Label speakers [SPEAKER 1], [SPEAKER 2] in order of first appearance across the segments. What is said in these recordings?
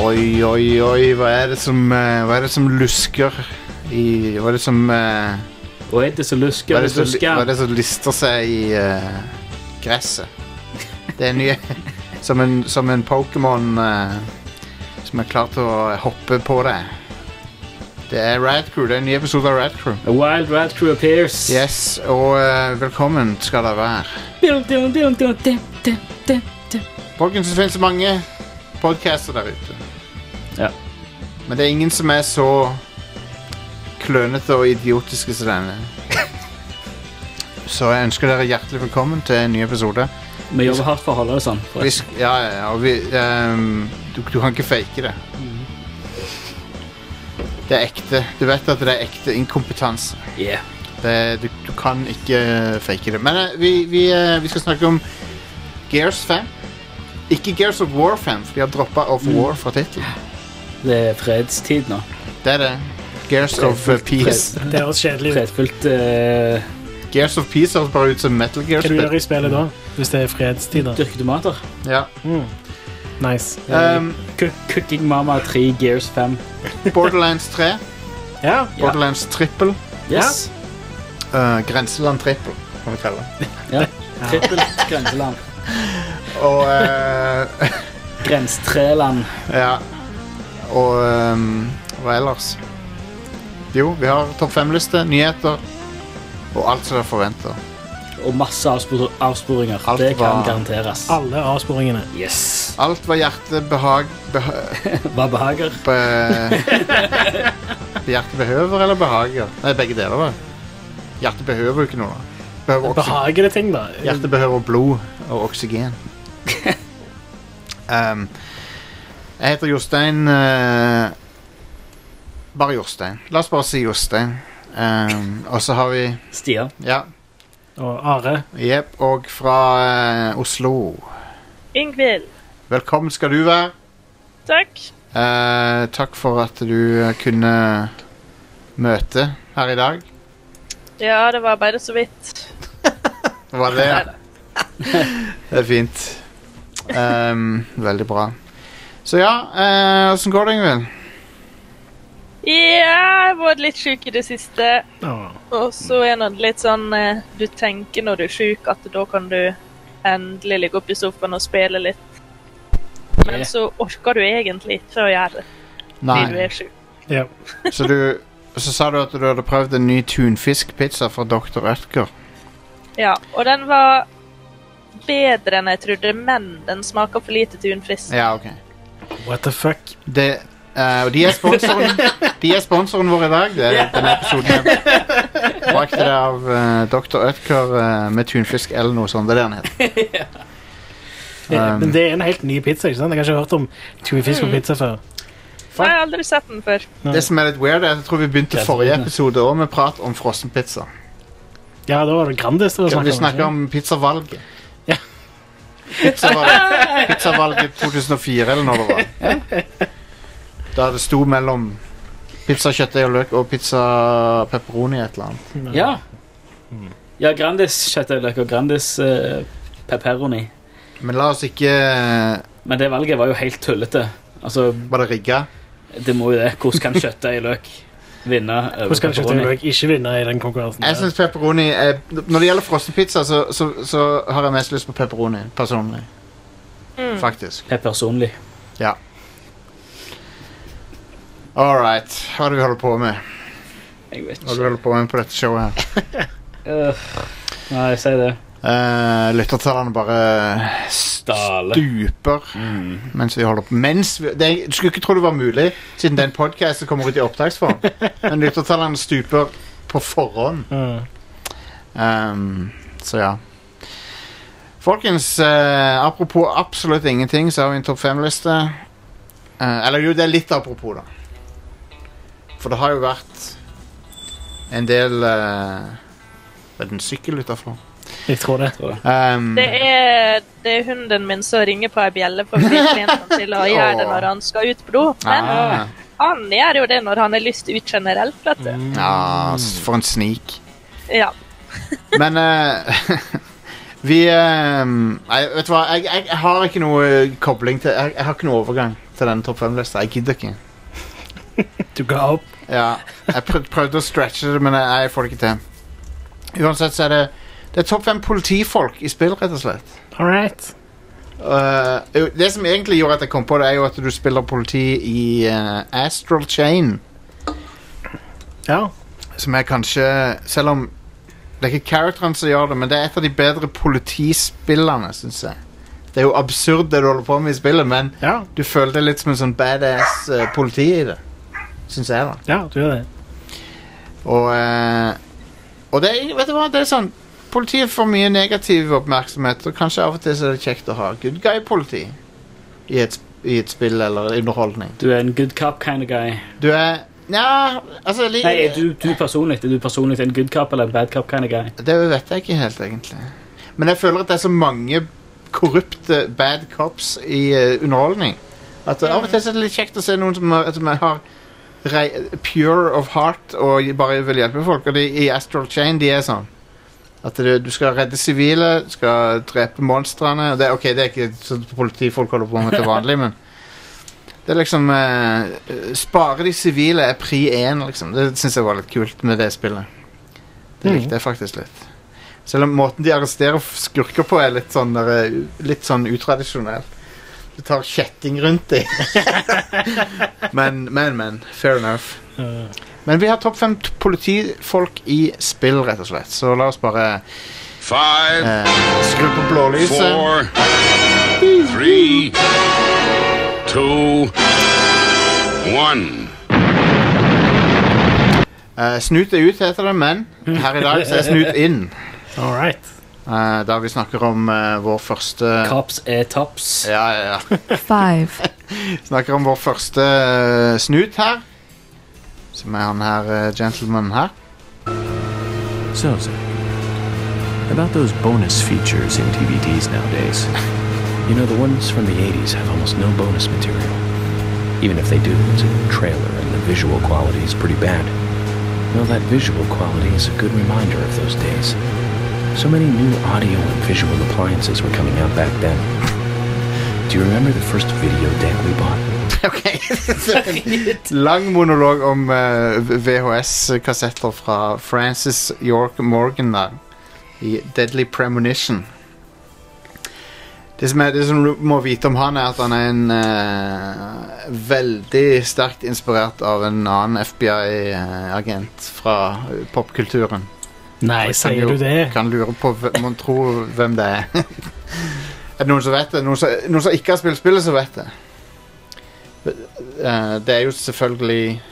[SPEAKER 1] Oi, oi, oi, hva er det som, eh, hva er det som lusker i Hva er det som eh,
[SPEAKER 2] Og er det så lusker,
[SPEAKER 1] hva, er
[SPEAKER 2] er
[SPEAKER 1] det som,
[SPEAKER 2] lusker.
[SPEAKER 1] hva er det som lister seg i eh, gresset? Det er nye Som en, som en Pokémon eh, som er klar til å hoppe på deg. Det er Rad Crew, Det er en ny episode av Rad Crew.
[SPEAKER 2] A wild rat crew appears.
[SPEAKER 1] Yes, og eh, velkommen skal dere være.
[SPEAKER 2] Dum, dum, dum, dum, dum, dum, dum, dum.
[SPEAKER 1] Folkens, det finnes mange podcaster der ute.
[SPEAKER 2] Ja.
[SPEAKER 1] Men det er ingen som er så klønete og idiotiske som denne. Så jeg ønsker dere hjertelig velkommen til en ny episode.
[SPEAKER 2] Vi jobber hardt for å holde det sånn. forresten.
[SPEAKER 1] Vi, sk- ja, ja, og vi, ehm, du, du kan ikke fake det. Det er ekte. Du vet at det er ekte inkompetanse.
[SPEAKER 2] Yeah.
[SPEAKER 1] Det, eh, du, du kan ikke fake det. Men eh, vi, vi, eh, vi skal snakke om Gears 5. Ikke Gears of War 5, for de har droppa Of
[SPEAKER 3] Mm.
[SPEAKER 1] War fra tittelen.
[SPEAKER 2] Det er fredstid nå.
[SPEAKER 1] Det er det. Gears of eh, Peace.
[SPEAKER 2] Fred,
[SPEAKER 3] Det høres kjedelig ut.
[SPEAKER 2] fredfullt eh,
[SPEAKER 1] Gears of Peace høres bare ut som Metal
[SPEAKER 3] Hva du gjør
[SPEAKER 1] Gear-spill.
[SPEAKER 3] i spillet da? Hvis det er fredstider?
[SPEAKER 2] dyrke tomater.
[SPEAKER 1] Ja.
[SPEAKER 3] Nice.
[SPEAKER 1] Um,
[SPEAKER 2] Eh, Cook- Cooking Mama 3 Gears 5.
[SPEAKER 1] Borderlands 3.
[SPEAKER 2] Ja.
[SPEAKER 3] Ja.
[SPEAKER 1] Borderlands Trippel.
[SPEAKER 2] Yes.
[SPEAKER 1] Uh, Grenseland Trippel, kan vi kalle det.
[SPEAKER 2] Ja. Trippelt grenseland.
[SPEAKER 1] Og eh,
[SPEAKER 2] Grenstreland.
[SPEAKER 1] Ja. Og ehm, hva ellers? Jo, vi har topp fem-liste, nyheter og alt som dere forventer.
[SPEAKER 2] Og masse avspor avsporinger.
[SPEAKER 1] Alt
[SPEAKER 2] det kan
[SPEAKER 1] var-
[SPEAKER 2] garanteres.
[SPEAKER 3] Alle avsporingene.
[SPEAKER 2] Yes.
[SPEAKER 1] Alt var hjertebehag... Beha,
[SPEAKER 2] Hva behager?
[SPEAKER 1] be, hjertebehøver eller behager? Nei, begge deler, vel. Hjertet behøver jo ikke noe. da. Behøver oksygen.
[SPEAKER 3] Behagelige ting, da.
[SPEAKER 1] Hjertet behøver blod og oksygen. um, jeg heter Jostein eh, Bare Jostein. La oss bare si Jostein. Um, og så har vi
[SPEAKER 2] Stian.
[SPEAKER 1] Ja,
[SPEAKER 3] Og Are.
[SPEAKER 1] jepp. Og fra eh, Oslo.
[SPEAKER 4] Ingvild.
[SPEAKER 1] Velkommen skal du være.
[SPEAKER 4] Takk.
[SPEAKER 1] Eh, takk for at du eh, kunne møte her i dag.
[SPEAKER 4] Ja, det var bare så vidt.
[SPEAKER 1] Var det Det er fint. Um, veldig bra. Så ja, eh, åssen går det, Ingvild?
[SPEAKER 4] Ja, jeg har vært litt syk i det siste.
[SPEAKER 3] Åh.
[SPEAKER 4] Og så er det litt sånn eh, Du tenker når du er syk, at da kan du endelig ligge oppe i sofaen og spille litt. Men
[SPEAKER 2] Yeah.
[SPEAKER 4] så orker du egentlig ikke å gjøre det fordi du er syk.
[SPEAKER 3] Ja.
[SPEAKER 1] Så du så sa du at du hadde prøvd en ny tunfiskpizza fra Dr. Ødger.
[SPEAKER 4] Ja, og den var bedre enn jeg trodde, men den smaker for lite tunfisk.
[SPEAKER 1] Ja, ok.
[SPEAKER 3] What the fuck?
[SPEAKER 1] Det, eh, og de er sponsoren De er sponsoren vår i dag. Det er denne episoden her. Bak det av eh, Dr. Ødger eh, med tunfisk eller noe sånt. Det er det han heter.
[SPEAKER 3] Ja,
[SPEAKER 1] Um.
[SPEAKER 3] Men det er en helt ny pizza, ikke sant? Jeg har ikke hørt om tui fish på pizza før.
[SPEAKER 4] Jeg har aldri sett den før.
[SPEAKER 1] Det som er litt weird, er at jeg tror vi begynte forrige episode òg med prat om frossenpizza.
[SPEAKER 3] Ja, da var det Grandis det var snakk
[SPEAKER 1] Vi snakker
[SPEAKER 3] om.
[SPEAKER 1] om pizzavalget.
[SPEAKER 3] Ja.
[SPEAKER 1] Pizzavalget, pizzavalget 2004, eller når det var. Da det sto mellom pizzakjøttdeig og løk og pizza pepperoni et eller annet.
[SPEAKER 2] Ja. Ja, Grandis kjøttdeig og Grandis eh, pepperoni.
[SPEAKER 1] Men la oss ikke eh,
[SPEAKER 2] Men det valget var jo helt tullete. Altså,
[SPEAKER 1] Var det rigga?
[SPEAKER 2] det må jo det. Hvordan kan kjøttdeig og løk vinne over
[SPEAKER 3] Hvordan kan
[SPEAKER 2] pepperoni?
[SPEAKER 3] kjøttdeig ikke vinne i den konkurransen?
[SPEAKER 1] Jeg syns pepperoni er Når det gjelder frossenpizza, så, så, så har jeg mest lyst på pepperoni, personlig. Faktisk.
[SPEAKER 2] Peppersonlig.
[SPEAKER 1] Ja. All right. Hva er det vi holder på med?
[SPEAKER 2] Jeg vet
[SPEAKER 1] Hva er det
[SPEAKER 2] ikke.
[SPEAKER 1] vi holder på med på dette showet her?
[SPEAKER 2] Øh, nei, si det.
[SPEAKER 1] Uh, lyttertallene bare
[SPEAKER 2] Dale.
[SPEAKER 1] stuper mens vi holder på. Mens vi, det, du skulle ikke tro det var mulig, siden den podkasten kommer ut i opptaksform. Men lyttertallene stuper på forhånd.
[SPEAKER 3] Mm.
[SPEAKER 1] Ehm, så ja. Folkens, eh, apropos absolutt ingenting, så har vi en topp fem-liste. Eh, eller jo, det er litt apropos, da. For det har jo vært en del eh, Hva er det en sykkel utafor?
[SPEAKER 3] Jeg tror det.
[SPEAKER 1] Um,
[SPEAKER 4] Det er, det er hunden min som ringer på ei bjelle for å bli trent han til å gjøre det når han skal ut på do. Men
[SPEAKER 1] ah.
[SPEAKER 4] han gjør jo det når han har lyst ut generelt, vet
[SPEAKER 1] Mm.
[SPEAKER 4] du.
[SPEAKER 1] Ja, s- for en snik.
[SPEAKER 4] Ja.
[SPEAKER 1] Men eh, eh, vi eh, Nei, vet du hva? Jeg, jeg, jeg har ikke noe kobling til Jeg, jeg har ikke noe overgang. til denne topp fem-lista. Jeg gidder ikke.
[SPEAKER 3] Du ga opp.
[SPEAKER 1] Ja, jeg prøv, prøvde å stretche det, men jeg, jeg får det ikke til. Uansett så er det Det er topp fem politifolk i spill, rett og slett.
[SPEAKER 3] All right.
[SPEAKER 1] Eh, jo, det som egentlig gjorde at jeg kom på det, er jo at du spiller politi i eh, Astral Chain.
[SPEAKER 3] Ja.
[SPEAKER 1] Som er kanskje Selv om det er ikke characteren som gjør det, men det er et av de bedre politispillene, syns jeg. Det er jo absurd det du holder på med i spillet, men
[SPEAKER 3] ja.
[SPEAKER 1] du føler deg litt som en sånn badass eh, politi i det. Syns jeg, da.
[SPEAKER 3] Ja, du gjør det.
[SPEAKER 1] Og, eh, og det, er- vet du hva, det er sånn Politiet får mye negativ oppmerksomhet, og kanskje av og til så er det kjekt å ha good guy-politi i, et sp- i et spill eller underholdning.
[SPEAKER 2] Du er en good cop kind of guy.
[SPEAKER 1] Du er Nja, altså jeg liker-
[SPEAKER 2] Nei, er du, du personlig? Er du personlig en good cop eller en bad cop kind of guy?
[SPEAKER 1] Det vet jeg ikke helt, egentlig. Men jeg føler at det er så mange korrupte bad cops i eh, underholdning. At Av og til så er det litt kjekt å se noen som, har- som har rei, pure of heart og bare vil hjelpe folk. Og de, i Astral Chain de er sånn. At du, du skal redde sivile, du skal drepe monstrene. Det, ok, det er ikke sånn politifolk holder på med til vanlig, men det er liksom eh, Spare de sivile er pri én, liksom. Det syns jeg var litt kult med det spillet. Det
[SPEAKER 3] Mhm.
[SPEAKER 1] likte jeg faktisk litt. Selv om måten de arresterer f- skurker på, er litt sånn, der, eh, litt sånn utradisjonell. Du tar kjetting rundt dem. men, men, men. Fair enough.
[SPEAKER 3] Uh,
[SPEAKER 1] Men vi har topp fem t- politifolk i spill, rett og slett. Så la oss bare
[SPEAKER 5] Five,
[SPEAKER 1] eh, skru på blålyset.
[SPEAKER 5] four, three, two, one.
[SPEAKER 1] Eh, snut er ut, heter det, men her i dag så er snut inn.
[SPEAKER 3] all right.
[SPEAKER 1] Eh, da vi snakker om eh, vår første
[SPEAKER 2] Cops er tops.
[SPEAKER 1] ja, ja, ja.
[SPEAKER 6] Five.
[SPEAKER 1] Snakker om vår første eh, snut her. Som er han her, uh, gentlemanen her.
[SPEAKER 7] So, Zach, about those bonus features in DVDs nowadays. You know, the ones from the 80s have almost no bonus material. Even if they do, it's a trailer and the visual quality is pretty bad. Well, that visual quality is a good reminder of those days. So many new audio and visual appliances were coming out back then. Do you remember the first video deck we bought?
[SPEAKER 1] Ok, Lang monolog om eh, VHS-kassetter fra Francis York Morgan der, i Deadly Premonition. Det som, er, det som du må vite om han, er at han er en eh, veldig sterkt inspirert av en annen FBI-agent fra eh, popkulturen.
[SPEAKER 3] Nei,
[SPEAKER 1] Kan
[SPEAKER 3] sier
[SPEAKER 1] jo-
[SPEAKER 3] du det?
[SPEAKER 1] Kan lure på hvem man tror hvem det er. er det noen som vet det? Noen som, noen som ikke har spilt spillet, som vet det? Eh, det er jo selvfølgelig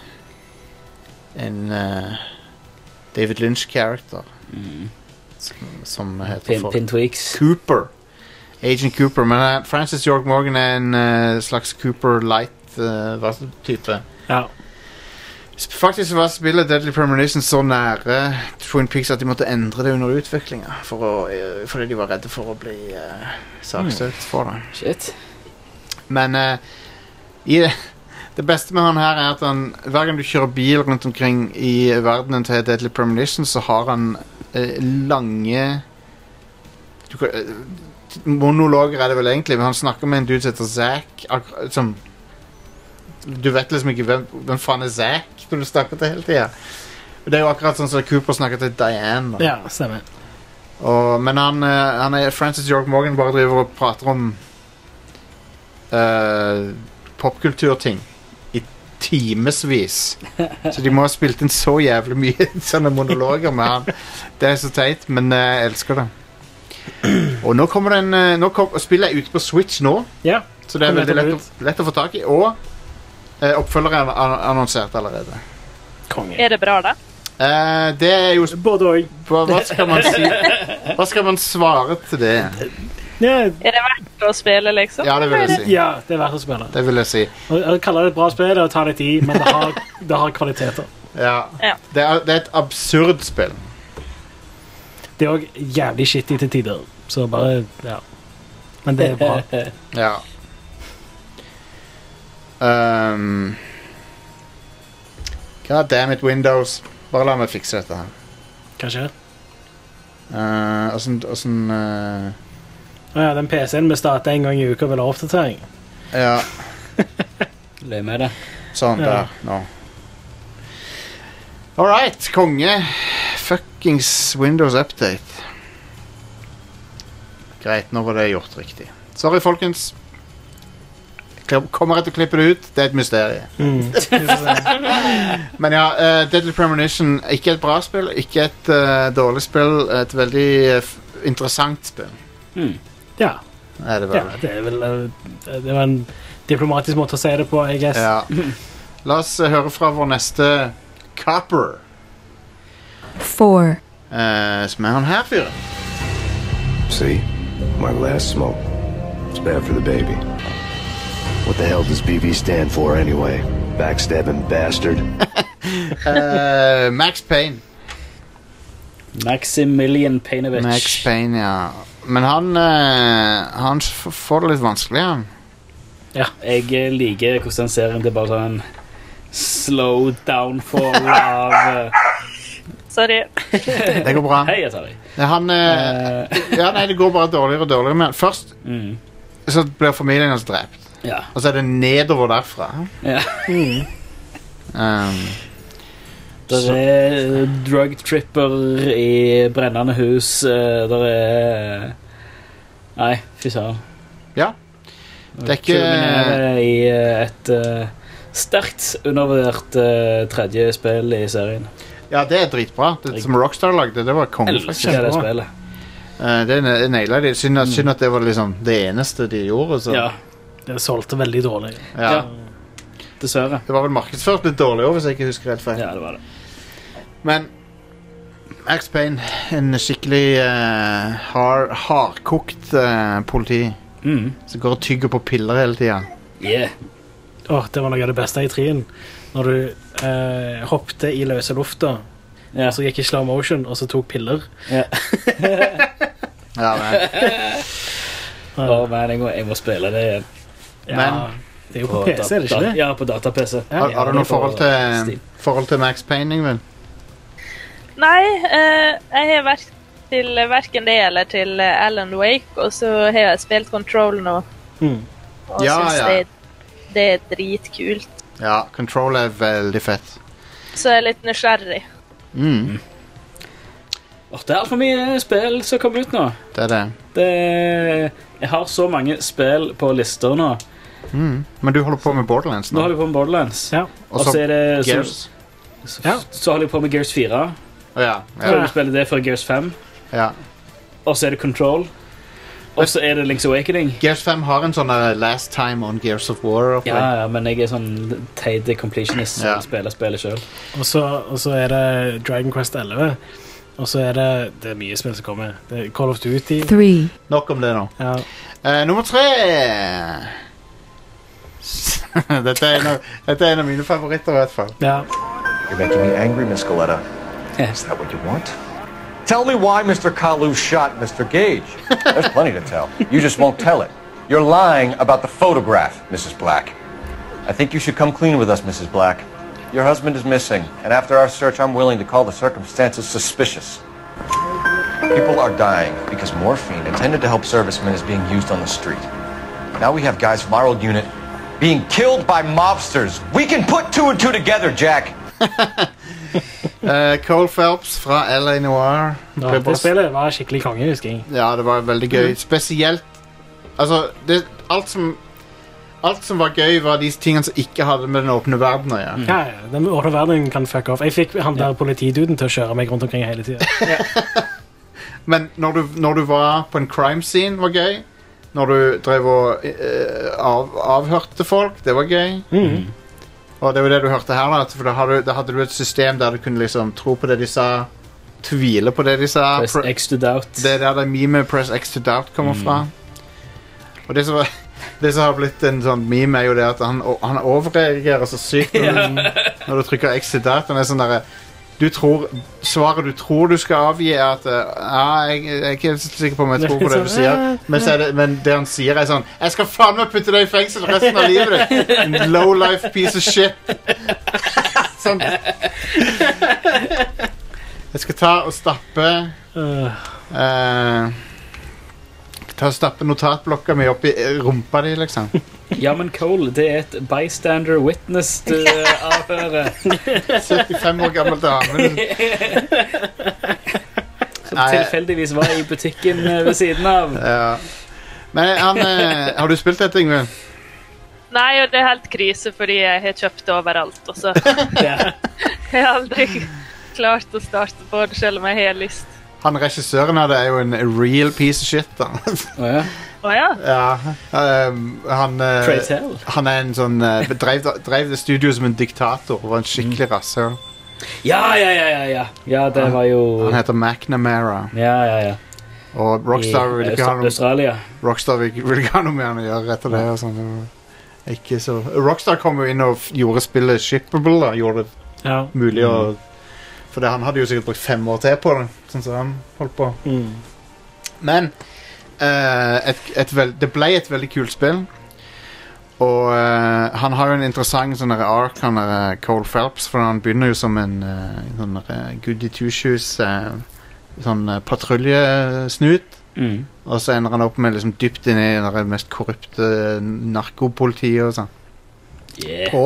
[SPEAKER 1] en eh, David Lynch-character
[SPEAKER 2] Mm.
[SPEAKER 1] som heter
[SPEAKER 2] Pin,
[SPEAKER 1] for
[SPEAKER 2] Pintweaks.
[SPEAKER 1] Cooper. Agent Cooper. Men eh, Francis York Morgan er en eh, slags Cooper eh, Light-type.
[SPEAKER 3] Ja.
[SPEAKER 1] Sp- Faktisk var spillet Deadly Premonition så nære Twin Peaks at de måtte endre det under utviklinga. For å, eh, fordi de var redde for å bli uh, saksøkt for det.
[SPEAKER 2] Shit.
[SPEAKER 1] Men eh, i det, det beste med han her er at han, hver gang du kjører bil rundt omkring i verdenen til Deadly Premonition, så har han eh, lange du, kan- eh, Monologer er det vel egentlig, men han snakker med en dude som heter Zack. akkur- Som Du vet liksom ikke hvem, hvem faen er Zack når du snakker til hele tida. Det er jo akkurat sånn som Cooper snakker til Diane. Da.
[SPEAKER 3] ja, stemmer.
[SPEAKER 1] Og, men han, eh, han er Francis York Morgan bare driver og prater om eh, popkulturting i timevis. Så de må ha spilt inn så jævlig mye sånne monologer med han. Det er så teit, men eh, jeg elsker det. Og nå kommer den eh, nå kom, Spillet er ute på Switch nå,
[SPEAKER 3] Ja.
[SPEAKER 1] så det er
[SPEAKER 3] Kom
[SPEAKER 1] veldig lett,
[SPEAKER 3] nettopp
[SPEAKER 1] å- lett å få tak i. Og eh, oppfølgeren er an- annonsert allerede.
[SPEAKER 4] Er
[SPEAKER 3] Konge.
[SPEAKER 4] det bra, da?
[SPEAKER 1] Eh, det er jo sp-
[SPEAKER 3] Både òg.
[SPEAKER 1] hva, hva skal man si Hva skal man svare til det?
[SPEAKER 3] Ja,
[SPEAKER 4] Er det verdt å spille, liksom?
[SPEAKER 1] Ja, det vil jeg si.
[SPEAKER 3] ja, det er verdt å spille.
[SPEAKER 1] Det vil jeg si.
[SPEAKER 3] Å å kalle det et bra spill er å ta litt i, men det har, det har kvaliteter.
[SPEAKER 1] Ja.
[SPEAKER 4] Ja.
[SPEAKER 1] Det, er, det er et absurd spill.
[SPEAKER 3] Det er òg jævlig shitty til tider, så bare Ja. Men det er bra.
[SPEAKER 1] Ja. Um, God damn it, Windows. Bare la meg fikse dette her.
[SPEAKER 3] Hva skjer?
[SPEAKER 1] Eh, Åssen Åssen eh,
[SPEAKER 3] Å ja, den PC-en vi starter en gang i uka, vil ha oppdatering.
[SPEAKER 1] Ja.
[SPEAKER 2] Det er med det.
[SPEAKER 1] Sånn,
[SPEAKER 3] Ja.
[SPEAKER 1] der. Nå. All right, konge. Fuckings Windows Update. Greit, nå var det gjort riktig. Sorry, folkens. Jeg Kommer jeg til å klippe det ut? Det er et mysterium.
[SPEAKER 3] Mm.
[SPEAKER 1] Men ja, uh, Deadly Premonition Ikke et bra spill, ikke et eh, dårlig spill. Et veldig eh, f- interessant spill.
[SPEAKER 2] Hmm.
[SPEAKER 3] ja,
[SPEAKER 1] Er det
[SPEAKER 3] ja,
[SPEAKER 1] vel.
[SPEAKER 3] det er vel eh, Det var en diplomatisk måte å si det på, I guess.
[SPEAKER 1] Ja. La oss eh, høre fra vår neste copper.
[SPEAKER 6] four,
[SPEAKER 1] eh, som er han her fyren.
[SPEAKER 8] See? My last smoke. It's bad for the baby. What the hell does BV stand for anyway? Backstabbing bastard.
[SPEAKER 1] Eh, Max Payne.
[SPEAKER 2] Maximilian Painovich.
[SPEAKER 1] Max Payne, ja. Men han, eh, han f- får det litt vanskelig, han.
[SPEAKER 2] Ja, jeg eh, liker hvordan den serien det er bare sånn slow downfall av eh,
[SPEAKER 4] Sorry.
[SPEAKER 1] Det går bra.
[SPEAKER 2] Hei, jeg tar deg.
[SPEAKER 1] Det er Han, eh,
[SPEAKER 2] Eh,
[SPEAKER 1] ja, nei, det går bare dårligere og dårligere. Men først
[SPEAKER 2] mm,
[SPEAKER 1] så blir familien hans drept,
[SPEAKER 2] ja.
[SPEAKER 1] og så er det nedover derfra. Mm.
[SPEAKER 2] ja.
[SPEAKER 1] Um,
[SPEAKER 2] Det er eh, drug tripper i brennende hus. Det er eh, Nei, fy søren.
[SPEAKER 1] Ja. Det er ikke-
[SPEAKER 2] Kulminerer i eh, et eh, sterkt undervurdert eh, tredje spill i serien.
[SPEAKER 1] ja, det er dritbra. Det som Rockstar lagde, det var konge. faktisk.
[SPEAKER 2] Elsker det spillet.
[SPEAKER 1] Eh, det ne- naila de. Synd, at- synd at det var liksom det eneste de gjorde. Så.
[SPEAKER 2] Ja,
[SPEAKER 3] Det solgte veldig dårlig.
[SPEAKER 1] Ja.
[SPEAKER 2] ja. dessverre.
[SPEAKER 1] Det var vel markedsført litt dårlig òg, hvis jeg ikke husker helt feil.
[SPEAKER 2] Ja, det var det.
[SPEAKER 1] Men Max Payne, en skikkelig eh, hard, hardkokt eh, politi
[SPEAKER 2] Mm.
[SPEAKER 1] som går og tygger på piller hele tida.
[SPEAKER 2] Yeah.
[SPEAKER 3] Åh, det var noe av det beste i trien. Når du eh, hoppte i løse lufta,
[SPEAKER 2] Ja.
[SPEAKER 3] og så gikk i slow motion, og så tok piller.
[SPEAKER 1] Ja, men,
[SPEAKER 2] Å, men jeg må, jeg må spille det igjen.
[SPEAKER 3] Ja, det er jo på PC, er det ikke
[SPEAKER 2] dat-
[SPEAKER 3] det?
[SPEAKER 2] Ja, på data-PC.
[SPEAKER 1] har, har du noe
[SPEAKER 2] det var
[SPEAKER 1] forhold til, eh,
[SPEAKER 2] stil.
[SPEAKER 1] forhold til Max Payne, Ingvild?
[SPEAKER 4] Nei, eh, jeg har vært til verken det eller til eh, Alan Wake, og så har jeg spilt Control nå.
[SPEAKER 3] Mm.
[SPEAKER 4] Og
[SPEAKER 1] Ja,
[SPEAKER 4] syns
[SPEAKER 1] ja.
[SPEAKER 4] Det, det er dritkult.
[SPEAKER 1] Ja, Control er veldig fett.
[SPEAKER 4] Så jeg er litt nysgjerrig.
[SPEAKER 1] Mm,
[SPEAKER 2] Åh, det er altfor mye spill som kommer ut nå.
[SPEAKER 1] det er det.
[SPEAKER 2] Det, eh, jeg har så mange spill på lister nå.
[SPEAKER 1] Mm. Men du holder på med Borderlands
[SPEAKER 2] Nå
[SPEAKER 1] nå?
[SPEAKER 2] holder jeg på med Borderlands.
[SPEAKER 3] Ja.
[SPEAKER 2] Og så er det
[SPEAKER 1] Gears.
[SPEAKER 2] Så, så,
[SPEAKER 3] Ja.
[SPEAKER 2] så holder jeg på med Gears 4.
[SPEAKER 1] Å, ja,
[SPEAKER 2] Så
[SPEAKER 1] ja,
[SPEAKER 2] du spiller det før Gears 5.
[SPEAKER 1] ja.
[SPEAKER 2] Og så er det Control. Og så er det Links Awakening.
[SPEAKER 1] Gears 5 har en sånn eh, Last Time on Gears of War.
[SPEAKER 2] Ja, ja, men jeg er sånn teit completionist som
[SPEAKER 1] Ja.
[SPEAKER 2] spiller spillet sjøl.
[SPEAKER 3] Og så, og så er det Dragon Quest 11. Og så er det Det er mye spill som kommer. Det er Call of Duty.
[SPEAKER 6] three,
[SPEAKER 1] Nok om det nå.
[SPEAKER 3] Ja.
[SPEAKER 1] Eh, nummer tre dette, er en av, dette er en av mine favoritter, i hvert fall.
[SPEAKER 3] ja.
[SPEAKER 9] You're making me angry, Miss Galetta. Is that what you want? Tell me why Mr. Kalu shot Mr. Gage. There's plenty to tell. You just won't tell it. You're lying about the photograph, Mrs. Black. I think you should come clean with us, Mrs. Black. Your husband is missing, and after our search, I'm willing to call the circumstances suspicious. People are dying because morphine intended to help servicemen is being used on the street. Now we have guys from our old unit being killed by mobsters. We can put two and two together, Jack.
[SPEAKER 1] Eh, Cole Phelps fra LA Noir.
[SPEAKER 3] Ja,
[SPEAKER 1] Ble
[SPEAKER 3] det
[SPEAKER 1] bare-
[SPEAKER 3] spillet var skikkelig konge, husker jeg.
[SPEAKER 1] Ja, det var veldig gøy. Spesielt Altså, det, alt som Alt som var gøy, var de tingene som ikke hadde med den åpne verden å gjøre.
[SPEAKER 3] Ja, ja, den ordre verden kan fuck off. Jeg fikk han der politiduden til å kjøre meg rundt omkring hele tida.
[SPEAKER 1] Men når du, når du var på en crime scene, var gøy. Når du drev og eh, av, avhørte folk, det var gøy. Og det var det du hørte her, da. at- For da hadde, da hadde du et system der du kunne liksom tro på det de sa, tvile på det de sa. pro-
[SPEAKER 2] Exted out.
[SPEAKER 1] Det er der det memet 'Press X to Doubt' kommer fra. Og det som, er- det som har blitt en sånn meme, er jo det at han, han overreagerer så sykt når, du, når du trykker X to Doubt. Han er sånn derre du tror, Svaret du tror du skal avgi, er at eh, ja, jeg, jeg er ikke helt sikker på om jeg tror på det du sier. Men, så er det, men det han sier, er sånn Jeg skal faen meg putte deg i fengsel resten av livet, ditt! En low life piece of shit. Sånn.
[SPEAKER 3] Eh,
[SPEAKER 1] Jeg skal ta og stappe
[SPEAKER 3] Uh,
[SPEAKER 1] Eh, ta og stappe notatblokka mi opp i eh, rumpa di, liksom.
[SPEAKER 2] Ja, men Cole, det er et bystander witness du eh, avhører.
[SPEAKER 1] 75 år gammel dame. liksom.
[SPEAKER 2] Som
[SPEAKER 1] Nei.
[SPEAKER 2] tilfeldigvis var i butikken eh, ved siden av.
[SPEAKER 1] Ja. Men han eh, Har du spilt dette, Yngvild?
[SPEAKER 4] Nei, og det er helt krise, fordi jeg har kjøpt det overalt. Og så jeg har aldri klart å starte på det, selv om jeg har lyst.
[SPEAKER 1] Han regissøren av det er jo en real piece of shit, da.
[SPEAKER 2] Å ja.
[SPEAKER 4] Å ja.
[SPEAKER 1] Ja, ehm, han eh,
[SPEAKER 2] Pray tell.
[SPEAKER 1] Han er en sånn eh, Drev drev det studio som en diktator og var en skikkelig rasshøl.
[SPEAKER 2] Ja, ja, ja, ja, ja. Ja, det var jo
[SPEAKER 1] Han heter McNamara,
[SPEAKER 2] Ja, ja, ja.
[SPEAKER 1] og Rockstar vil
[SPEAKER 2] I
[SPEAKER 1] ikke ha
[SPEAKER 2] Aust-
[SPEAKER 1] noe
[SPEAKER 2] Australia.
[SPEAKER 1] Rockstar vil, vil ikke ha noe med han å gjøre etter det. Og sånn. Det var ikke så Rockstar kom jo inn og f- gjorde spillet shippable. Da. Gjorde det
[SPEAKER 3] Ja.
[SPEAKER 1] mulig å For det, han hadde jo sikkert brukt fem år til på det, sånn som han holdt på.
[SPEAKER 3] Mm.
[SPEAKER 1] Men eh, et, et vel, det ble et veldig kult spill. Og eh, han har jo en interessant sånn der ark, han der eh, Cole Phelps, for han begynner jo som en eh, sånn der, eh, goody two-shoes eh, sånn eh, patruljesnut.
[SPEAKER 2] Mm.
[SPEAKER 1] Og så ender han opp med liksom dypt inn i det der mest korrupte narkopolitiet og sånn.
[SPEAKER 2] Yeah.
[SPEAKER 1] På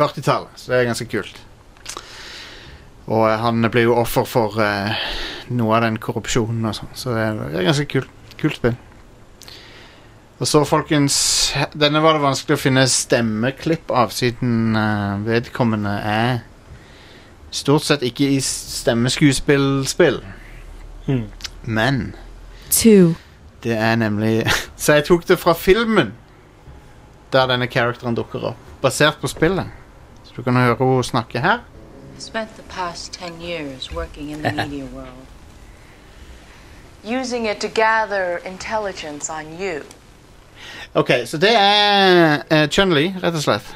[SPEAKER 1] 40-tallet, så det er ganske kult. Og eh, han blir jo offer for eh, noe av den korrupsjonen og sånn, så det er, det er ganske kult. Kult spill. Og så, folkens, denne var det vanskelig å finne stemmeklipp av, siden eh, vedkommende er stort sett ikke i stemmeskuespillspill.
[SPEAKER 3] Mm.
[SPEAKER 1] Men
[SPEAKER 6] two,
[SPEAKER 1] det er nemlig Så jeg tok det fra filmen Der denne karakteren dukker opp Basert på spillet Så du kan høre henne snakke her
[SPEAKER 10] Spent the past 10 years working in the media world, using it to gather intelligence on you.
[SPEAKER 1] Ok, så det er uh, Chun-Li, rett og slett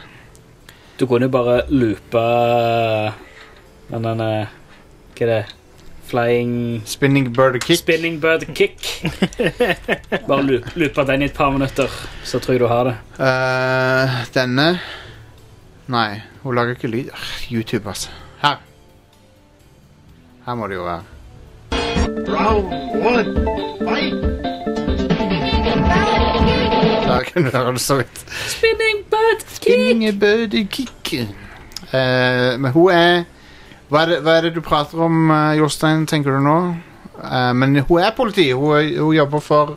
[SPEAKER 2] Du kunne jo bare loope eh, den den, eh, Hva er det? Flying
[SPEAKER 1] Spinning Bird Kick
[SPEAKER 2] Spinning bird kick. Bare loop- loope den i et par minutter, så tror jeg du har det.
[SPEAKER 1] Eh, Denne Nei, hun lager ikke lyd Ah, YouTube, altså Her Her må det jo være Der kan du høre det så vidt
[SPEAKER 2] Spinning bird
[SPEAKER 1] Ingebødekick. Eh, men hun er hva, er det, hva er det du prater om, eh, Jostein, tenker du nå? Eh, men hun er politi. Hun, er- hun jobber for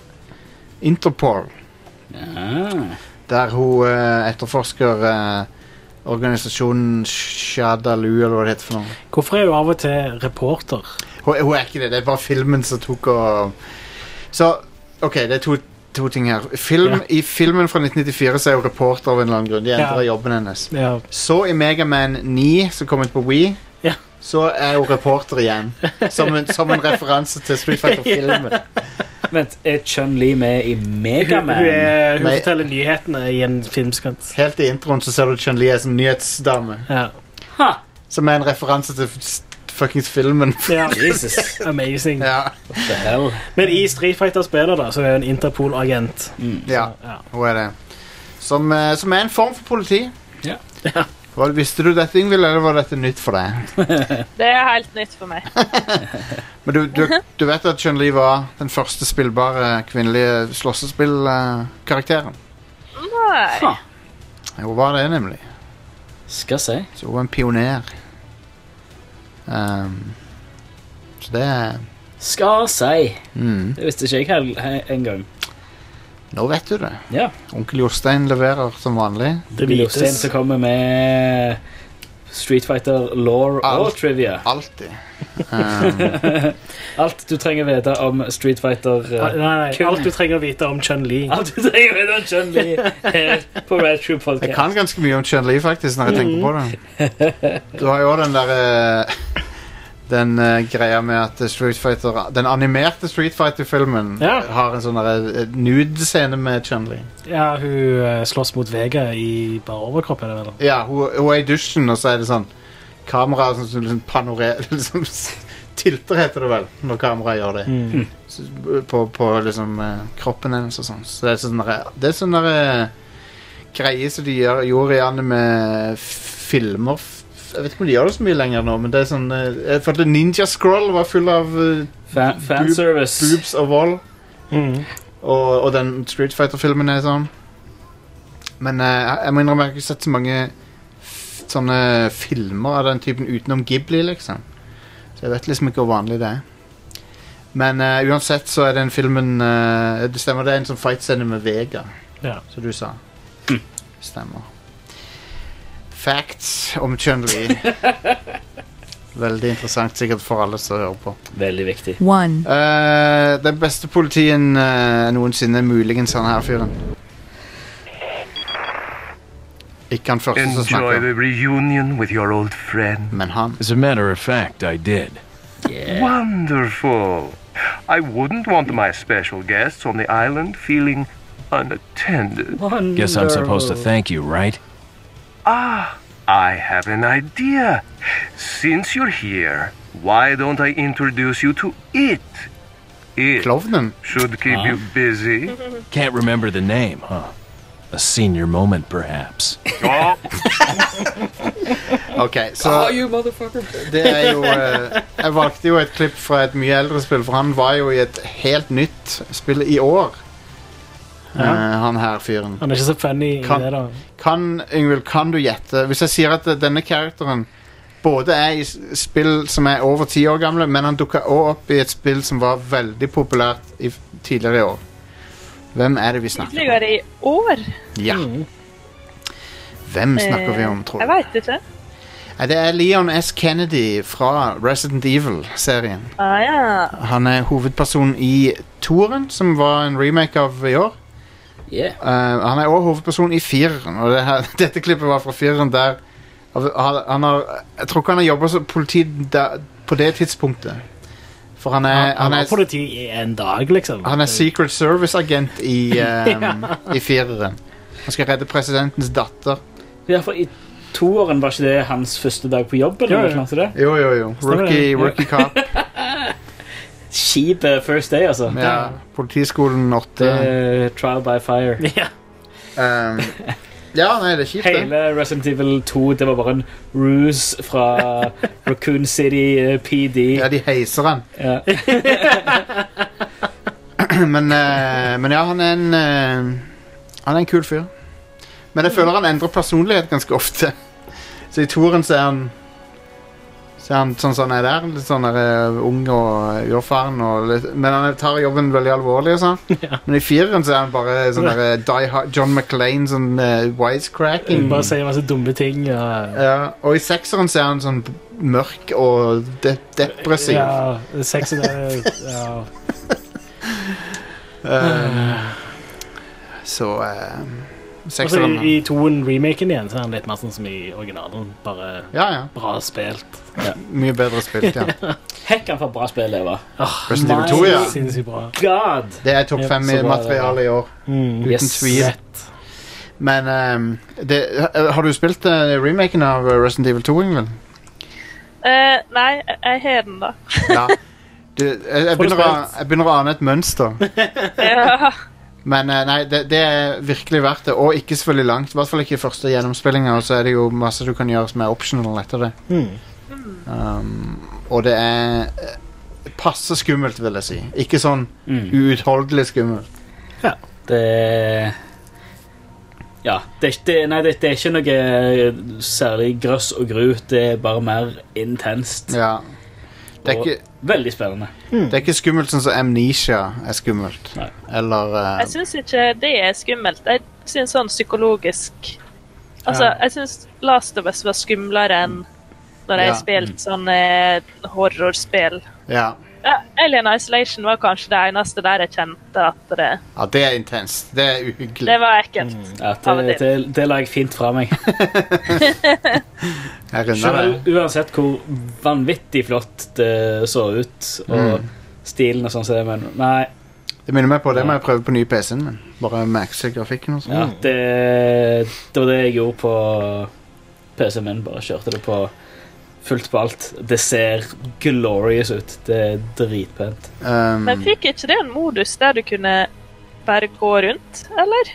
[SPEAKER 1] Interpol. Ah.
[SPEAKER 2] Ja.
[SPEAKER 1] Der hun eh, etterforsker eh, organisasjonen Shadalu, eller hva det heter for noe.
[SPEAKER 3] Hvorfor er du av og til reporter?
[SPEAKER 1] Hun, hun er ikke det. Det er bare filmen som tok og Så OK, det er to, to ting her. Film,
[SPEAKER 3] Ja.
[SPEAKER 1] I filmen fra 1994 så er hun reporter av en eller annen grunn. De endrer
[SPEAKER 3] Ja.
[SPEAKER 1] jobben hennes.
[SPEAKER 3] Ja.
[SPEAKER 1] Så i Megaman 9, som kom ut på Wii,
[SPEAKER 3] Ja.
[SPEAKER 1] så er hun reporter igjen. Som en, som en referanse til Street Fighter-filmen.
[SPEAKER 2] Vent, er Chun-Li med i
[SPEAKER 3] Hun, hun,
[SPEAKER 2] Megaman?
[SPEAKER 3] er, hun
[SPEAKER 1] Nei.
[SPEAKER 3] forteller nyhetene i en filmskant.
[SPEAKER 1] Helt i introen så ser du Chun-Li er som nyhetsdame.
[SPEAKER 3] Ja.
[SPEAKER 1] Som er en referanse til s- fuckings filmen.
[SPEAKER 3] ja.
[SPEAKER 2] Jesus,
[SPEAKER 3] Amazing.
[SPEAKER 1] Ja,
[SPEAKER 2] what the hell?
[SPEAKER 3] Men i Street Fighter-spillet da, så er hun Interpol-agent.
[SPEAKER 2] Mm.
[SPEAKER 1] ja
[SPEAKER 3] Ja.
[SPEAKER 1] hun er det. Som, eh, som er en form for politi.
[SPEAKER 2] Ja.
[SPEAKER 1] Hva, visste du dette, Ingvild, eller var dette nytt for deg?
[SPEAKER 4] Det er helt nytt for meg.
[SPEAKER 1] Men du, du, du vet at Chun-Li var den første spillbare kvinnelige slåssespillkarakteren?
[SPEAKER 4] Nei.
[SPEAKER 1] Hun var det, nemlig.
[SPEAKER 2] Skal se.
[SPEAKER 1] Så hun var en pioner. Ehm, så det er
[SPEAKER 2] Skal si.
[SPEAKER 1] mm.
[SPEAKER 2] Det visste ikke jeg hel- he- engang.
[SPEAKER 1] Nå vet du det.
[SPEAKER 2] Ja.
[SPEAKER 1] Onkel Jostein leverer som vanlig.
[SPEAKER 3] Det
[SPEAKER 2] Bill Jostein
[SPEAKER 3] vites.
[SPEAKER 2] som kommer med Street Fighter law og
[SPEAKER 1] Alt.
[SPEAKER 2] trivia.
[SPEAKER 1] Alltid. Ehm,
[SPEAKER 2] Alt du trenger vite om Street Fighter. eh,
[SPEAKER 3] Nei, nei,
[SPEAKER 2] kun-
[SPEAKER 3] alt du trenger å vite om Chun-Li.
[SPEAKER 2] alt du trenger vite om Chun-Li her på Red True
[SPEAKER 1] jeg
[SPEAKER 2] Podcast.
[SPEAKER 1] kan ganske mye om Chun-Li, faktisk, når jeg tenker på det. Du har jo også den derre Den eh, greia med at Street Fighter Den animerte Street Fighter-filmen
[SPEAKER 3] Ja.
[SPEAKER 1] har en sånn derre, eh, nude-scene med Chun-Li.
[SPEAKER 3] Ja, hun eh, slåss mot Vega i bare overkropp, er det vel?
[SPEAKER 1] Ja, hun, hun er i dusjen, og så er det sånn Kamera som som liksom panorerer liksom, s- Tilter heter det vel, når kameraet gjør det.
[SPEAKER 3] Mm.
[SPEAKER 1] Så, På, på liksom eh, kroppen hennes og sånn. Så det er sånn der- Det er sånn der eh, greie som de gjør, gjorde i anime filmer f- Jeg vet ikke om de gjør det så mye lenger nå, men det er sånn eh, Jeg følte Ninja Scroll var full av eh,
[SPEAKER 2] Fa fanservice.
[SPEAKER 11] Hmm.
[SPEAKER 1] boobs og vold. Og, og den Street Fighter-filmen er sånn. Men eh, jeg- jeg må innrømme jeg har ikke sett så mange f sånne filmer av den typen utenom Ghibli, liksom. Så jeg vet liksom ikke hvor vanlig det er. Men eh, uansett så er den filmen eh, Det stemmer, det er en sånn fightscene med Vega,
[SPEAKER 3] Ja.
[SPEAKER 1] som du sa. Stemmer. Facts om Chun-Li. Veldig interessant sikkert for alle som hører på.
[SPEAKER 2] Veldig viktig.
[SPEAKER 6] One.
[SPEAKER 1] Eh, den beste politien eh, noensinne, muligens han her fyren. Ikke han første som
[SPEAKER 11] Enjoy
[SPEAKER 1] snakker.
[SPEAKER 11] the reunion with your old friend.
[SPEAKER 1] Men han.
[SPEAKER 7] As a matter of fact, I did.
[SPEAKER 11] Wonderful. I wouldn't want my special guests on the island feeling unattended.
[SPEAKER 7] Guess I'm supposed to thank you, right?
[SPEAKER 11] Ah, I have an idea. Since you're here, why don't I introduce you to it? It should keep
[SPEAKER 7] Huh?
[SPEAKER 11] you busy.
[SPEAKER 7] Can't remember the name, huh? A senior moment, perhaps.
[SPEAKER 11] Oh,
[SPEAKER 1] Ok, så Det er jo eh, Jeg valgte jo et klipp fra et mye eldre spill, for han var jo i et helt nytt spill i år.
[SPEAKER 3] Ja.
[SPEAKER 1] Eh, han her fyren.
[SPEAKER 3] Han er ikke så funny
[SPEAKER 1] Kan-
[SPEAKER 3] i det, da.
[SPEAKER 1] Kan, Yngvild, kan du gjette Hvis jeg sier at eh, denne karakteren både er i s- spill som er over ti år gamle, men han dukka òg opp i et spill som var veldig populært i, f- tidligere i år. Hvem er det vi snakker om?
[SPEAKER 4] Tidligere i år.
[SPEAKER 1] Ja. Hvem snakker vi om,
[SPEAKER 4] Eh,
[SPEAKER 1] tror
[SPEAKER 4] Jeg
[SPEAKER 1] du?
[SPEAKER 4] veit ikke.
[SPEAKER 1] Nei, Det er Leon S. Kennedy fra Resident Evil-serien.
[SPEAKER 4] Ah, ja.
[SPEAKER 1] Han er hovedperson i Toren, som var en remake av i år.
[SPEAKER 2] Yeah.
[SPEAKER 1] Eh, han er også hovedperson i Fireren, og det her, dette klippet var fra Fireren der han, han har, Jeg tror ikke han har jobba som politi da, på det tidspunktet. For han er,
[SPEAKER 3] Han, han
[SPEAKER 1] er,
[SPEAKER 3] var politi i en dag, liksom.
[SPEAKER 1] han er Secret Service-agent i, um,
[SPEAKER 3] Ja.
[SPEAKER 1] i Fireren. Han skal redde presidentens datter.
[SPEAKER 2] Ja, for i toåren var ikke det hans første dag på jobb?
[SPEAKER 1] Jo,
[SPEAKER 2] Eller
[SPEAKER 1] jo.
[SPEAKER 2] noe sånt? det?
[SPEAKER 1] Jo, jo, jo.
[SPEAKER 2] Stemmer
[SPEAKER 1] Rookie,
[SPEAKER 2] det? Ja.
[SPEAKER 1] rookie cop.
[SPEAKER 2] Kjip eh, first day, altså.
[SPEAKER 1] Ja, Politiskolen 8.
[SPEAKER 2] Det er trial by fire.
[SPEAKER 1] Um, ja, nei, det er kjipt, det.
[SPEAKER 2] Hele Resident Evil 2 det var bare en ruse fra Raccoon City eh, PD. Ja,
[SPEAKER 1] de heiser han.
[SPEAKER 2] Ja.
[SPEAKER 1] men, eh, men ja, han er en eh, Han er en kul fyr. Men jeg føler han endrer personlighet ganske ofte. Så i toeren så er han Så er han sånn som han er der. Litt sånn der, eh, ung og uerfaren. Og litt, men han tar jobben veldig alvorlig. og Sånn. Men i fireren så er han bare sånn der, eh, die hard, John McLean, sånn eh, wisecracking.
[SPEAKER 3] Bare sier masse dumme ting. Og,
[SPEAKER 1] Ja, og i sekseren så er han sånn b- mørk og de depressiv.
[SPEAKER 3] ja, sex og det ja.
[SPEAKER 1] Eh, så eh,
[SPEAKER 3] Altså,
[SPEAKER 1] Sekseren
[SPEAKER 3] I i toen remaken igjen, så er han litt mer sånn som i originalen. Bare
[SPEAKER 1] Ja, ja.
[SPEAKER 3] bra spilt.
[SPEAKER 1] Mye bedre spilt, ja.
[SPEAKER 2] Hekk han for bra spill, Eva.
[SPEAKER 1] Resident Evil 2, ja.
[SPEAKER 3] Sinnssykt bra.
[SPEAKER 2] God!
[SPEAKER 1] Det er topp
[SPEAKER 2] Ja,
[SPEAKER 1] fem
[SPEAKER 2] så
[SPEAKER 1] i
[SPEAKER 2] bra det
[SPEAKER 1] materialet i år.
[SPEAKER 3] Mm.
[SPEAKER 1] Uten
[SPEAKER 2] Yes.
[SPEAKER 1] tvil. Men ehm, det, har du spilt eh, remaken av Resident Evil 2, Ingvild?
[SPEAKER 4] Eh, nei, jeg- jeg har den, da.
[SPEAKER 1] Ja. Du, jeg, jeg,
[SPEAKER 4] Får du
[SPEAKER 1] begynner å, jeg begynner å ane et mønster.
[SPEAKER 4] ja.
[SPEAKER 1] Men eh, nei, det, det er virkelig verdt det, og ikke selvfølgelig langt. I hvert fall ikke i første gjennomspillinga, og så er det jo masse du kan gjøre som er optional etter det.
[SPEAKER 2] Hmm.
[SPEAKER 1] Um, og det er eh, passe skummelt, vil jeg si. Ikke sånn
[SPEAKER 2] Mm.
[SPEAKER 1] uutholdelig skummelt.
[SPEAKER 2] Det eh, Ja. Det er, ikke- det, nei, det, det er ikke noe eh, særlig grøss og grut. Det er bare mer intenst.
[SPEAKER 1] Ja. Det er
[SPEAKER 2] og
[SPEAKER 1] ikke-
[SPEAKER 2] veldig spennende.
[SPEAKER 1] Det er ikke skummelt sånn som Amnesia er skummelt. Eller eh,
[SPEAKER 4] Jeg syns ikke det er skummelt. Jeg syns sånn psykologisk Altså,
[SPEAKER 1] Ja.
[SPEAKER 4] jeg syns Last of Us var skumlere enn når jeg
[SPEAKER 1] Ja.
[SPEAKER 4] har spilt sånn eh, horrorspill.
[SPEAKER 1] ja.
[SPEAKER 4] Ja, Alien Isolation var kanskje det eneste der jeg kjente at det,
[SPEAKER 1] ja, det er intenst. Det er uhyggelig.
[SPEAKER 4] det var ekkelt.
[SPEAKER 1] Mm.
[SPEAKER 2] Ja, det, det, det la jeg fint fra meg.
[SPEAKER 1] Jeg runder det.
[SPEAKER 2] Selv, uansett hvor vanvittig flott det så ut, og
[SPEAKER 1] Mm.
[SPEAKER 2] stilen og sånn, så det, men nei.
[SPEAKER 1] Det minner meg på det må jeg prøve på nye PC-en min. Bare maxe grafikken og sånn.
[SPEAKER 2] Ja, det, det var det jeg gjorde på PC-en min. Bare kjørte det på fullt på alt. Det ser glorious ut. Det er dritpent.
[SPEAKER 1] Um,
[SPEAKER 4] Men fikk ikke det en modus der du kunne bare gå rundt, eller?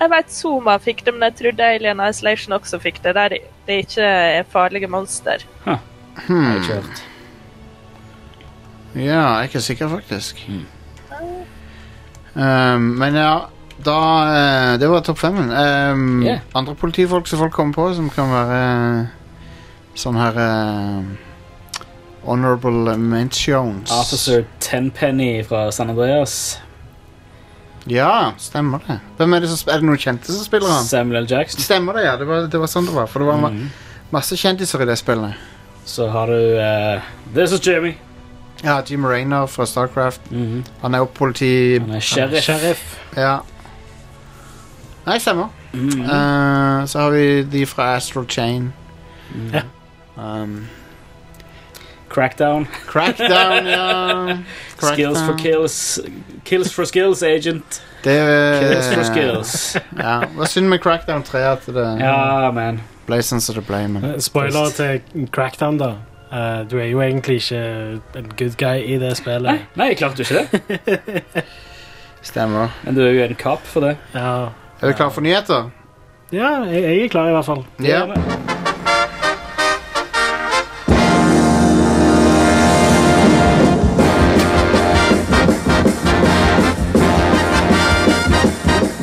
[SPEAKER 4] Jeg vet Zuma fikk det, men jeg trodde Alien Isolation også fikk det. Der det ikke er farlige monster.
[SPEAKER 1] hmm.
[SPEAKER 2] Jeg kjørt.
[SPEAKER 1] Ja, jeg er ikke sikker, faktisk. Um, men ja, da eh, Det var topp femmen. Um,
[SPEAKER 2] Yeah.
[SPEAKER 1] Andre politifolk som folk kommer på, som kan være eh, sånn her eh, Honorable mentions.
[SPEAKER 2] Officer Tenpenny fra San Andreas.
[SPEAKER 1] Ja, stemmer det. Hvem er, det som, sp- er det noen kjente som spiller han?
[SPEAKER 2] Samuel L. Jackson. Mm.
[SPEAKER 1] Stemmer det, ja. Det var, det var sånn det var. For det var ma masse kjendiser i det spillet.
[SPEAKER 2] Så har du eh, This is Jimmy.
[SPEAKER 1] Ja, Jim Raynor fra Starcraft. Han er jo politi... Han er
[SPEAKER 2] Mm. sheriff.
[SPEAKER 1] Ja. Nei, stemmer.
[SPEAKER 2] Mm.
[SPEAKER 3] Uh,
[SPEAKER 1] Eh, så har vi de fra Astral Chain.
[SPEAKER 2] Ja.
[SPEAKER 1] Um,
[SPEAKER 2] Crackdown.
[SPEAKER 1] Crackdown, ja.
[SPEAKER 2] Skills for
[SPEAKER 1] Crackdown.
[SPEAKER 2] kills. Kills for skills, agent.
[SPEAKER 1] Det
[SPEAKER 2] Kills for skills.
[SPEAKER 3] Uh.
[SPEAKER 1] ja. Hva synd med Crackdown 3 at det
[SPEAKER 2] Ja, man.
[SPEAKER 1] ble sånn som det ble, men
[SPEAKER 3] Eh, Spoiler til Crackdown, da. Eh, du er jo egentlig ikke en good guy i det spillet.
[SPEAKER 2] Nei, nei, klart du ikke det.
[SPEAKER 1] Stemmer.
[SPEAKER 2] Men du er jo en kap for det.
[SPEAKER 3] Ja,
[SPEAKER 1] Er du klar for nyheter?
[SPEAKER 3] ja jeg, jeg er klar, i hvert fall.
[SPEAKER 1] Ja.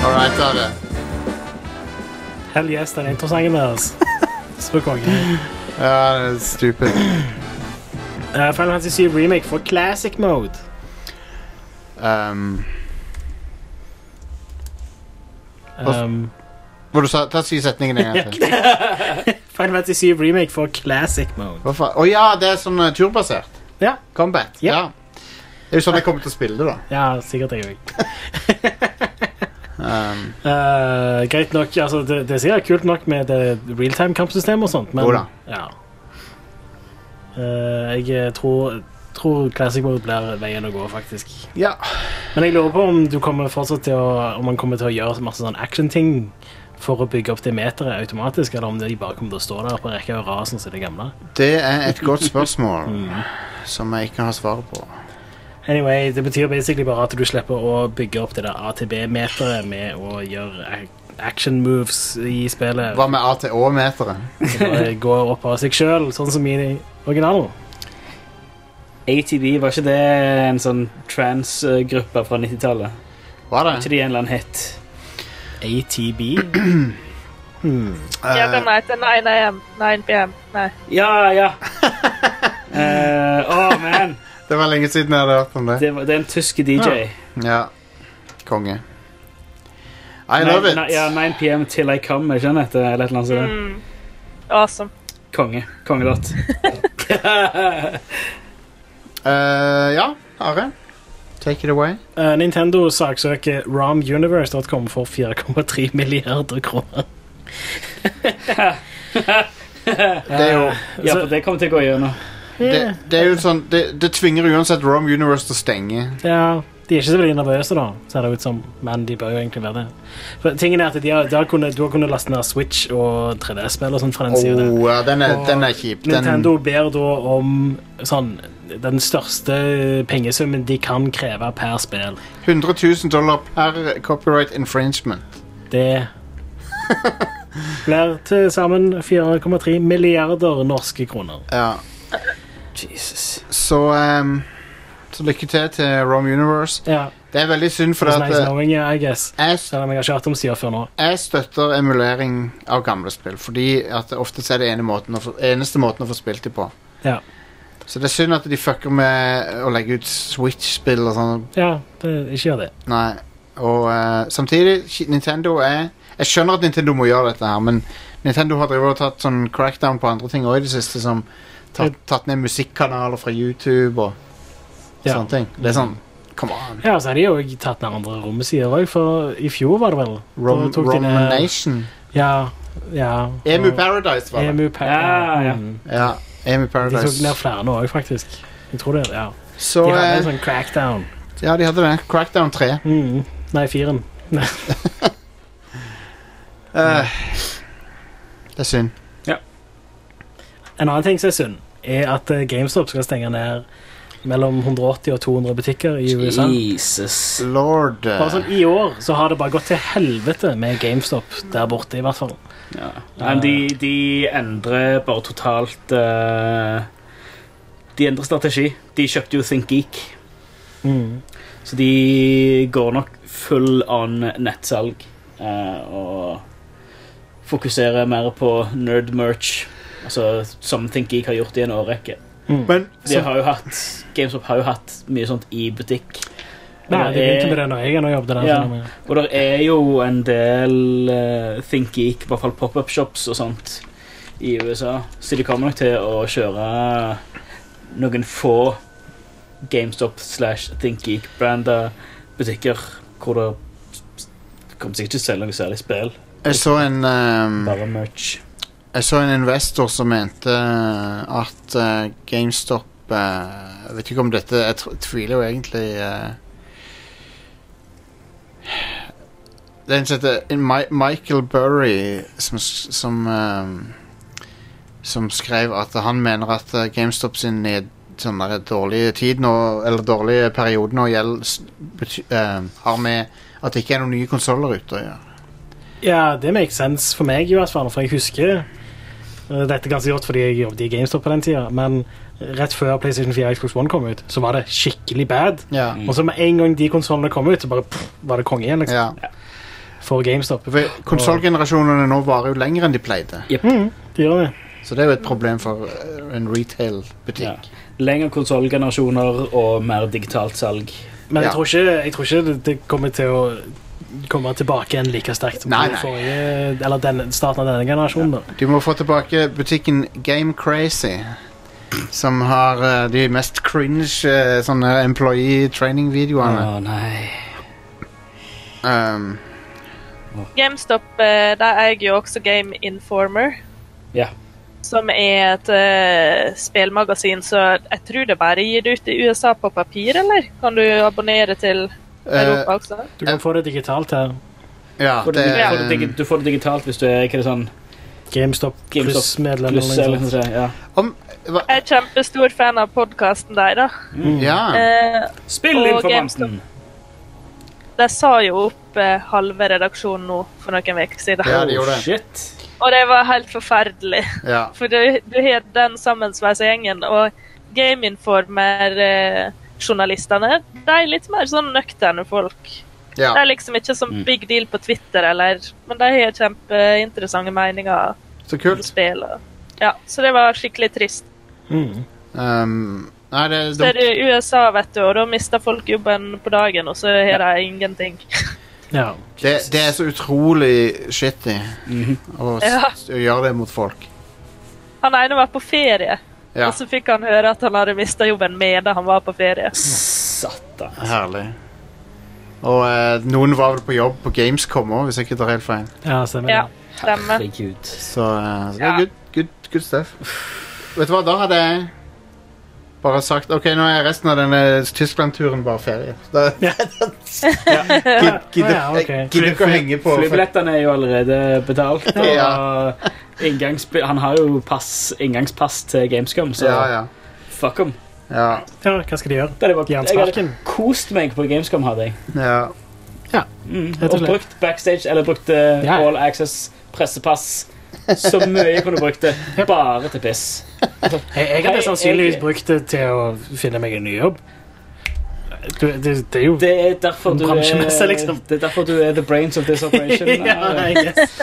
[SPEAKER 1] All right, Are.
[SPEAKER 3] Hell yes, den introsangen deres. Så konge.
[SPEAKER 1] Ja, det er stupid.
[SPEAKER 3] Uh, Final Fantasy 7 Remake for Classic Mode.
[SPEAKER 1] Um, hva-
[SPEAKER 3] Um,
[SPEAKER 1] Hva du sa Ta si setningen en gang til.
[SPEAKER 3] Final Fantasy 7 Remake for Classic Mode.
[SPEAKER 1] Hva faen? Å ja, det er sånn eh, turbasert.
[SPEAKER 3] Ja.
[SPEAKER 1] Combat.
[SPEAKER 3] Ja.
[SPEAKER 1] Ja. Det er jo sånn jeg kommer til å spille det, da.
[SPEAKER 3] Ja, sikkert jeg òg.
[SPEAKER 1] Um,
[SPEAKER 3] Eh, greit nok. Altså, det, det er sikkert kult nok med det realtime kampsystemet og sånt, men
[SPEAKER 1] Jo da.
[SPEAKER 3] ja. Eh, jeg tror, tror Classic Mode blir veien å gå, faktisk.
[SPEAKER 1] ja.
[SPEAKER 3] Men jeg lurer på om du kommer fortsatt til å, om man kommer til å gjøre masse sånn action-ting for å bygge opp det meteret automatisk, eller om de bare kommer til å stå der på rekke og rad sånn som det gamle.
[SPEAKER 1] Det er et godt spørsmål som jeg ikke har svaret på.
[SPEAKER 3] Anyway, det betyr basically bare at du slipper å bygge opp det der ATB-meteret med å gjøre ac- action moves i spillet.
[SPEAKER 1] Hva med ATÅ-meteret?
[SPEAKER 3] som bare går opp av seg sjøl, sånn som i originalen.
[SPEAKER 2] ATB, var ikke det en sånn trans-gruppe fra 90-tallet?
[SPEAKER 1] Var
[SPEAKER 2] Ikke
[SPEAKER 1] det?
[SPEAKER 2] de en eller annen het?
[SPEAKER 3] ATB?
[SPEAKER 1] Eh.
[SPEAKER 4] Ja, den heter 9AM. 9PM. Nei.
[SPEAKER 2] Ja, ja. Eh, Åh, man.
[SPEAKER 1] Det var lenge siden jeg hadde hørt om det.
[SPEAKER 2] Det, var, det er en tysk DJ.
[SPEAKER 1] Ja. Konge. I love
[SPEAKER 2] Nei,
[SPEAKER 1] it.
[SPEAKER 2] nei, Ja, 9 PM Till I Come, er ikke den heter? Eller et eller annet sånt.
[SPEAKER 4] Mm. Awesome.
[SPEAKER 2] Konge. Kongelåt.
[SPEAKER 1] Eh, ja, Are. Take it away.
[SPEAKER 3] Eh, Nintendo saksøker RomUniverse.com for 4,3 milliarder kroner.
[SPEAKER 1] Det er jo
[SPEAKER 2] ja, for det kommer til å gå gjennom.
[SPEAKER 1] det, det er jo sånn Det, det tvinger uansett Rom Universe til å stenge.
[SPEAKER 3] Ja, de er ikke så veldig nervøse, da, ser det ut som. Men de bør jo egentlig være det. For tingen er at de har, de har kunnet, Du har kunnet laste ned Switch og 3D-spill og sånn fra den
[SPEAKER 1] Åh,
[SPEAKER 3] siden der.
[SPEAKER 1] ja, den, er,
[SPEAKER 3] Og
[SPEAKER 1] den er kjip. Den,
[SPEAKER 3] Nintendo ber da om sånn den største pengesummen de kan kreve per spill.
[SPEAKER 1] 100 000 dollar per copyright infringement.
[SPEAKER 3] Det blir til sammen 4,3 milliarder norske kroner.
[SPEAKER 1] Ja,
[SPEAKER 2] Jesus.
[SPEAKER 1] så ehm, Så lykke til til Rom Universe.
[SPEAKER 3] Ja,
[SPEAKER 1] Det er veldig synd, for
[SPEAKER 3] It's
[SPEAKER 1] at,
[SPEAKER 3] nice
[SPEAKER 1] eh,
[SPEAKER 3] knowing you, I guess.
[SPEAKER 1] jeg,
[SPEAKER 3] Selv om jeg har ikke hørt om sida før nå.
[SPEAKER 1] jeg støtter emulering av gamle spill, fordi at ofte så er det ene måten å få, eneste måten å få spilt dem på.
[SPEAKER 3] Ja.
[SPEAKER 1] Så det er synd at de fucker med å legge ut Switch-spill og sånn.
[SPEAKER 3] Ja, det, ikke gjør det.
[SPEAKER 1] Nei. Og eh, samtidig, shi- Nintendo er Jeg skjønner at Nintendo må gjøre dette her, men Nintendo har drevet og tatt sånn crackdown på andre ting òg i det siste, som tatt, tatt ned musikkanaler fra YouTube og
[SPEAKER 3] Ja.
[SPEAKER 1] sånne ting. Det er sånn Come on.
[SPEAKER 3] Ja, så har de jo tatt ned andre rommesider òg, for i fjor var det vel
[SPEAKER 1] Rom,
[SPEAKER 3] Da tok de
[SPEAKER 1] Rom
[SPEAKER 3] ned-
[SPEAKER 1] Nation.
[SPEAKER 3] Ja, ja.
[SPEAKER 1] Emu
[SPEAKER 3] og-
[SPEAKER 1] Paradise, var det.
[SPEAKER 3] Emu Par-
[SPEAKER 2] Ja, ja.
[SPEAKER 3] Mm.
[SPEAKER 1] Ja, Emu
[SPEAKER 3] De tok ned
[SPEAKER 1] Paradise.
[SPEAKER 3] flere nå òg, faktisk. Jeg tror det, ja.
[SPEAKER 1] Så
[SPEAKER 3] De hadde en
[SPEAKER 1] eh,
[SPEAKER 3] sånn crackdown.
[SPEAKER 1] Ja, de hadde det. Crackdown 3.
[SPEAKER 3] Mm. Nei, firen.
[SPEAKER 1] Eh, det er synd.
[SPEAKER 3] En annen ting som er synd, er at eh, GameStop skal stenge ned mellom 180 og 200 butikker i USA.
[SPEAKER 2] Jesus.
[SPEAKER 1] Lord eh,
[SPEAKER 3] Bare sånn I år så har det bare gått til helvete med GameStop der borte, i hvert fall.
[SPEAKER 2] Ja. Nei, men de, de endrer bare totalt eh, De endrer strategi. De kjøpte jo ThinkGeek.
[SPEAKER 3] Mm.
[SPEAKER 2] Så de går nok full on nettsalg eh, og fokuserer mer på nerd merch, altså som Think Geek har gjort i en årrekke.
[SPEAKER 1] Men
[SPEAKER 2] De har jo hatt, GameStop har jo hatt mye sånt i butikk. Og
[SPEAKER 3] Nei,
[SPEAKER 2] det
[SPEAKER 3] de begynte
[SPEAKER 2] er-
[SPEAKER 3] med det når jeg ennå jobbet der.
[SPEAKER 2] ja.
[SPEAKER 3] sånn, men-
[SPEAKER 2] Og det er jo en del eh, Think Geek, i hvert fall pop-up-shops og sånt, i USA. Så de kommer nok til å kjøre noen få GameStop slash Think Geek-branda butikker hvor det kommer sikkert ikke til å selge noe særlig spill.
[SPEAKER 1] Jeg så en ehm,
[SPEAKER 2] Bare merch.
[SPEAKER 1] Jeg så en investor som mente eh, at eh, GameStop eh, Jeg vet ikke om dette Jeg tr- tviler jo egentlig eh, Det er en som heter Mi- Michael Burry som, s- som, eh, som skrev at han mener at eh, GameStop sin ned, sånn der dårlige tid nå, eller dårlige periode nå gjeld, s- bety, eh, har med at det ikke er noen nye konsoller ute å gjøre.
[SPEAKER 3] Ja, det makes sense for meg i hvert fall, for jeg husker eh, dette ganske godt fordi jeg jobbet i GameStop på den tida, men rett før PlayStation 4 og Xbox One kom ut, så var det skikkelig bad.
[SPEAKER 1] Ja.
[SPEAKER 3] Og så med en gang de konsollene kom ut, så bare pff, var det konge igjen, liksom. For GameStop.
[SPEAKER 1] Konsollgenerasjonene nå varer jo lenger enn de pleide.
[SPEAKER 3] Mm, de gjør det.
[SPEAKER 1] Så det er jo et problem for eh, en retail-butikk.
[SPEAKER 2] Lengre konsollgenerasjoner og mer digitalt salg.
[SPEAKER 3] Men jeg tror ikke, jeg tror ikke det- det kommer til å komme tilbake igjen like sterkt som
[SPEAKER 1] Nei,
[SPEAKER 3] den
[SPEAKER 1] nei.
[SPEAKER 3] forrige, eller denne, starten av denne generasjonen. da.
[SPEAKER 1] De må få tilbake butikken Game Crazy, som har eh, de mest cringe eh, sånne employee training-videoene.
[SPEAKER 2] Å, nei.
[SPEAKER 1] Um,
[SPEAKER 4] GameStop eh, de eier jo også Game Informer,
[SPEAKER 2] Ja.
[SPEAKER 4] som er et eh, spillmagasin, så jeg tror det bare gir det ut i USA på papir, eller? Kan du abonnere til Europa også?
[SPEAKER 3] Du kan få det digitalt her.
[SPEAKER 1] ja,
[SPEAKER 2] Får du,
[SPEAKER 1] det
[SPEAKER 2] får du,
[SPEAKER 1] er
[SPEAKER 2] digi- du får det digitalt hvis du er hva er det sånn
[SPEAKER 3] GameStop liksom. pluss-medlem.
[SPEAKER 2] pluss eller noe sånt. Ja.
[SPEAKER 4] Jeg er kjempestor fan av podkasten deres.
[SPEAKER 1] Mm. Ja.
[SPEAKER 4] Eh,
[SPEAKER 2] Spill
[SPEAKER 4] og
[SPEAKER 2] informanten!
[SPEAKER 4] GameStop, De sa jo opp eh, halve redaksjonen nå for noen uker siden.
[SPEAKER 1] Ja, de gjorde det.
[SPEAKER 2] Shit.
[SPEAKER 4] Og det var helt forferdelig.
[SPEAKER 1] Ja.
[SPEAKER 4] For du, du har den sammensveisa gjengen, og gameinformer-journalistene De er litt mer sånn nøkterne folk.
[SPEAKER 1] Ja.
[SPEAKER 4] Det er liksom ikke sånn
[SPEAKER 1] Mm.
[SPEAKER 4] big deal på Twitter, eller, men de har kjempeinteressante meninger
[SPEAKER 1] Så kult.
[SPEAKER 4] om spill. Og, ja, så det var skikkelig trist.
[SPEAKER 1] um, Nei, det er
[SPEAKER 4] Så er
[SPEAKER 1] dumt.
[SPEAKER 4] det USA, vet du, og da mister folk jobben på dagen, og så har de ingenting.
[SPEAKER 1] Det, det er så utrolig shitty å, s-
[SPEAKER 4] Ja.
[SPEAKER 1] å gjøre det mot folk.
[SPEAKER 4] Han ene var på ferie,
[SPEAKER 1] Ja.
[SPEAKER 4] og så fikk han høre at han hadde mista jobben medan han var på ferie.
[SPEAKER 2] Satan. altså.
[SPEAKER 1] Herlig. Og eh, noen var vel på jobb på Gamescom òg, hvis jeg ikke tar helt feil.
[SPEAKER 3] Ja, stemmer.
[SPEAKER 4] Ja, stemmer.
[SPEAKER 1] Så, eh, så det er good, good, good stuff. Vet du hva, da hadde jeg bare sagt OK, nå er resten av denne Tyskland-turen bare ferie. Da, Gid- gidder-
[SPEAKER 2] Ja, ok.
[SPEAKER 1] jeg gidder ikke å henge på.
[SPEAKER 2] Flybillettene er jo allerede betalt. Og
[SPEAKER 1] Ja.
[SPEAKER 2] inngangsbi- han har jo pass, inngangspass til Gamescom, så
[SPEAKER 1] Ja, ja.
[SPEAKER 2] fuck him.
[SPEAKER 1] Ja.
[SPEAKER 3] Ja, hva skal de gjøre?
[SPEAKER 2] Det hadde vært,
[SPEAKER 3] Gi han
[SPEAKER 2] jeg hadde
[SPEAKER 3] sparken.
[SPEAKER 2] kost meg på Gamescom, hadde jeg.
[SPEAKER 1] Ja.
[SPEAKER 2] Mm.
[SPEAKER 3] Rett og
[SPEAKER 2] Og
[SPEAKER 3] slett.
[SPEAKER 2] brukt backstage, eller brukt eh,
[SPEAKER 3] Ja.
[SPEAKER 2] All Access pressepass. Så mye jeg kunne brukt det bare til piss.
[SPEAKER 3] Jeg, jeg
[SPEAKER 2] Hei,
[SPEAKER 3] hadde sannsynligvis
[SPEAKER 2] jeg-
[SPEAKER 3] brukt det til å finne meg en ny jobb. Du, det, det er jo
[SPEAKER 2] Det er derfor du er,
[SPEAKER 3] Bransjemesse, liksom.
[SPEAKER 2] det er derfor du er the brains of this operation.
[SPEAKER 3] Ja, I guess.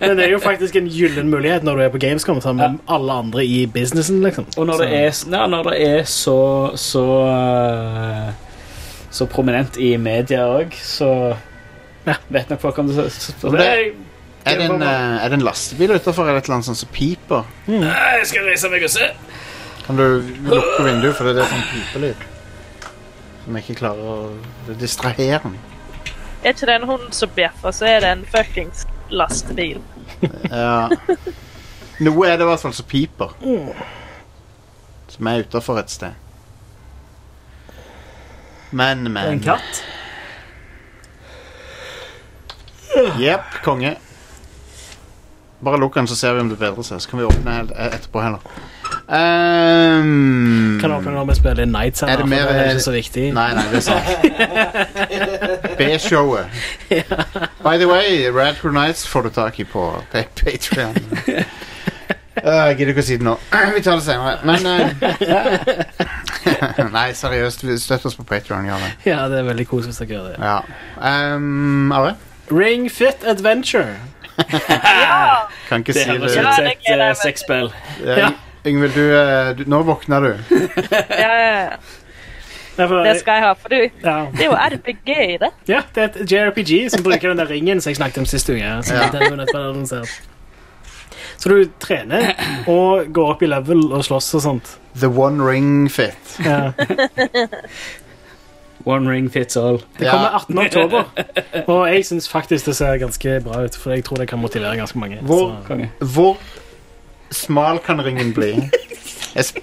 [SPEAKER 3] Men det er jo faktisk en gyllen mulighet når du er på Gamescom sammen med alle andre i businessen. liksom.
[SPEAKER 2] Og når det er, s- nei, når det er så så, eh, så prominent i media òg, så vet nok folk om det. Så, så,
[SPEAKER 1] Men det-
[SPEAKER 2] Nei,
[SPEAKER 1] Er det en, eh, er det en lastebil utenfor eller et eller annet sånt som piper?
[SPEAKER 2] nei, jeg skal reise meg og se.
[SPEAKER 1] Kan du lukke vinduet, for det er sånn pipelyd som jeg ikke klarer å Det distraherer meg.
[SPEAKER 4] Er ikke det en hund som bjeffer, så er det en fuckings lastebil.
[SPEAKER 1] Ja. Noe er det i hvert fall som piper, som er utafor et sted. Men, men.
[SPEAKER 2] En katt?
[SPEAKER 1] Jepp, konge. Bare lukk den, så ser vi om det bedrer seg. Så kan vi åpne helt eh, etterpå heller. Ehm,
[SPEAKER 3] Kan åpne når vi spiller Nights
[SPEAKER 1] Er det mer eh,
[SPEAKER 3] for det er ikke så viktig.
[SPEAKER 1] Nei, nei, det er sant. B-showet. By the way, Radford Nights får du tak i på Patrion. Jeg gidder ikke å si det nå. Vi tar det senere. Men eh, Nei, seriøst. vi- Støtt oss på Patreon, gjør det.
[SPEAKER 3] Ja, det er veldig koselig hvis dere gjør det.
[SPEAKER 1] Ja. Um, Are?
[SPEAKER 3] Ring Fit Adventure.
[SPEAKER 1] Kan ikke
[SPEAKER 2] Det
[SPEAKER 1] si
[SPEAKER 2] høres
[SPEAKER 1] det.
[SPEAKER 2] ut som et eh, sexspill.
[SPEAKER 1] Ja, Yngvild, du, eh, du Nå våkner du.
[SPEAKER 4] Ja, ja, ja.
[SPEAKER 3] for-
[SPEAKER 4] Det skal jeg ha, for du,
[SPEAKER 3] Ja.
[SPEAKER 4] det er jo RPG i det.
[SPEAKER 3] Ja, det er et JRPG som bruker den der ringen som jeg snakket om sist uke. Så,
[SPEAKER 4] Ja.
[SPEAKER 3] den er jo nettopp annonsert. så du trener og går opp i level og slåss og sånt.
[SPEAKER 1] The One Ring Fit.
[SPEAKER 3] Ja.
[SPEAKER 2] One ring fits all.
[SPEAKER 3] Det kommer 18. oktober, og jeg syns faktisk det ser ganske bra ut. For jeg tror det kan motivere ganske mange.
[SPEAKER 1] Hvor,
[SPEAKER 3] Så-
[SPEAKER 1] hvor smal kan ringen bli? Jeg, sp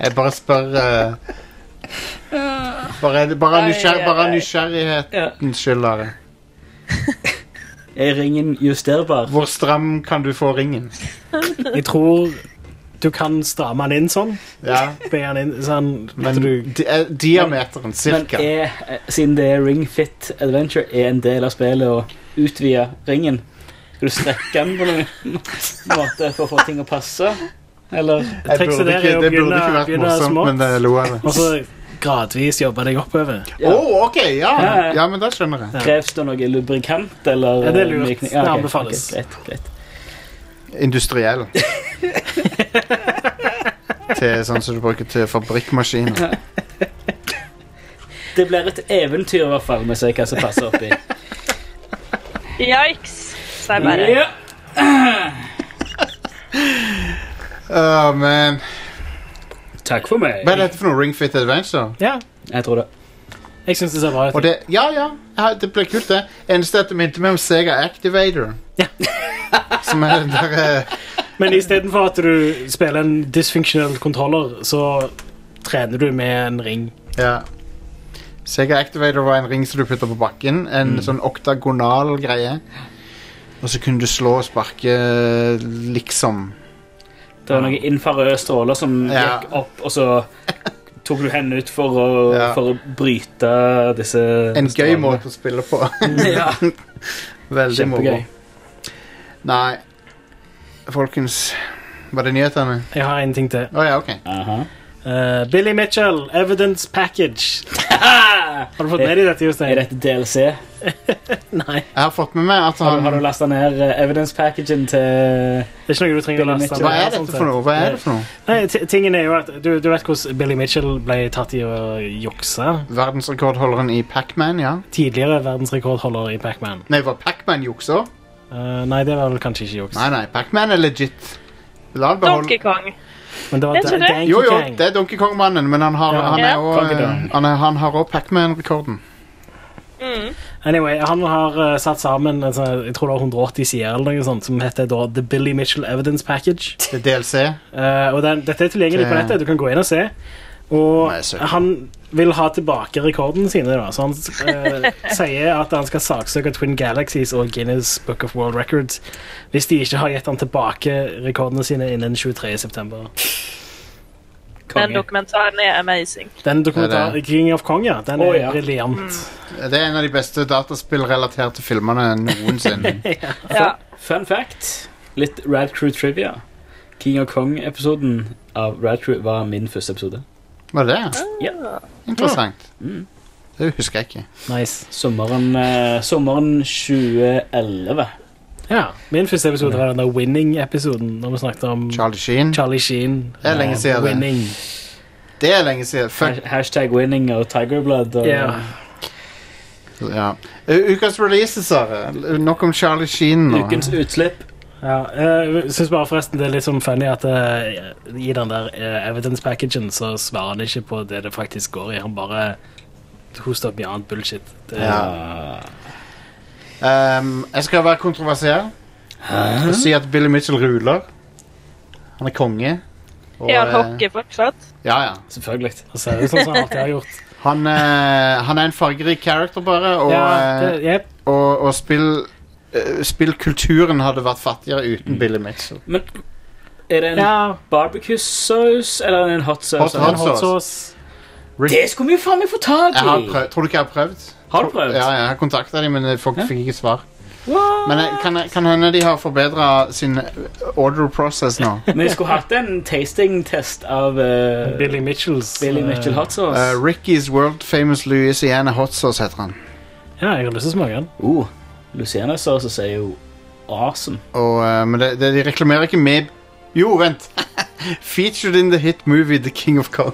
[SPEAKER 1] jeg bare spør eh, Bare, bare,
[SPEAKER 2] Ai,
[SPEAKER 1] nysgjer
[SPEAKER 2] ai,
[SPEAKER 1] bare
[SPEAKER 2] ai.
[SPEAKER 1] nysgjerrighetens skyld, Are.
[SPEAKER 2] Er ringen justerbar?
[SPEAKER 1] Hvor stram kan du få ringen?
[SPEAKER 3] Jeg tror du kan stramme den inn sånn.
[SPEAKER 1] Ja.
[SPEAKER 3] Be den inn sånn
[SPEAKER 1] Men di eh, diameteren, cirka.
[SPEAKER 2] Men er, eh, siden det er Ring Fit Adventure, er en del av spillet å utvide ringen? Skal du strekke den på noen måte for å få ting å passe? Eller
[SPEAKER 1] Jeg burde ikke, det burde ikke vært morsomt, men eh, jeg lo av det.
[SPEAKER 3] Og så gradvis jobbe deg oppover.
[SPEAKER 1] Å, ok, ja.
[SPEAKER 2] Ja, ja.
[SPEAKER 1] ja, men det skjønner jeg.
[SPEAKER 2] Kreves det noe lubrikant, eller
[SPEAKER 3] Ja, det er lurt.
[SPEAKER 2] eh, mykning?
[SPEAKER 3] Det
[SPEAKER 2] ok,
[SPEAKER 3] anbefales.
[SPEAKER 2] ok, greit, greit.
[SPEAKER 1] Industriell. til sånn som du bruker til fabrikkmaskiner.
[SPEAKER 2] Det blir et eventyr, i hvert fall, med å se hva som passer oppi.
[SPEAKER 4] Yikes, sier jeg bare.
[SPEAKER 2] Ja.
[SPEAKER 1] Åh, men
[SPEAKER 2] Takk for meg.
[SPEAKER 1] Hva er dette for noe? Ring Fit Adventure?
[SPEAKER 3] Ja,
[SPEAKER 2] Jeg tror det.
[SPEAKER 3] jeg syns det ser bra ut.
[SPEAKER 1] Og det, ja, ja, ja, det ble kult, det. Eneste at det minte meg om Sega Activator. Som er den der eh,
[SPEAKER 3] Men istedenfor at du spiller en dysfunksjonell kontroller, så trener du med en ring.
[SPEAKER 1] Ja. Sega Activator var en ring som du putta på bakken. En
[SPEAKER 2] Mm.
[SPEAKER 1] sånn oktagonal greie. Og så kunne du slå og sparke, liksom.
[SPEAKER 2] Det var noen infrarøde stråler som
[SPEAKER 1] Ja.
[SPEAKER 2] gikk opp, og så tok du hendene ut for å,
[SPEAKER 1] Ja.
[SPEAKER 2] for å bryte disse
[SPEAKER 1] En gøy
[SPEAKER 2] strålene.
[SPEAKER 1] måte å spille på.
[SPEAKER 2] ja.
[SPEAKER 1] Veldig moro.
[SPEAKER 2] Kjempegøy.
[SPEAKER 1] Nei. Folkens, var det nyhetene?
[SPEAKER 3] Jeg har en ting til.
[SPEAKER 1] Å ja, ok.
[SPEAKER 3] Eh, Billy Mitchell, Evidence Package. har du fått med deg dette, Jostein?
[SPEAKER 2] Er dette DLC?
[SPEAKER 3] Nei.
[SPEAKER 1] Jeg har fått med meg at
[SPEAKER 2] Har
[SPEAKER 1] han
[SPEAKER 2] du, har du lasta ned eh, evidence packagen til
[SPEAKER 3] Det er ikke noe du trenger å
[SPEAKER 2] Billy
[SPEAKER 3] laste.
[SPEAKER 2] Mitchell.
[SPEAKER 1] Hva er dette for noe? Hva er det for noe?
[SPEAKER 3] Nei, t- tingen er jo at du, du vet hvordan Billy Mitchell ble tatt i å jukse.
[SPEAKER 1] Verdensrekordholderen i Pac-Man, ja.
[SPEAKER 3] Tidligere verdensrekordholder i Pac-Man.
[SPEAKER 1] Nei, var Pac-Man jukser?
[SPEAKER 3] Eh, nei, det var vel kanskje ikke juks.
[SPEAKER 1] Nei, nei, Pac-Man er legit. La det beholde
[SPEAKER 4] Donkey Kong.
[SPEAKER 3] Men det var
[SPEAKER 4] Det er ikke
[SPEAKER 3] Da-
[SPEAKER 4] det.
[SPEAKER 3] Donkey
[SPEAKER 1] Jo, jo,
[SPEAKER 3] Kong.
[SPEAKER 1] det er Donkey Kong-mannen, men han har,
[SPEAKER 3] Ja.
[SPEAKER 1] han
[SPEAKER 4] Ja.
[SPEAKER 1] er også,
[SPEAKER 2] Donkey Kong.
[SPEAKER 1] eh, han er- han har også Pac-Man-rekorden.
[SPEAKER 4] Mm.
[SPEAKER 3] Anyway, han har eh, satt sammen en sånn, jeg tror det var 180 sider eller noe sånt, som heter da The Billy Mitchell Evidence Package.
[SPEAKER 1] Det er DLC.
[SPEAKER 3] Eh, og den, dette er tilgjengelig på
[SPEAKER 1] Det-
[SPEAKER 3] nettet, du kan gå inn og se. Og
[SPEAKER 1] Nei, søker.
[SPEAKER 3] han vil ha tilbake rekordene sine, da. så han eh, sier at han skal saksøke Twin Galaxies og Guinness Book of World Records hvis de ikke har gitt han tilbake rekordene sine innen 23.9.
[SPEAKER 4] Den
[SPEAKER 2] konge?
[SPEAKER 4] dokumentaren er amazing.
[SPEAKER 3] Den dokumentaren
[SPEAKER 1] Det
[SPEAKER 3] King of Kong, ja, den
[SPEAKER 2] Å,
[SPEAKER 3] er
[SPEAKER 2] ja.
[SPEAKER 3] briljant.
[SPEAKER 1] Det er en av de beste dataspillrelaterte filmene noensinne.
[SPEAKER 4] Ja.
[SPEAKER 2] Fun fact. Litt Rad Crew trivia. King of Kong-episoden av Rad Crew var min første episode.
[SPEAKER 1] Var det det?
[SPEAKER 2] Ja.
[SPEAKER 1] Interessant.
[SPEAKER 2] Mm.
[SPEAKER 1] Det husker jeg ikke.
[SPEAKER 3] Nice.
[SPEAKER 2] Sommeren, eh, sommeren 2011.
[SPEAKER 3] Ja, Min første episode var den der Winning-episoden, når vi snakket om
[SPEAKER 1] Charlie Sheen.
[SPEAKER 3] Charlie Sheen.
[SPEAKER 1] Det er lenge
[SPEAKER 3] eh,
[SPEAKER 1] siden det.
[SPEAKER 3] Winning.
[SPEAKER 1] Det er lenge siden. Fuck.
[SPEAKER 2] Has- Hashtag winning og Tigerblood. Og,
[SPEAKER 3] Ja.
[SPEAKER 1] Ja. U- Ukas releases, Sara. L- Nok om Charlie Sheen nå.
[SPEAKER 2] Ukens utslipp.
[SPEAKER 3] Ja, Eh, jeg synes bare forresten det er litt sånn funny at eh, i den der eh, evidence packagen så svarer han ikke på det det faktisk går i. Han bare hoster opp mye annet bullshit. Det,
[SPEAKER 1] Ja. Um, jeg skal være kontroversiell og si at Billy Mitchell ruler. Han er konge. Og,
[SPEAKER 4] Er han
[SPEAKER 1] eh,
[SPEAKER 4] hockey fortsatt?
[SPEAKER 1] ja, ja.
[SPEAKER 2] Selvfølgelig.
[SPEAKER 3] Han ser ut sånn som han alltid har gjort.
[SPEAKER 1] Han, eh, han er en fargerik character, bare. Og,
[SPEAKER 3] ja, det,
[SPEAKER 1] eh,
[SPEAKER 3] jep.
[SPEAKER 1] og, og spill eh, Spillkulturen hadde vært fattigere uten Billy Mitchell.
[SPEAKER 2] Men er det en
[SPEAKER 3] ja,
[SPEAKER 2] barbecue-saus eller en hot sauce?
[SPEAKER 1] Hot- hot-
[SPEAKER 3] hot sauce.
[SPEAKER 2] Det skulle vi jo faen meg få tak i!
[SPEAKER 1] Jeg har prøv, tror du ikke jeg har prøvd?
[SPEAKER 2] Har du prøvd?
[SPEAKER 1] Ja, jeg har kontakta dem, men jeg får-
[SPEAKER 2] Ja.
[SPEAKER 1] fikk ikke svar. Men jeg, kan, kan hende de har forbedra sin order process nå.
[SPEAKER 2] Vi skulle hatt en tasting-test av eh,
[SPEAKER 3] Billy Mitchells
[SPEAKER 2] Billy Mitchell hot sauce.
[SPEAKER 1] Eh, Ricky's World Famous Louisiana Hot Sauce heter han.
[SPEAKER 3] Ja, jeg har lyst til å smake den.
[SPEAKER 2] Uh, Luciana Sauce er jo awesome.
[SPEAKER 1] Og, eh, men det, det, de reklamerer ikke med Jo, vent! Featured in the hit movie The King of Kong.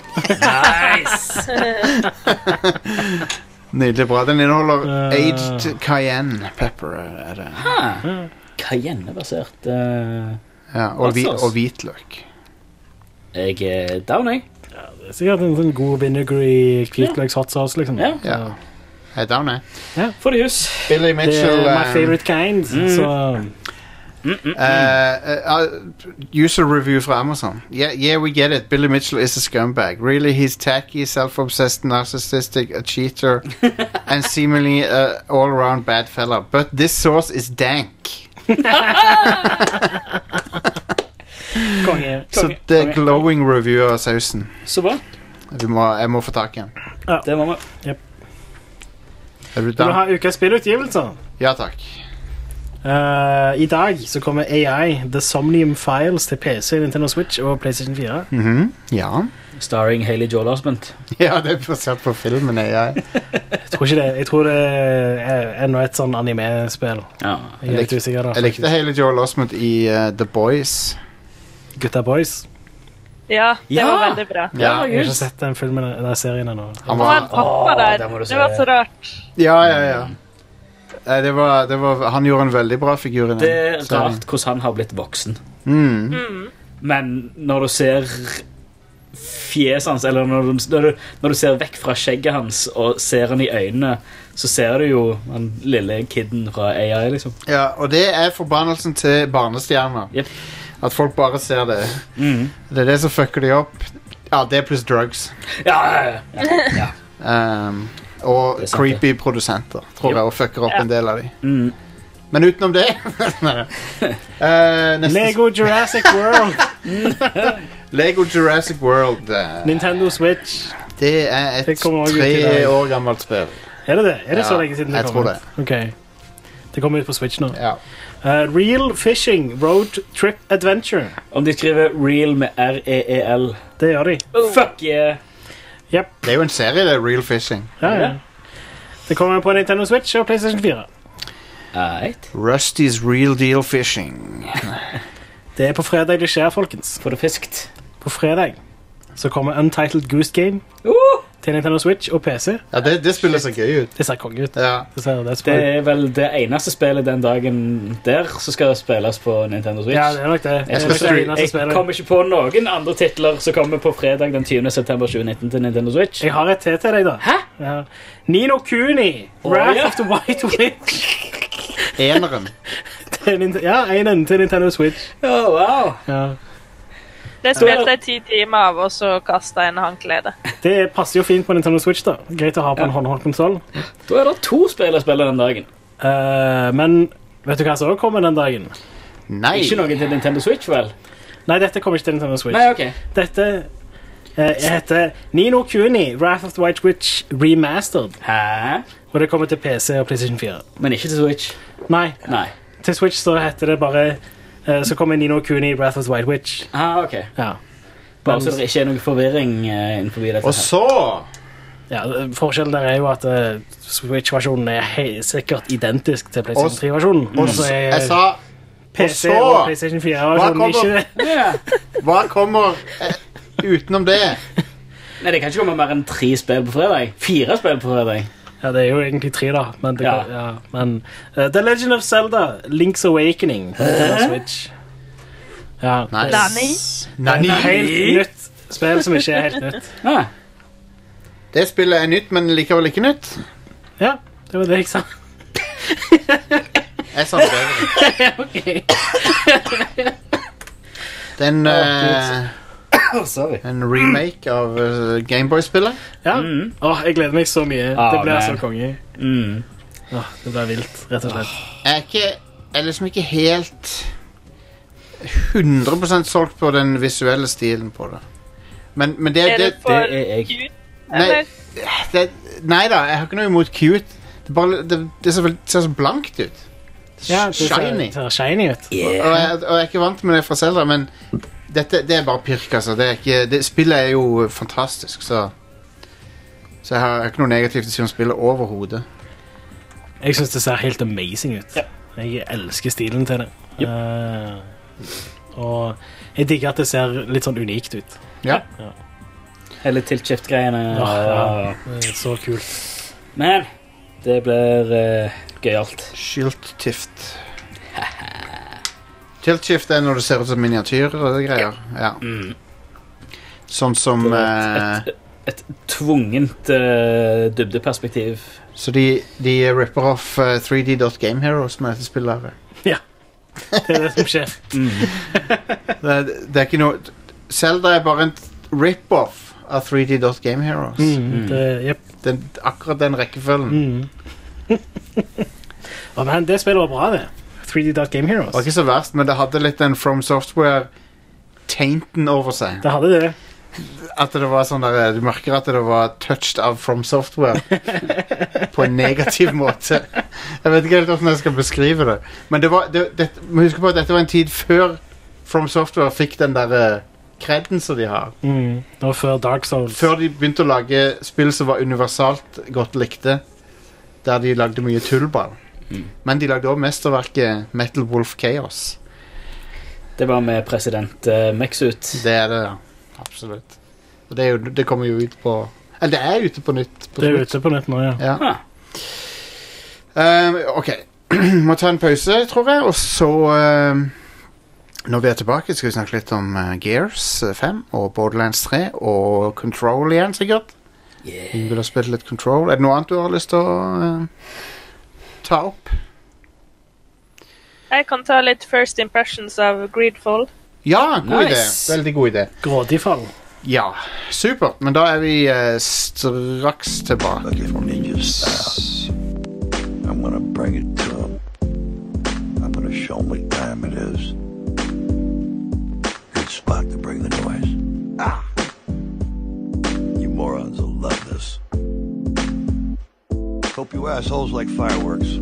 [SPEAKER 1] Nydelig bra. Den inneholder
[SPEAKER 2] Eh.
[SPEAKER 1] aged cayenne pepper. eh, Er det.
[SPEAKER 2] Ah, Cayenne-basert eh,
[SPEAKER 1] Ja, og,
[SPEAKER 2] hot
[SPEAKER 1] hvi-
[SPEAKER 2] sauce.
[SPEAKER 1] og hvitløk.
[SPEAKER 2] Jeg er down, jeg.
[SPEAKER 3] Det er sikkert en sånn god vinegary hvitløks hot sauce, liksom.
[SPEAKER 2] Ja.
[SPEAKER 1] Ja. Jeg er down, jeg.
[SPEAKER 2] Får det i hus.
[SPEAKER 1] Billy Mitchell
[SPEAKER 3] det er my
[SPEAKER 1] eh,
[SPEAKER 3] favorite kind,
[SPEAKER 1] Mm.
[SPEAKER 3] så
[SPEAKER 1] Uh, uh, user review fra Amazon. Yeah, yeah, we get it. Billy Mitchell is a scumbag. Really, he's tacky, self-obsessed, narcissistic, a cheater, and seemingly uh, all-around bad fella. But this source is dank.
[SPEAKER 3] konge.
[SPEAKER 1] Så det er glowing review av sausen.
[SPEAKER 2] Så bra.
[SPEAKER 1] Vi må, jeg må få tak i den.
[SPEAKER 2] Det må vi.
[SPEAKER 1] Er du
[SPEAKER 3] Vil du
[SPEAKER 1] down?
[SPEAKER 3] ha ukas spillutgivelser?
[SPEAKER 1] Ja takk.
[SPEAKER 3] Eh, I dag så kommer AI, The Somnium Files, til PC, Nintendo Switch og PlayStation 4.
[SPEAKER 1] Mhm, Ja.
[SPEAKER 2] Starring Haley Joel Osment.
[SPEAKER 1] ja, det er basert på filmen. Jeg.
[SPEAKER 3] Jeg tror ikke det. Jeg tror det er enda et sånn anime-spill.
[SPEAKER 2] Ja.
[SPEAKER 3] Jeg er litt usikker da.
[SPEAKER 1] jeg likte hele Joel Osment i uh, The Boys.
[SPEAKER 3] Gutta Boys.
[SPEAKER 4] Ja, det
[SPEAKER 2] Ja!
[SPEAKER 4] var veldig bra.
[SPEAKER 1] Ja,
[SPEAKER 3] Jeg har ikke sett den filmen, den serien ennå.
[SPEAKER 1] han
[SPEAKER 4] Og han
[SPEAKER 1] var,
[SPEAKER 4] pappa
[SPEAKER 2] Åh,
[SPEAKER 4] der.
[SPEAKER 2] det må du si.
[SPEAKER 4] Det var så rart.
[SPEAKER 1] ja, ja, ja. Eh, Det var, det var, han gjorde en veldig bra figur i den.
[SPEAKER 2] Det er
[SPEAKER 1] serien.
[SPEAKER 2] rart hvordan han har blitt voksen.
[SPEAKER 1] Mm.
[SPEAKER 2] Men når du ser fjeset hans, eller når du, når, du, når du ser vekk fra skjegget hans og ser han i øynene, så ser du jo den lille kiden fra AI, liksom.
[SPEAKER 1] Ja, og det er forbannelsen til barnestjerner.
[SPEAKER 2] Jep.
[SPEAKER 1] At folk bare ser det.
[SPEAKER 2] Mm.
[SPEAKER 1] Det er det som fucker de opp. Ja, det pluss drugs.
[SPEAKER 2] Ja, ja, ja.
[SPEAKER 3] Ehm,
[SPEAKER 1] Um, og
[SPEAKER 2] Det er sant,
[SPEAKER 1] creepy produsenter, tror
[SPEAKER 2] Jep.
[SPEAKER 1] jeg, og fucker opp
[SPEAKER 4] Ja.
[SPEAKER 1] en del av de.
[SPEAKER 2] Mm.
[SPEAKER 1] Men utenom det Nei, nei. Eh, neste-
[SPEAKER 3] Lego Jurassic World!
[SPEAKER 1] Lego Jurassic World. eh,
[SPEAKER 3] Nintendo Switch.
[SPEAKER 1] det er et
[SPEAKER 3] Det kommer også ut i
[SPEAKER 1] tre
[SPEAKER 3] dag.
[SPEAKER 1] år gammelt spill.
[SPEAKER 3] Er det det? Er det så
[SPEAKER 1] Ja,
[SPEAKER 3] lenge siden
[SPEAKER 1] jeg
[SPEAKER 3] det kom
[SPEAKER 1] tror
[SPEAKER 3] ut? Ok. Det kommer ut på Switch nå.
[SPEAKER 1] Ja.
[SPEAKER 3] Eh, Real Fishing Road Trip Adventure.
[SPEAKER 2] Om de skriver 'real' med R-E-E-L
[SPEAKER 3] Det gjør de.
[SPEAKER 2] Fuck yeah!
[SPEAKER 1] Det er jo en serie, det. Real Fishing.
[SPEAKER 3] Ja, ja.
[SPEAKER 2] Ja.
[SPEAKER 3] Det kommer på Nintendo Switch og PlayStation 4.
[SPEAKER 2] Alright.
[SPEAKER 1] Rusty's Real Deal Fishing.
[SPEAKER 3] Det er på fredag det skjer, folkens.
[SPEAKER 2] Får det fiskt.
[SPEAKER 3] På fredag så kommer Untitled Goose Game
[SPEAKER 2] Uh!
[SPEAKER 3] til Nintendo Switch og PC.
[SPEAKER 1] Ja, det, det spiller så gøy ut.
[SPEAKER 3] Det ser konge ut.
[SPEAKER 1] Ja.
[SPEAKER 3] Det ser det
[SPEAKER 2] Det
[SPEAKER 3] er
[SPEAKER 2] er vel det eneste spillet den dagen der som skal spilles på Nintendo Switch.
[SPEAKER 3] ja, det er nok det.
[SPEAKER 2] Jeg,
[SPEAKER 1] skal
[SPEAKER 3] Det er det eneste
[SPEAKER 2] jeg,
[SPEAKER 3] spillet.
[SPEAKER 2] kommer ikke på noen andre titler som kommer på fredag den 20. september 2019 til Nintendo Switch.
[SPEAKER 3] Jeg har et til til deg, da. Hæ? Ja. Nino Kuni,
[SPEAKER 2] Å,
[SPEAKER 3] Wrath
[SPEAKER 2] ja.
[SPEAKER 3] of the White Witch.
[SPEAKER 1] Eneren.
[SPEAKER 3] Til Nint- ja, en ende til Nintendo Switch.
[SPEAKER 2] Å, wow.
[SPEAKER 3] Ja.
[SPEAKER 4] Det spilte jeg ti timer av, og så kasta jeg en håndkledet.
[SPEAKER 3] Det passer jo fint på Nintendo Switch. da. Greit å ha på en håndholdt konsoll.
[SPEAKER 2] Da er det to spill å spille den dagen.
[SPEAKER 3] Eh, men vet du hva som også kommer den dagen?
[SPEAKER 1] Nei.
[SPEAKER 2] Ikke noe til Nintendo Switch, vel?
[SPEAKER 3] Nei, dette kommer ikke til Nintendo Switch.
[SPEAKER 2] Nei, ok.
[SPEAKER 3] Dette eh, heter Nino Kuni, Wrath of the White Witch Remastered.
[SPEAKER 2] Hæ?
[SPEAKER 3] Og det kommer til PC og PlayStation 4.
[SPEAKER 2] Men ikke til Switch.
[SPEAKER 3] Nei,
[SPEAKER 2] Nei.
[SPEAKER 3] til Switch så heter det bare eh, Så kommer Nino Kuni, Wrath of the White Witch.
[SPEAKER 2] Ah, ok.
[SPEAKER 3] Ja.
[SPEAKER 2] Bare så det ikke er noe forvirring eh, innenfor dette.
[SPEAKER 1] Og
[SPEAKER 2] her.
[SPEAKER 1] så
[SPEAKER 3] Ja, Forskjellen der er jo at eh, Switch-versjonen er he sikkert identisk til PlayStation
[SPEAKER 1] Og-
[SPEAKER 3] 3-versjonen.
[SPEAKER 1] Og
[SPEAKER 3] Og så er
[SPEAKER 1] jeg sa
[SPEAKER 3] PC
[SPEAKER 1] og så-
[SPEAKER 3] og PlayStation 4-versjonen
[SPEAKER 1] Hva
[SPEAKER 3] ikke
[SPEAKER 1] kommer-
[SPEAKER 3] det.
[SPEAKER 2] Ja.
[SPEAKER 1] Hva kommer eh, utenom det?
[SPEAKER 2] Nei, det kan ikke komme mer enn tre spill på fredag. Fire spill på fredag.
[SPEAKER 3] Ja, det er jo egentlig tre, da. Men, det,
[SPEAKER 2] Ja.
[SPEAKER 3] ja, men eh, The Legend of Zelda, Link's Awakening. Nintendo Switch. Ja,
[SPEAKER 1] Nice.
[SPEAKER 4] Danny.
[SPEAKER 3] Det
[SPEAKER 1] Nani.
[SPEAKER 3] er helt nytt spill som ikke er helt nytt.
[SPEAKER 2] Ah.
[SPEAKER 1] Det spillet er nytt, men likevel ikke nytt.
[SPEAKER 3] Ja, det var det jeg sa.
[SPEAKER 1] Jeg sa det bedre. Den eh,
[SPEAKER 2] sorry.
[SPEAKER 1] En remake av eh, Gameboy-spillet.
[SPEAKER 3] Ja.
[SPEAKER 2] Mm.
[SPEAKER 3] Åh, jeg gleder meg så mye.
[SPEAKER 2] Ah,
[SPEAKER 3] det blir
[SPEAKER 2] man.
[SPEAKER 3] så konge.
[SPEAKER 2] Mm.
[SPEAKER 3] Åh, det blir vilt, rett og slett.
[SPEAKER 1] Jeg er ikke Jeg er liksom ikke helt 100 solgt på den visuelle stilen på det. Men, men det,
[SPEAKER 4] Er
[SPEAKER 1] det,
[SPEAKER 4] det for
[SPEAKER 2] det er jeg.
[SPEAKER 4] cute,
[SPEAKER 1] nei,
[SPEAKER 4] eller?
[SPEAKER 1] det Nei da, jeg har ikke noe imot cute. Det, bare, det, det ser vel- ser så blankt ut. Ja, det ser-
[SPEAKER 3] shiny.
[SPEAKER 1] ser
[SPEAKER 3] shiny ut.
[SPEAKER 1] Og, og, jeg, og jeg er ikke vant med det fra Zelda, men dette, det er bare pirk, altså. Det er ikke, det, spillet er jo fantastisk, så Så jeg har ikke noe negativt å si om spillet overhodet.
[SPEAKER 3] Jeg syns det ser helt amazing ut. Jeg elsker stilen til det. Eh, og jeg digger at det ser litt sånn unikt ut.
[SPEAKER 1] Ja.
[SPEAKER 2] Hele tilt-shift-greiene.
[SPEAKER 3] Ja,
[SPEAKER 2] og-
[SPEAKER 3] Eh, Så kult.
[SPEAKER 2] Men det blir uh, gøyalt.
[SPEAKER 1] Skilt-tift. Tilt-shift er når det ser ut som miniatyrer og det greier. Ja. Sånn som eh,
[SPEAKER 2] Et, et tvungent eh, dybdeperspektiv.
[SPEAKER 1] eh, Så de, de ripper off eh, 3D.Game Heroes med dette spillet. her.
[SPEAKER 3] Ja. Det er det som skjer.
[SPEAKER 1] Det, er- det er ikke noe Zelda er bare en rip-off av 3D.Game Heroes.
[SPEAKER 3] Mm, det-
[SPEAKER 1] Den, akkurat den rekkefølgen.
[SPEAKER 3] Å, men det spillet var bra, det. 3D Dot Game Heroes.
[SPEAKER 1] Det var ikke så verst, men det hadde litt den From Software-tainten over seg.
[SPEAKER 3] Det hadde det.
[SPEAKER 1] At det var sånn der, Du merker at det var touched av From Software på en negativ måte. Jeg vet ikke helt hvordan jeg skal beskrive det. Men det var, det, det, må huske på at dette var en tid før From Software fikk den der kreden som de har.
[SPEAKER 3] Mm, det var før Dark Souls.
[SPEAKER 1] Før de begynte å lage spill som var universalt godt likte, der de lagde mye tullball. Men de lagde også mesterverket Metal Wolf Chaos.
[SPEAKER 2] Det var med president uh, Mexut.
[SPEAKER 1] Det er det, ja. Absolutt. Og det, er jo, det kommer jo ut på Eller det er ute på nytt. På
[SPEAKER 3] Det er
[SPEAKER 1] Twitch.
[SPEAKER 3] ute på nytt nå, ja.
[SPEAKER 1] Ja. Ehm, ok. Må ta en pause, tror jeg, og så ehm, Når vi er tilbake, skal vi snakke litt om eh, Gears 5 og Borderlands 3 og Control igjen, sikkert.
[SPEAKER 3] Mm.
[SPEAKER 1] Vi vil ha spilt litt Control. Er det noe annet du har lyst til å eh, ta opp?
[SPEAKER 4] Jeg kan ta litt first impressions av Greedfall.
[SPEAKER 1] Ja, god
[SPEAKER 4] Nice.
[SPEAKER 1] idé. Veldig god idé.
[SPEAKER 3] Grådig fall.
[SPEAKER 1] Ja, supert. Men da er vi eh, straks tilbake.
[SPEAKER 12] I'm gonna bring it to him. I'm gonna show him what time it is. Good spot to bring the noise. Ah! You morons will love this. Hope you assholes like fireworks.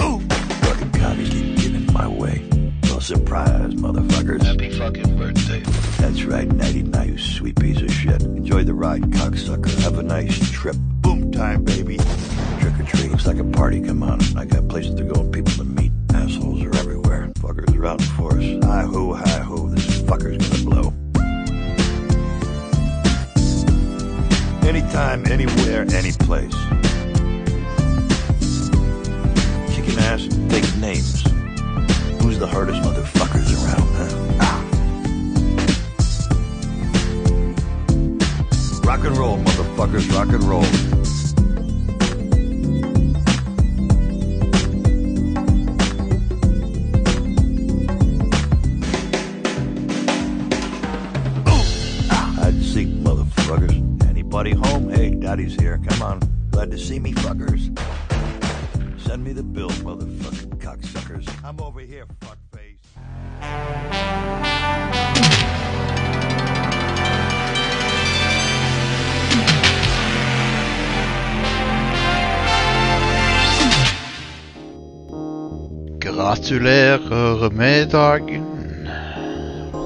[SPEAKER 12] Ooh! Fucking commies keep getting in my way. No surprise, motherfuckers. Happy fucking birthday. That's right, nighty night, you sweet piece of shit. Enjoy the ride, cocksucker. Have a nice trip. Boom time, baby. Trick or treat. Looks like a party. Come on. I got places to go and people to meet. Assholes are everywhere. Fuckers are out in force. Hi ho, hi ho. This fucker's gonna blow. Anytime, anywhere, any place. Kicking ass, big names. Who's the hardest motherfuckers around, huh? Ah. Rock and roll, motherfuckers, rock and roll. I'd seek motherfuckers. Anybody home? Hey, daddy's here. Come on. Glad to see me, fuckers. Send me the bill, motherfucking cocksuckers. I'm over here, fuckface.
[SPEAKER 1] Gratulerer med dagen.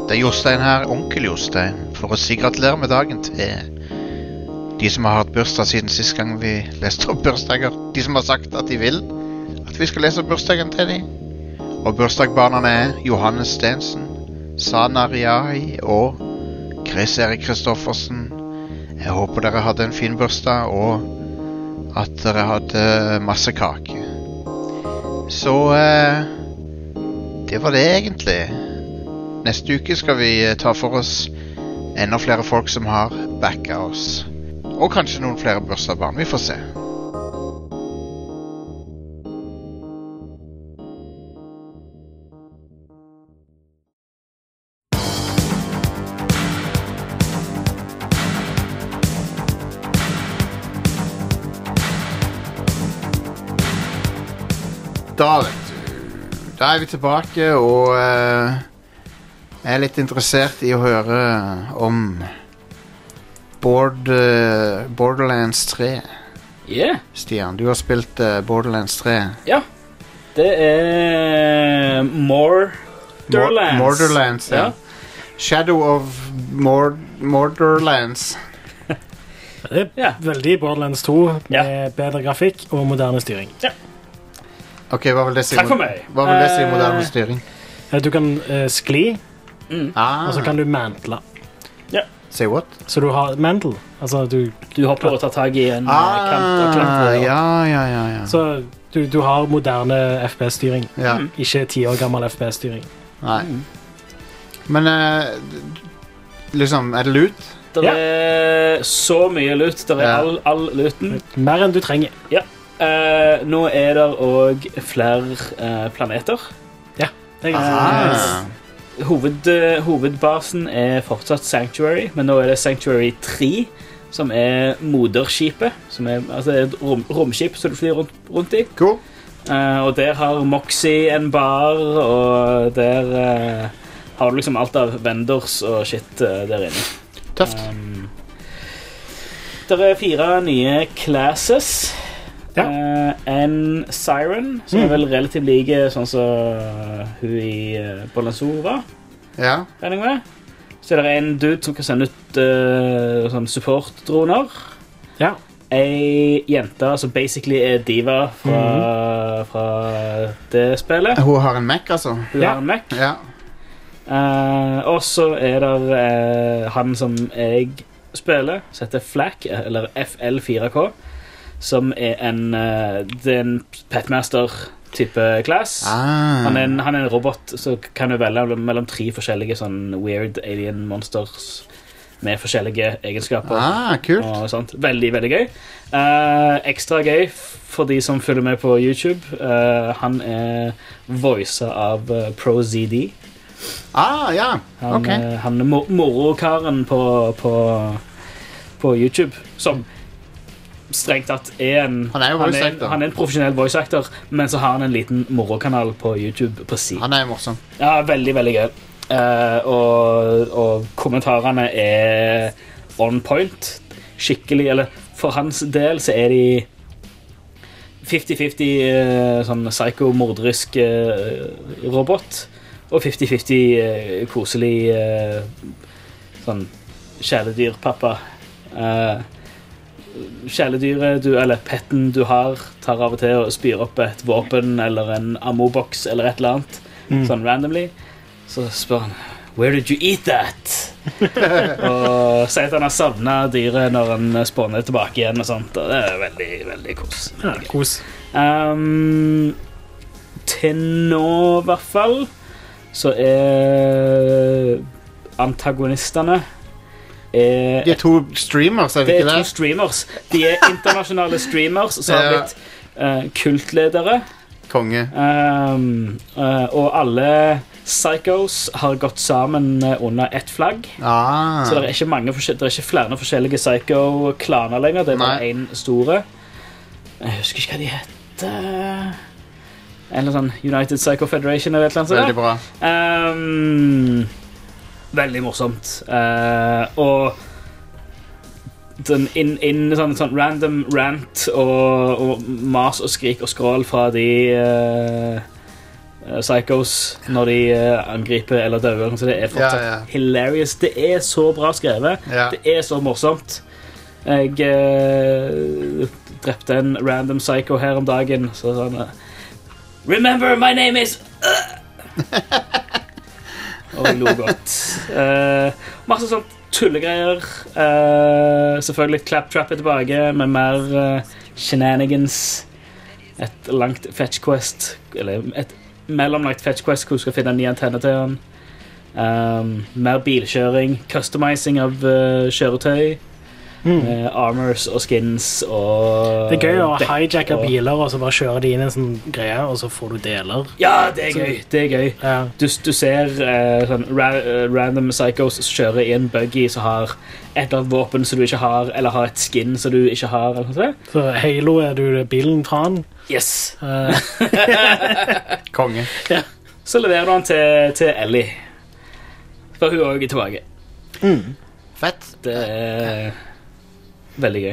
[SPEAKER 1] Det er Jostein her, onkel Jostein, for å si gratulerer med dagen til de som har hatt bursdag siden sist gang vi leste opp bursdager. De som har sagt at de vil at vi skal lese opp bursdagen til dem. Og bursdagbarna er Johannes Stensen, Sana Riahi og Chris Erik Kristoffersen. Jeg håper dere hadde en fin bursdag, og at dere hadde masse kake. Så eh, det var det, egentlig. Neste uke skal vi eh, ta for oss enda flere folk som har backa oss. Og kanskje noen flere bursdagsbarn. Vi får se. Da, vet du. Da er vi tilbake, og eh, jeg er litt interessert i å høre om Board, eh, Borderlands 3.
[SPEAKER 2] Yeah.
[SPEAKER 1] Stian, du har spilt eh, Borderlands 3.
[SPEAKER 2] Ja. Dette er Morderlands.
[SPEAKER 1] Morderlands, ja. Shadow of Mord Morderlands.
[SPEAKER 3] Det er veldig Borderlands 2 med bedre grafikk og moderne styring.
[SPEAKER 1] Ok, hva vil det si?
[SPEAKER 3] Takk for meg.
[SPEAKER 1] Hva vil det si moderne
[SPEAKER 3] Eh,
[SPEAKER 1] styring?
[SPEAKER 3] Eh, Du kan eh, skli,
[SPEAKER 1] Ah.
[SPEAKER 2] mm.
[SPEAKER 3] og så kan du mantle.
[SPEAKER 1] Say what?
[SPEAKER 3] Så du har mantle. Altså du
[SPEAKER 2] Du hopper og tar tak i en
[SPEAKER 1] Ah,
[SPEAKER 2] eh, kant og klamper. og-
[SPEAKER 1] ja, Ah, ja, ja, ja.
[SPEAKER 3] Så Mm. du, du har moderne FPS-styring.
[SPEAKER 1] Ja.
[SPEAKER 3] Ikke ti år gammel FPS-styring.
[SPEAKER 1] Nei.
[SPEAKER 2] Mm.
[SPEAKER 1] Men eh, d- liksom, er det lut?
[SPEAKER 2] Det er så mye lut. Det er
[SPEAKER 1] Ja.
[SPEAKER 2] all, all luten.
[SPEAKER 3] Mer enn du trenger.
[SPEAKER 2] Ja. Eh, nå er det òg flere eh, planeter.
[SPEAKER 3] Ja. Det er ganske
[SPEAKER 2] Eh, hoved, eh, hovedbasen er fortsatt Sanctuary, men nå er det Sanctuary 3, som er moderskipet. Som er, altså det er et rom, romskip som du flyr rundt, rundt i. Eh,
[SPEAKER 1] Cool.
[SPEAKER 2] og der har Moxie en bar, og der eh, har du liksom alt av vendors og shit eh, der inne.
[SPEAKER 1] Tøft.
[SPEAKER 2] det er fire nye classes. Eh, en Siren, som er
[SPEAKER 1] Mm.
[SPEAKER 2] vel relativt lik sånn som hun i uh, Bollanzor var.
[SPEAKER 1] Ja.
[SPEAKER 2] regner jeg med. Så er det en dude som kan sende ut eh, sånn support-droner.
[SPEAKER 3] Ja.
[SPEAKER 2] Ei jente som basically er diva fra,
[SPEAKER 1] Mhm.
[SPEAKER 2] fra det spillet.
[SPEAKER 1] Hun har en Mac, altså?
[SPEAKER 2] Hun har en Mac.
[SPEAKER 1] Ja.
[SPEAKER 2] Eh, og så er det eh, han som jeg spiller, som heter Flack, eller FL4K, som er en, eh, det er en Petmaster-type class.
[SPEAKER 1] Ah.
[SPEAKER 2] Han, er en, han er en robot, så kan du velge mellom- mellom tre forskjellige sånn weird alien monsters med forskjellige egenskaper.
[SPEAKER 1] Ah, kult.
[SPEAKER 2] Og sånt. Veldig, veldig gøy. Eh, ekstra gøy f- for de som følger med på YouTube. Eh, han er voisa av eh, ProZD.
[SPEAKER 1] Ah, ja.
[SPEAKER 2] Han,
[SPEAKER 1] Ok.
[SPEAKER 2] eh, han er mor- morokaren på, på, på YouTube, som strengt tatt er en Han
[SPEAKER 1] er jo voice
[SPEAKER 2] en,
[SPEAKER 1] actor.
[SPEAKER 2] han er en profesjonell voice actor, men så har han en liten morokanal på YouTube på si.
[SPEAKER 1] Han er morsom.
[SPEAKER 2] Ja, veldig, veldig gøy. Eh, og, og kommentarene er on point. Skikkelig Eller for hans del så er de 50-50 eh, sånn psycho-morderisk eh, robot og 50-50 eh, koselig eh, sånn kjæledyrpappa. Eh, kjæledyret du, eller petten du har, tar av og til og spyr opp et våpen eller en ammoboks eller et eller annet.
[SPEAKER 3] Mm.
[SPEAKER 2] Sånn randomly. Så spør han Where did you eat that? og sier at han har savna dyret når han spawner tilbake igjen. og sånt, og Det er veldig, veldig kos.
[SPEAKER 3] Ja, kos.
[SPEAKER 2] Ehm, til nå, i hvert fall, så er antagonistene er
[SPEAKER 1] De er to streamers, er det
[SPEAKER 2] det
[SPEAKER 1] ikke
[SPEAKER 2] er to
[SPEAKER 1] det?
[SPEAKER 2] streamers. De er internasjonale streamers som har
[SPEAKER 1] Ja.
[SPEAKER 2] blitt eh, kultledere.
[SPEAKER 1] Konge.
[SPEAKER 2] Ehm, eh, og alle psychos har gått sammen eh, under ett flagg.
[SPEAKER 1] Ah.
[SPEAKER 2] Så det er ikke, mange forskjell- det er ikke flere forskjellige psycho-klaner lenger. Det er bare én store. Jeg husker ikke hva de heter. En eller annen sånn United Psycho Federation eller et eller annet. sånt.
[SPEAKER 1] Veldig bra.
[SPEAKER 2] Ehm, veldig morsomt. Eh, og den inn, inn sånn, sånn random rant og, og mas og skrik og skrål fra de eh, eh, psychos når de eh, angriper eller dauer. Så det er fortsatt
[SPEAKER 1] Ja, ja.
[SPEAKER 2] hilarious. Det er så bra skrevet.
[SPEAKER 1] Ja.
[SPEAKER 2] Det er så morsomt. Jeg eh, drepte en random psycho her om dagen. Så sånn eh, Remember, my name is uh!" og lo godt. Eh, masse sånt tullegreier. Eh, selvfølgelig Claptrap er tilbake med mer eh, shenanigans. Et langt fetch quest, eller et mellomlangt fetch quest hvor du skal finne en ny antenne til den. Um, mer bilkjøring, customizing av eh, kjøretøy. Med armors og skins og
[SPEAKER 3] Mm. Det er gøy å
[SPEAKER 2] dekk
[SPEAKER 3] hijacke
[SPEAKER 2] og-
[SPEAKER 3] biler og så bare kjøre de inn i en sånn greie, og så får du deler.
[SPEAKER 2] Ja, det er
[SPEAKER 3] Så-
[SPEAKER 2] gøy. Det er gøy. Du, du ser eh, sånn ra eh, random psychos som kjører i en buggy som har et eller annet våpen som du ikke har, eller har et skin som du ikke har. Eller noe sånt.
[SPEAKER 3] Så Halo er du bilen fra han.
[SPEAKER 2] Yes.
[SPEAKER 3] Eh,
[SPEAKER 1] Konge.
[SPEAKER 2] Ja. Så leverer du den til, til Ellie. For hun òg er tilbake.
[SPEAKER 1] Fett.
[SPEAKER 2] Det er veldig gøy.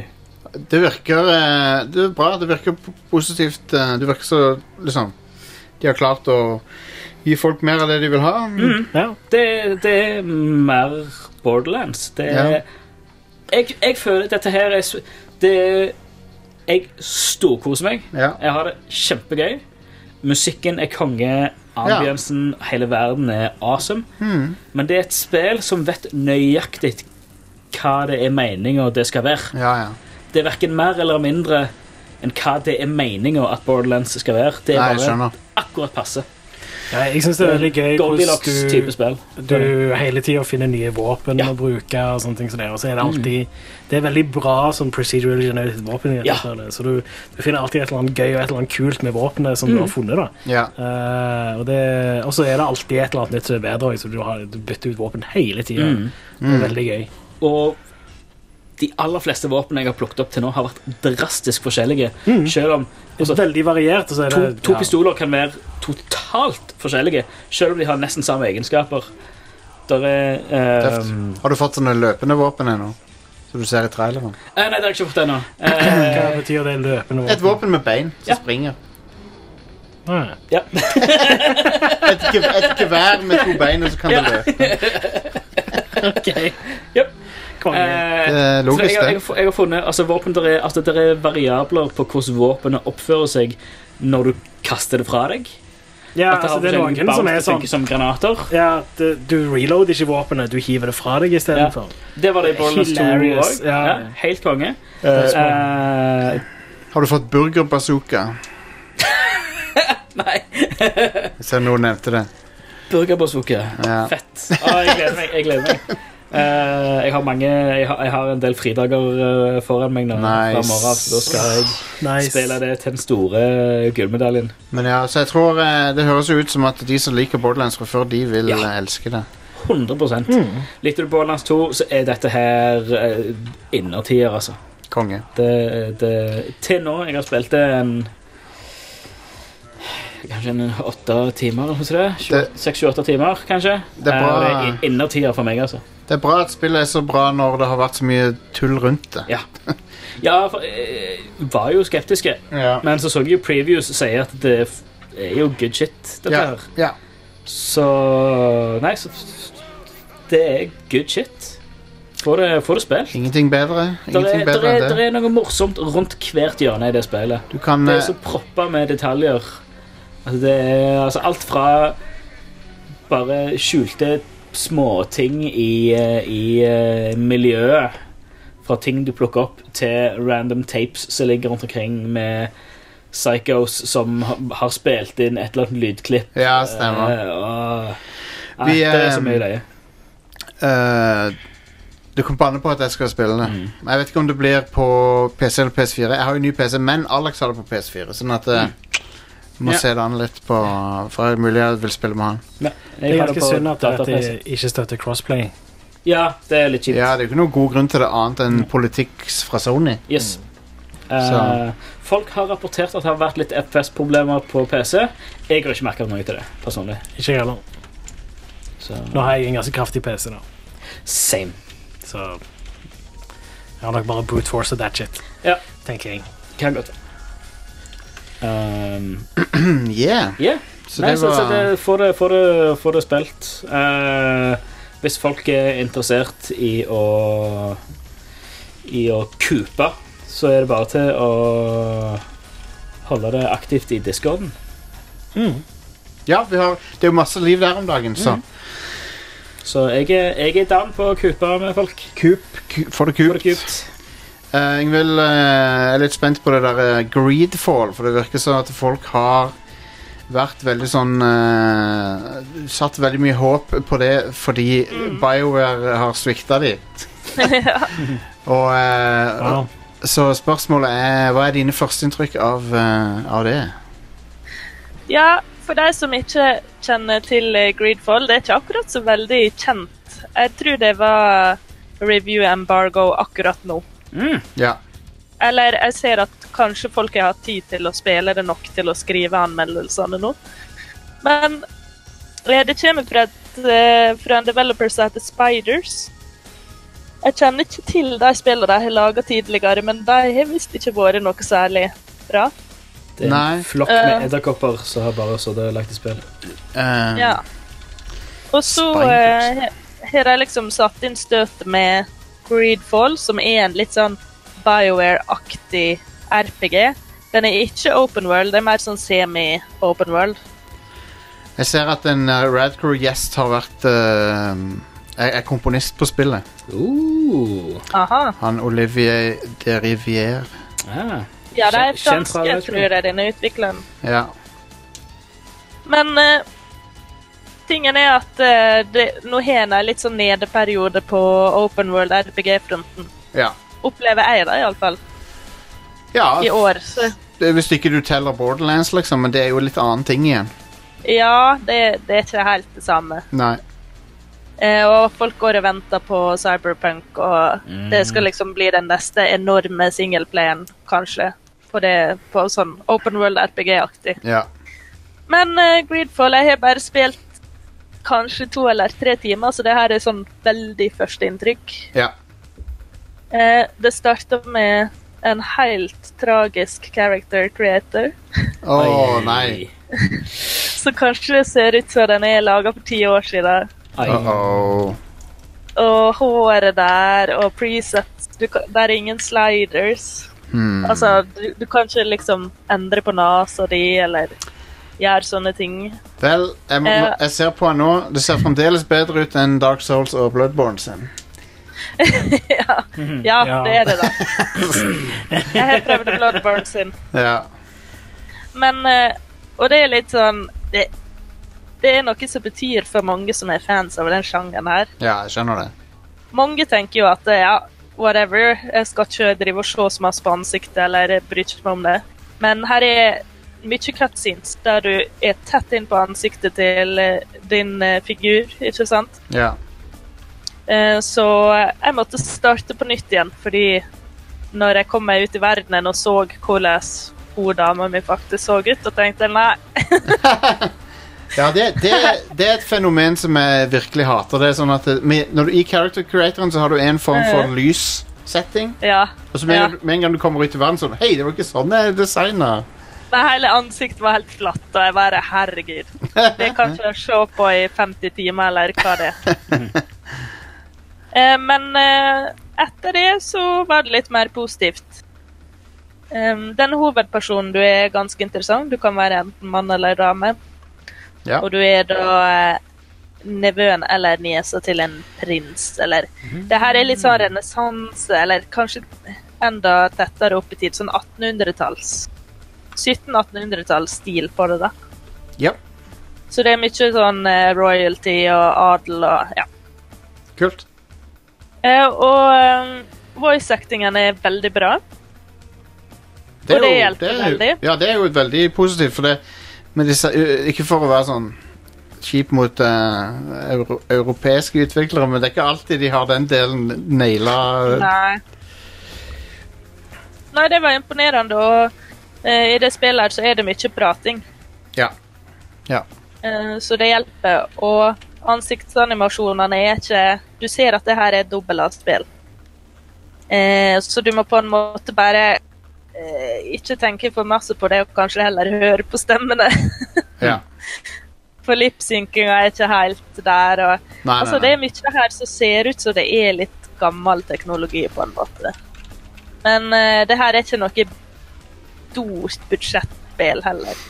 [SPEAKER 1] Det virker eh, Det er bra. Det virker p- positivt. eh, Du virker så liksom de har klart å gi folk mer av det de vil ha.
[SPEAKER 2] Mm. Det, det er mer Borderlands. Det er,
[SPEAKER 1] Ja.
[SPEAKER 2] jeg, jeg føler dette her er s- det, er- Jeg storkoser meg. Jeg har det kjempegøy. Musikken er konge. Ambiensen, hele verden er awesome.
[SPEAKER 1] Mm.
[SPEAKER 2] Men det er et spill som vet nøyaktig hva det er meninga det skal være. Det er verken mer eller mindre enn hva det er meninga at Borderlands skal være. Det er
[SPEAKER 3] Nei, jeg
[SPEAKER 2] bare
[SPEAKER 3] skjønner.
[SPEAKER 2] akkurat passe.
[SPEAKER 3] Nei, jeg syns det er veldig gøy
[SPEAKER 2] Goldilocks type spill.
[SPEAKER 3] du hele tida finner nye våpen å bruke. Og sånne ting som det er. Og så er
[SPEAKER 2] Mm.
[SPEAKER 3] det alltid Det er veldig bra sånn procedural generated våpen. i dette
[SPEAKER 2] Ja.
[SPEAKER 3] spillet, Så du, du finner alltid et eller annet gøy og et eller annet kult med våpenet som
[SPEAKER 1] Mm.
[SPEAKER 3] du har funnet. da
[SPEAKER 1] Ja.
[SPEAKER 3] Eh, og, det, og så er det alltid et eller annet nytt som er bedre, også, så du, har, du bytter ut våpen hele tida.
[SPEAKER 2] Mm.
[SPEAKER 3] Det er veldig gøy.
[SPEAKER 2] Og de aller fleste våpen jeg har plukket opp til nå, har vært drastisk forskjellige. Selv om
[SPEAKER 3] Veldig variert. Og så er
[SPEAKER 2] to,
[SPEAKER 3] Mm. det,
[SPEAKER 2] to
[SPEAKER 3] ja.
[SPEAKER 2] pistoler kan være totalt forskjellige, selv om de har nesten samme egenskaper. Der er
[SPEAKER 1] Tøft.
[SPEAKER 2] eh,
[SPEAKER 1] Har du fått sånne løpende våpen ennå? Som du ser i traileren?
[SPEAKER 2] eh, Nei, det har jeg ikke fått ennå.
[SPEAKER 3] Hva
[SPEAKER 2] Eh,
[SPEAKER 3] betyr det løpende våpen?
[SPEAKER 1] Et våpen med bein som springer.
[SPEAKER 3] Ah.
[SPEAKER 1] Et, ge et gevær med to bein, og så kan det løpe.
[SPEAKER 2] Eh,
[SPEAKER 1] Det er logisk,
[SPEAKER 2] så jeg, har-
[SPEAKER 1] det.
[SPEAKER 2] jeg, har- jeg har funnet altså, våpen, der er, altså, der er variabler på hvordan våpenet oppfører seg når du kaster det fra deg.
[SPEAKER 3] Ja,
[SPEAKER 2] At det har
[SPEAKER 3] altså, det er
[SPEAKER 2] forskjellig
[SPEAKER 3] noen som
[SPEAKER 2] bounce,
[SPEAKER 3] er
[SPEAKER 2] det funker
[SPEAKER 3] sånn
[SPEAKER 2] som granater.
[SPEAKER 3] Ja, at, eh, Du reloader ikke våpenet, du hiver det fra deg
[SPEAKER 2] Ja.
[SPEAKER 3] istedenfor.
[SPEAKER 2] Det var det i Borderlands 2
[SPEAKER 3] Hilarious,
[SPEAKER 2] også.
[SPEAKER 3] ja.
[SPEAKER 2] Ja, helt konge.
[SPEAKER 1] Eh,
[SPEAKER 2] Eh,
[SPEAKER 1] Har du fått burgerbazooka? Nei. Jeg ser noen nevnte det.
[SPEAKER 2] Burgerbazooka.
[SPEAKER 1] Ja.
[SPEAKER 2] Fett. Ah, jeg gleder meg. Jeg gleder meg. Eh, jeg, har mange, jeg, har, jeg har en del fridager eh, foran meg nå. fra
[SPEAKER 1] Nice.
[SPEAKER 2] morgen, så da skal jeg
[SPEAKER 1] Nice.
[SPEAKER 2] spille det til den store gullmedaljen.
[SPEAKER 1] Men ja, så jeg tror eh, Det høres jo ut som at de som liker Borderlands fra før, de vil eh, elske det.
[SPEAKER 2] 100
[SPEAKER 1] Mm.
[SPEAKER 2] Likte du Borderlands 2, så er dette her uh, innertier, altså.
[SPEAKER 1] Konge.
[SPEAKER 2] Det, det, til nå Jeg har spilt det en Kanskje en åtte timer, eller noe sånt. 6-28 timer, kanskje.
[SPEAKER 1] Det er
[SPEAKER 2] Eh,
[SPEAKER 1] bra.
[SPEAKER 2] og det er i- innertier for meg, altså.
[SPEAKER 1] Det er bra at spillet er så bra når det har vært så mye tull rundt det.
[SPEAKER 2] Ja. Ja, for jeg var jo skeptiske.
[SPEAKER 1] Ja.
[SPEAKER 2] Men så så jeg jo previews si at det f- er jo good shit, dette
[SPEAKER 1] Ja,
[SPEAKER 2] her.
[SPEAKER 1] ja.
[SPEAKER 2] Så Nei, så Det er good shit. Få det, få det spilt.
[SPEAKER 1] Ingenting bedre.
[SPEAKER 2] Der er,
[SPEAKER 1] Ingenting
[SPEAKER 2] der,
[SPEAKER 1] bedre
[SPEAKER 2] er,
[SPEAKER 1] enn
[SPEAKER 2] der
[SPEAKER 1] det.
[SPEAKER 2] er noe morsomt rundt hvert hjørne i det spillet.
[SPEAKER 1] Du kan,
[SPEAKER 2] det
[SPEAKER 1] eh,
[SPEAKER 2] er så proppa med detaljer. Altså, det er altså, alt fra bare skjulte småting i, eh, i eh, miljøet, fra ting du plukker opp, til random tapes som ligger rundt omkring med psychos som ha- har spilt inn et eller annet lydklipp.
[SPEAKER 1] Ja, stemmer.
[SPEAKER 2] Eh, og- Nei,
[SPEAKER 1] Vi,
[SPEAKER 2] det er så
[SPEAKER 1] eh,
[SPEAKER 2] mye løye.
[SPEAKER 1] Eh, du kan banne på at jeg skal spille det.
[SPEAKER 2] Mm.
[SPEAKER 1] Jeg vet ikke om det blir på PC eller PS4. Jeg har jo ny PC, men Alex har det på PS4. Sånn at
[SPEAKER 2] Mm.
[SPEAKER 1] eh, jeg må
[SPEAKER 3] Ja.
[SPEAKER 1] se det an litt på For det er mulig jeg vil spille med han.
[SPEAKER 3] Det er ganske synd at dette
[SPEAKER 2] datapresse.
[SPEAKER 3] ikke støtter crossplay.
[SPEAKER 2] Ja, det er litt kjipt.
[SPEAKER 1] Ja, det er jo ikke noen god grunn til det annet
[SPEAKER 2] Mm.
[SPEAKER 1] enn politikk fra Sony.
[SPEAKER 2] Yes.
[SPEAKER 1] Mm. Så-
[SPEAKER 2] Eh, folk har rapportert at det har vært litt FPS-problemer på PC. Jeg har ikke merka noe til det. personlig
[SPEAKER 3] Ikke jeg heller. Nå har jeg en ganske kraftig PC, da.
[SPEAKER 2] Same.
[SPEAKER 3] Så jeg har nok bare brute force of that shit,
[SPEAKER 2] Ja,
[SPEAKER 3] tenker jeg.
[SPEAKER 2] kan godt um,
[SPEAKER 1] yeah.
[SPEAKER 2] yeah.
[SPEAKER 1] Så
[SPEAKER 2] Nei,
[SPEAKER 1] det
[SPEAKER 2] så, så
[SPEAKER 1] var-
[SPEAKER 2] det, få, det, få, det, få det spilt. Eh, hvis folk er interessert i å I å kupe, så er det bare til å holde det aktivt i discorden.
[SPEAKER 1] Ja, vi har, det er jo masse liv der om dagen,
[SPEAKER 2] Mm.
[SPEAKER 1] så
[SPEAKER 2] Så jeg er, jeg er down på å kupe med folk.
[SPEAKER 1] Kup, ku- Får det kupt. Eh, Ingvild eh, er litt spent på det der eh, Greedfall, for det virker sånn at folk har vært veldig sånn eh, Satt veldig mye håp på det fordi BioWare har svikta de. Og eh,
[SPEAKER 3] Wow.
[SPEAKER 1] Så spørsmålet er Hva er dine førsteinntrykk av, eh, av det?
[SPEAKER 4] Ja, for de som ikke kjenner til eh, Greedfall, det er ikke akkurat så veldig kjent. Jeg tror det var review embargo akkurat nå.
[SPEAKER 1] Ja.
[SPEAKER 4] Eller jeg ser at kanskje folk har hatt tid til å spille det nok til å skrive anmeldelsene nå. Men eh, det kommer fra, et, eh, fra en developer som heter Spiders. Jeg kjenner ikke til de spillene de har laga tidligere, men de har visst ikke vært noe særlig bra.
[SPEAKER 2] Det er
[SPEAKER 1] Nei.
[SPEAKER 2] en flokk med
[SPEAKER 4] Eh.
[SPEAKER 2] edderkopper som har bare sittet og lagt i spill.
[SPEAKER 1] eh,
[SPEAKER 4] Ja. Og så
[SPEAKER 2] Spiders.
[SPEAKER 4] eh, har de liksom satt inn støtet med Greedfall, som er en litt sånn BioWare-aktig RPG. Den er ikke open world, det er mer sånn semi-open world.
[SPEAKER 1] Jeg ser at en uh, Radcrew Gjest har vært eh, er, er komponist på spillet.
[SPEAKER 2] Uh.
[SPEAKER 4] Aha.
[SPEAKER 1] Han Olivier de Rivière.
[SPEAKER 2] Ah.
[SPEAKER 4] Ja, de er
[SPEAKER 1] Kjent fra
[SPEAKER 4] franske,
[SPEAKER 1] Radcrew.
[SPEAKER 4] tror jeg, denne utvikleren.
[SPEAKER 1] Ja.
[SPEAKER 4] Men eh, tingen er at eh, det, nå har en en litt sånn nedeperiode på open world RPG-fronten.
[SPEAKER 1] ja.
[SPEAKER 4] Opplever jeg det, iallfall.
[SPEAKER 1] Ja.
[SPEAKER 4] I år. Så,
[SPEAKER 1] Det er Eh, Hvis ikke du teller Borderlands, liksom, men det er jo litt annen ting igjen.
[SPEAKER 4] ja, det, det er ikke helt det samme.
[SPEAKER 1] Nei.
[SPEAKER 4] Eh, og folk går og venter på Cyberpunk, og
[SPEAKER 1] Mm.
[SPEAKER 4] det skal liksom bli den neste enorme singleplayeren, kanskje. På, det, på sånn open world RPG-aktig.
[SPEAKER 1] Ja.
[SPEAKER 4] Men eh, Greedfall, jeg har bare spilt kanskje to eller tre timer, så det her er sånn veldig førsteinntrykk.
[SPEAKER 1] Ja.
[SPEAKER 4] Eh, det starta med en helt tragisk character creator,
[SPEAKER 1] Å nei.
[SPEAKER 4] som kanskje ser ut som den er laga for ti år siden.
[SPEAKER 1] Uh-oh.
[SPEAKER 4] Og håret der, og presets du, kan- Der er ingen sliders.
[SPEAKER 1] Hmm.
[SPEAKER 4] Altså, du, du kan ikke liksom endre på nesa di, eller gjøre sånne ting.
[SPEAKER 1] Vel, jeg, må,
[SPEAKER 4] Eh.
[SPEAKER 1] jeg ser på han nå. Det ser fremdeles bedre ut enn Dark Souls og Bloodborne sin.
[SPEAKER 4] Ja,
[SPEAKER 1] Ja.
[SPEAKER 4] det er det, da. Jeg har prøvd Bloodborne sin.
[SPEAKER 1] Ja.
[SPEAKER 4] Men eh, Og det er litt sånn det, det er noe som betyr for mange som er fans av den sjangeren her.
[SPEAKER 1] ja, jeg skjønner det.
[SPEAKER 4] Mange tenker jo at ja, whatever, jeg skal ikke drive og se så masse på ansiktet, eller jeg bryr ikke meg om det. Men her er mye cutscenes der du er tett inn på ansiktet til eh, din eh, figur, ikke sant?
[SPEAKER 1] Ja.
[SPEAKER 4] Eh, Så jeg måtte starte på nytt igjen, fordi når jeg kom meg ut i verdenen og så hvordan hun dama mi faktisk så ut, og tenkte jeg, nei,
[SPEAKER 1] Ja, det, det, det er et fenomen som jeg virkelig hater. Det er sånn at det, med, når du, I character creatoren så har du en form for lyssetting.
[SPEAKER 4] Eh. ja.
[SPEAKER 1] Og så med, en gang- med en gang du kommer ut i verden, sånn Hei, det var ikke sånn jeg designa.
[SPEAKER 4] Men hele ansiktet var helt flatt, og jeg bare herregud. Det kan ikke jeg se på i 50 timer, eller hva det er. Eh, Men eh, etter det så var det litt mer positivt. Em, Den hovedpersonen du er ganske interessant. Du kan være enten mann eller dame.
[SPEAKER 1] Ja.
[SPEAKER 4] Og du er da eh, nevøen eller niesa til en prins, eller Det her er litt sånn renessanse, eller kanskje enda tettere opp i tid. Sånn 1800-talls. 1700-1800-tallsstil på det, da.
[SPEAKER 1] Ja.
[SPEAKER 4] Så det er mye sånn eh, royalty og adel og ja.
[SPEAKER 1] Kult.
[SPEAKER 4] Eh, og eh, voice-actingen er veldig bra. Og det hjelper
[SPEAKER 1] er jo,
[SPEAKER 4] veldig.
[SPEAKER 1] ja, det er jo veldig positivt, for det men disse, ø- Ikke for å være sånn kjip mot eh, euro, europeiske utviklere, men det er ikke alltid de har den delen naila.
[SPEAKER 4] Nei. Nei, det var imponerende, og eh, i det spillet her så er det mye prating.
[SPEAKER 1] Ja. Ja.
[SPEAKER 4] Eh, Så det hjelper. Og ansiktsanimasjonene er ikke Du ser at det her er dobbel-A-spill. Eh, Så du må på en måte bare eh, ikke tenke for masse på det, og kanskje heller høre på stemmene.
[SPEAKER 1] Ja.
[SPEAKER 4] For lipsynkinga er ikke helt der. Og,
[SPEAKER 1] Nei, nei,
[SPEAKER 4] altså,
[SPEAKER 1] nei.
[SPEAKER 4] Det er mye her som ser ut som det er litt gammel teknologi, på en måte. Men eh, det her er ikke noe stort budsjettspill heller.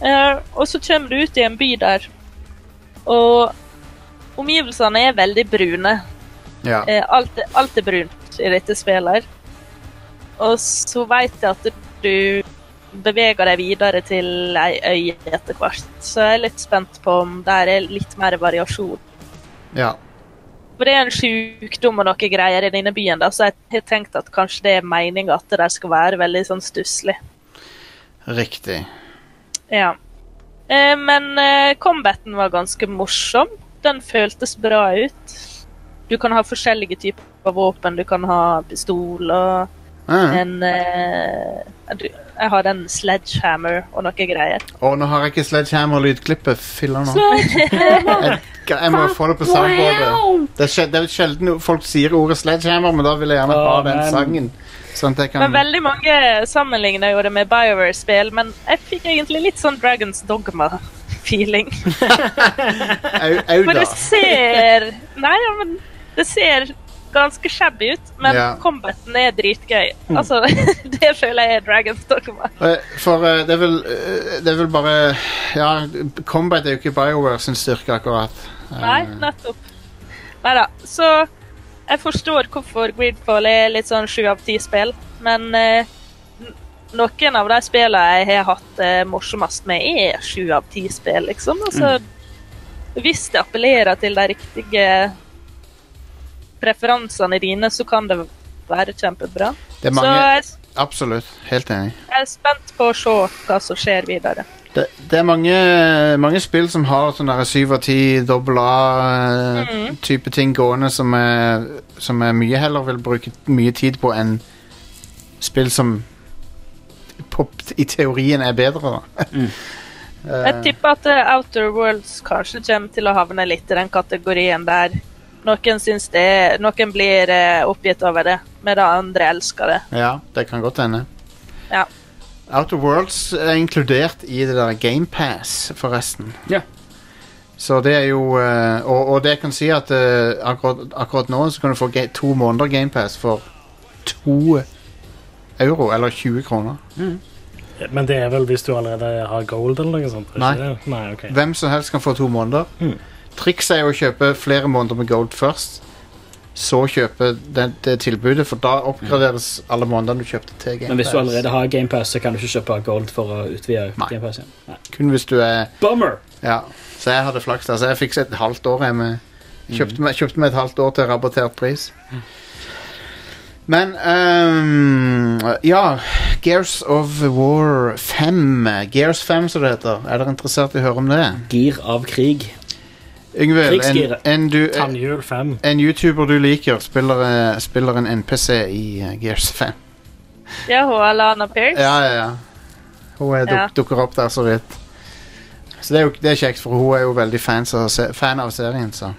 [SPEAKER 4] Eh, og så kommer du ut i en by der, og omgivelsene er veldig brune.
[SPEAKER 1] Ja.
[SPEAKER 4] Eh, alt, er- alt er brunt i dette spillet. Og så vet jeg at du beveger deg videre til ei øy etter hvert, så jeg er litt spent på om der er litt mer variasjon.
[SPEAKER 1] Ja.
[SPEAKER 4] For det er en sjukdom og noe greier i denne byen, da, så jeg har tenkt at kanskje det er meninga at det der skal være veldig sånn stusslig.
[SPEAKER 1] Riktig.
[SPEAKER 4] Ja. Eh, men eh, combaten var ganske morsom. Den føltes bra ut. Du kan ha forskjellige typer av våpen. Du kan ha pistol og
[SPEAKER 1] Mhm.
[SPEAKER 4] en eh, du, Jeg hadde en sledgehammer og noe greier.
[SPEAKER 1] Å, nå har jeg ikke Sledgehammer-lydklippet. Filler nå.
[SPEAKER 4] Sledgehammer!
[SPEAKER 1] Jeg, jeg må få det på soundboardet. Det er, sjel, det er sjelden folk sier ordet Sledgehammer, men da vil jeg gjerne ha
[SPEAKER 4] Å,
[SPEAKER 1] den
[SPEAKER 4] men.
[SPEAKER 1] sangen. Sånn at jeg
[SPEAKER 4] Men
[SPEAKER 1] kan
[SPEAKER 4] veldig mange sammenligner jo det med Bioware-spill, men jeg fikk egentlig litt sånn Dragons Dogma-feeling.
[SPEAKER 1] Au, au
[SPEAKER 4] For
[SPEAKER 1] da.
[SPEAKER 4] det ser Nei, ja, men det ser ganske shabby ut, men
[SPEAKER 1] Ja.
[SPEAKER 4] combaten er dritgøy.
[SPEAKER 1] Mm.
[SPEAKER 4] Altså, det føler jeg er Dragons Dogma.
[SPEAKER 1] Eh, For eh, det er vel eh, Det er vel bare Ja, Combat er jo ikke BioWare sin styrke, akkurat. Eh,
[SPEAKER 4] Nei, nettopp. Nei da. Så jeg forstår hvorfor Greedfall er litt sånn sju av ti-spill, men eh, n- noen av de spillene jeg har hatt eh, morsomst med, er sju av ti-spill, liksom. Altså,
[SPEAKER 1] Mm.
[SPEAKER 4] Hvis det appellerer til de riktige preferansene dine, så kan det være kjempebra.
[SPEAKER 1] Det er
[SPEAKER 4] Så jeg,
[SPEAKER 1] mange Absolutt. Helt enig.
[SPEAKER 4] jeg er spent på å se hva som skjer videre.
[SPEAKER 1] Det, det er mange, mange spill som har sånn der 7 av 10 dobbel
[SPEAKER 4] Mhm.
[SPEAKER 1] A-type ting gående som jeg, som jeg mye heller vil bruke mye tid på enn spill som på, i teorien er bedre. Da. Eh,
[SPEAKER 4] Jeg tipper at eh, Outer Worlds kanskje kommer til å havne litt i den kategorien der. Noen syns det, noen blir eh, oppgitt over det, medan andre elsker det.
[SPEAKER 1] ja, det kan godt hende.
[SPEAKER 4] Ja.
[SPEAKER 1] Outer Worlds er inkludert i det der GamePass, forresten.
[SPEAKER 2] Ja.
[SPEAKER 1] Så det er jo eh, Og, og det jeg kan si, at eh, akkurat, akkurat nå så kan du få ga to måneder GamePass for to euro, eller 20 kroner.
[SPEAKER 3] Men det er vel hvis du allerede har gold eller noe sånt? er
[SPEAKER 1] Nei.
[SPEAKER 3] ikke det? Nei ok.
[SPEAKER 1] Hvem som helst kan få to måneder.
[SPEAKER 2] Mm.
[SPEAKER 1] Trikset er jo å kjøpe flere måneder med gold først, så kjøpe det, det tilbudet, for da oppgraderes alle månedene du kjøpte til GamePass.
[SPEAKER 2] Men hvis du allerede har GamePass, så kan du ikke kjøpe gold for å utvide GamePass. igjen. Nei.
[SPEAKER 1] Kun hvis du er
[SPEAKER 2] Bummer!
[SPEAKER 1] Ja, så jeg hadde flaks der. Så jeg fikk et halvt år. Jeg med, kjøpte, meg, kjøpte meg et halvt år til rabattert pris. Men ehm, Ja, Gears of War 5. Gears 5, som det heter. Er dere interessert i å høre om det?
[SPEAKER 2] Gir av krig.
[SPEAKER 1] Yngvild, en,
[SPEAKER 2] Krigsgiret.
[SPEAKER 1] en, du-
[SPEAKER 3] Tannhjul 5.
[SPEAKER 1] en YouTuber du liker, spiller, eh, spiller en NPC i eh, Gears 5.
[SPEAKER 4] Ja, hun Alana Pierce.
[SPEAKER 1] Ja, ja, ja. Hun er, duk,
[SPEAKER 4] Ja.
[SPEAKER 1] dukker opp der så vidt. Så det er jo det er kjekt, for hun er jo veldig fans av, se- fan av serien, så.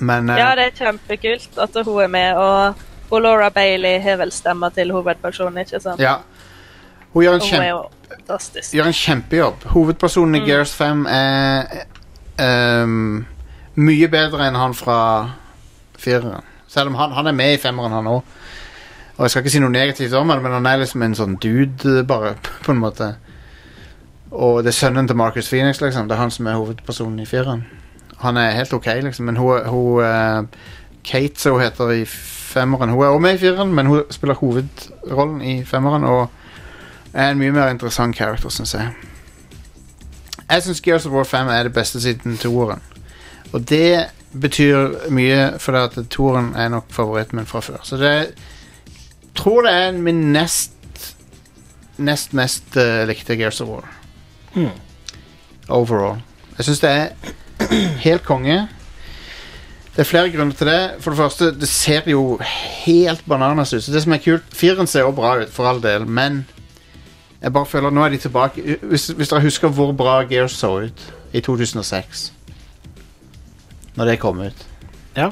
[SPEAKER 1] Men eh,
[SPEAKER 4] Ja, det er kjempekult at hun er med, og, og Laura Bailey har vel stemma til hovedpersonen, ikke sant?
[SPEAKER 1] ja. Hun gjør en,
[SPEAKER 4] Hun er
[SPEAKER 1] kjem,
[SPEAKER 4] jo fantastisk.
[SPEAKER 1] gjør en kjempejobb. Hovedpersonen i Gears 5 er eh, um, mye bedre enn han fra fireren. Selv om han, han er med i femmeren, han òg. Og jeg skal ikke si noe negativt om han, men han er liksom en sånn dude, bare, på en måte. Og det er sønnen til Marcus Phoenix, liksom. Det er han som er hovedpersonen i fireren. Han er helt ok, liksom, men hun, hun eh, Kate, som hun heter i femmeren Hun er også med i fireren, men hun spiller hovedrollen i femmeren og er en mye mer interessant character, syns jeg. Jeg syns Gears of War 5 er det beste siden toeren. Og det betyr mye, for at toeren er nok favoritten min fra før. Så det tror det er min nest nest mest eh, likte Gears of War
[SPEAKER 3] Hmm.
[SPEAKER 1] overall. Jeg syns det er helt konge. Det er flere grunner til det. For det første, det ser jo helt bananas ut. Så det som er kult Firen ser jo bra ut, for all del, men jeg bare føler nå er de tilbake Hvis, hvis dere husker hvor bra Gears så ut i 2006, når det kom ut
[SPEAKER 3] Ja.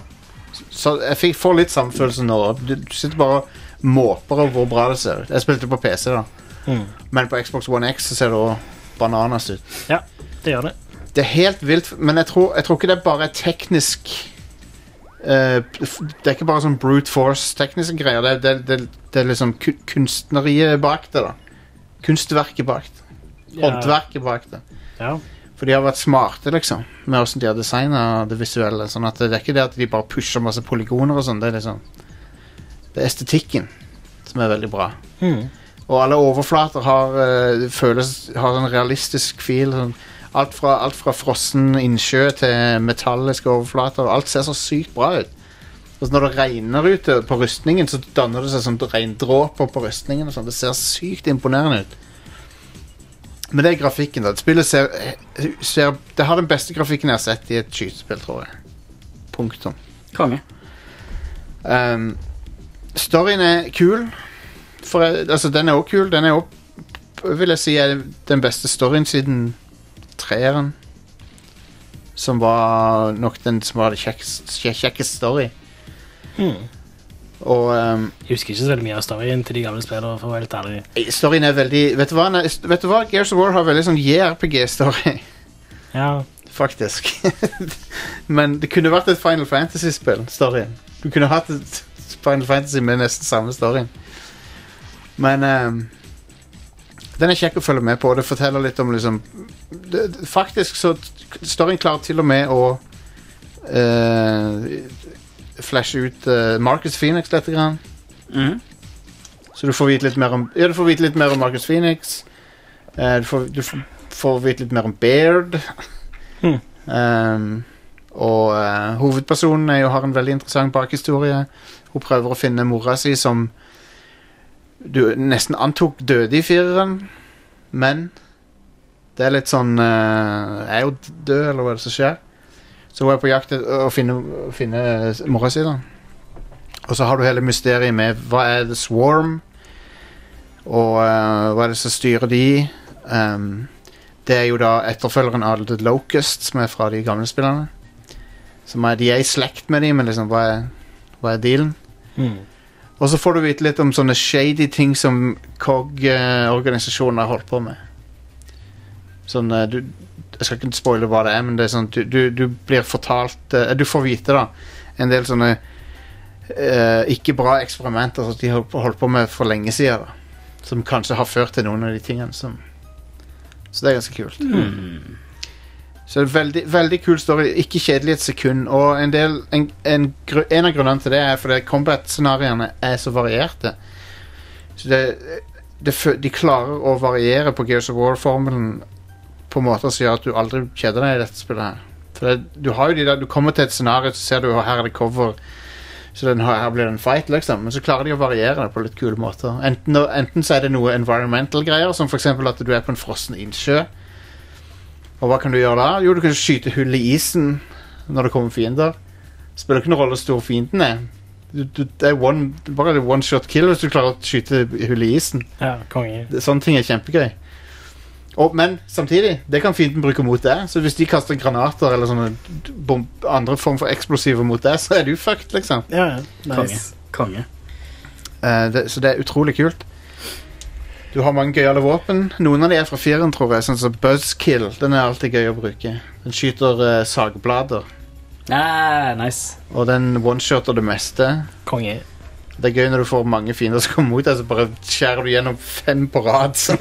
[SPEAKER 1] Så jeg fikk, får litt samfølelse nå. Du, du sitter bare og måper over hvor bra det ser ut. Jeg spilte på PC, da.
[SPEAKER 3] Mm.
[SPEAKER 1] Men på Xbox One X så ser det også bananas ut.
[SPEAKER 3] Ja, det gjør det.
[SPEAKER 1] Det er helt vilt, men jeg tror, jeg tror ikke det er bare teknisk eh, f- Det er ikke bare sånn brute force-tekniske greier. Det, det, det, det er liksom ku- kunstneriet bak det, da. Kunstverket bak det.
[SPEAKER 3] Ja.
[SPEAKER 1] Håndverket bak det.
[SPEAKER 3] Ja.
[SPEAKER 1] For de har vært smarte, liksom, med åssen de har designa det visuelle. Sånn at det er ikke det at de bare pusher masse polygoner og sånn. Det er liksom Det er estetikken som er veldig bra.
[SPEAKER 3] Mm.
[SPEAKER 1] Og alle overflater har, eh, føles, har en realistisk fil. Sånn. Alt, fra, alt fra frossen innsjø til metalliske overflater. Alt ser så sykt bra ut. Og så når det regner ute på rustningen, så danner det seg sånn regndråper på rustningen. Og sånn. det ser sykt imponerende ut. Men det er grafikken, da. Spillet ser, ser Det har den beste grafikken jeg har sett i et skytespill, tror jeg. Punktum.
[SPEAKER 2] Konge.
[SPEAKER 1] Um, storyen er Ehm, kul. For eh, altså, den er òg kul. Den er òg Vil jeg si er den beste storyen siden treeren. Som var nok den som var det kjekkest, kje- kjekkest story.
[SPEAKER 3] Hmm.
[SPEAKER 1] Og ehm,
[SPEAKER 3] Jeg husker ikke så veldig mye av storyen til de gamle spillene, for å være helt ærlig.
[SPEAKER 1] storyen er veldig Vet du hva, Nei, vet du hva? Gears of War har veldig sånn JRPG-story.
[SPEAKER 3] Ja.
[SPEAKER 1] Faktisk. Men det kunne vært et Final Fantasy-spill, storyen. Du kunne hatt et Final Fantasy med nesten samme storyen. Men ehm, den er kjekk å følge med på. og Det forteller litt om liksom det, det- Faktisk så t- storyen klarer til og med å eh, flashe ut eh, Marcus Phoenix lite grann. Så du får vite litt mer om Ja, du får vite litt mer om Marcus Phoenix. Eh, du får, du f- får vite litt mer om Baird.
[SPEAKER 3] Hmm.
[SPEAKER 1] Um, og eh, hovedpersonen er jo, har en veldig interessant bakhistorie. Hun prøver å finne mora si, som du nesten antok døde i fireren, men det er litt sånn eh, Er hun død, eller hva er det som skjer? Så hun er på jakt etter å finne, å finne mora si, da. Og så har du hele mysteriet med hva er The Swarm, og eh, hva er det som styrer de? Ehm, det er jo da etterfølgeren av The Locust, som er fra de gamle spillerne. Som er, de er i slekt med de, men liksom, hva er, hva er dealen? Og så får du vite litt om sånne shady ting som COG-organisasjonen har holdt på med. Sånn eh, du, Jeg skal ikke spoile hva det er, men det er sånn du, du, du blir fortalt eh, Du får vite, da, en del sånne eh, ikke bra eksperimenter som de har holdt på med for lenge siden. Da, som kanskje har ført til noen av de tingene som Så det er ganske kult. Så det er veldig, veldig kul story. Ikke kjedelig et sekund. Og en, del, en, en, gru- en av grunnene til det er fordi combat-scenarioene er så varierte. Så det, det, fø- de klarer å variere på Gears of War-formelen på måter som gjør at du aldri kjeder deg i dette spillet. her For det, Du har jo de der, du kommer til et scenario, så ser du at her er det cover. Så den, har- her blir det en fight, liksom. Men så klarer de å variere det på litt kule måter. Enten, enten så er det noe environmental-greier, som f.eks. at du er på en frossen innsjø. Og hva kan du gjøre da? Jo, du kan skyte hull i isen når det kommer fiender. Spiller ikke noen rolle hvor stor fienden er. Du, du, det er one, bare det er one shot kill hvis du klarer å skyte hull i isen.
[SPEAKER 3] Ja, konge.
[SPEAKER 1] Det- Sånne ting er kjempegøy. Og, men samtidig, det kan fienden bruke mot deg. Så hvis de kaster granater eller sånne bom, andre form for eksplosiver mot deg, så er du fucked, liksom.
[SPEAKER 3] Ja, ja.
[SPEAKER 2] Konge. Konge.
[SPEAKER 1] Eh, det, så det er utrolig kult. Du har mange gøyale våpen. Noen av de er fra fireren, tror jeg. Sånn som Buzzkill. Den er alltid gøy å bruke. Den skyter eh, sagblader,
[SPEAKER 2] Ah, nice.
[SPEAKER 1] og den one-shotter det meste.
[SPEAKER 3] Konge.
[SPEAKER 1] Det er gøy når du får mange fiender som kommer mot deg, så bare skjærer du gjennom fem på rad. sånn.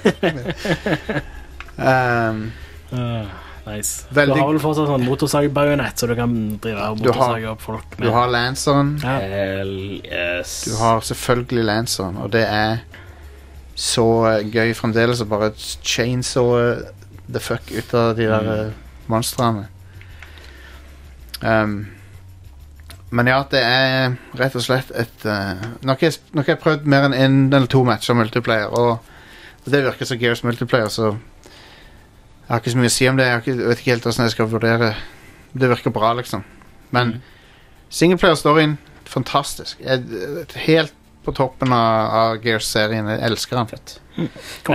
[SPEAKER 1] um,
[SPEAKER 3] Ah, nice.
[SPEAKER 1] Veldig-
[SPEAKER 3] Du har vel fortsatt sånn motorsagbajonett, så du kan drive og
[SPEAKER 1] Du har-
[SPEAKER 3] motorsage opp folk
[SPEAKER 1] du har lanceren.
[SPEAKER 2] Hell yes.
[SPEAKER 1] Du har selvfølgelig lanceren, og det er så eh, gøy fremdeles å bare chainsawe the fuck ut av de der
[SPEAKER 2] Mm.
[SPEAKER 1] mm. monstrene. Um, men ja, det er rett og slett et eh, Nå har jeg, nå har jeg prøvd mer enn en eller to matcher multiplayer, og det virker som Gears multiplayer, så jeg har ikke så mye å si om det. Jeg, har ikke, jeg vet ikke helt hvordan jeg skal vurdere Det virker bra, liksom. Men singleplayer-storyen, fantastisk. Jeg, eh, helt på toppen av, av Gears-serien. Jeg elsker den.
[SPEAKER 2] Nei,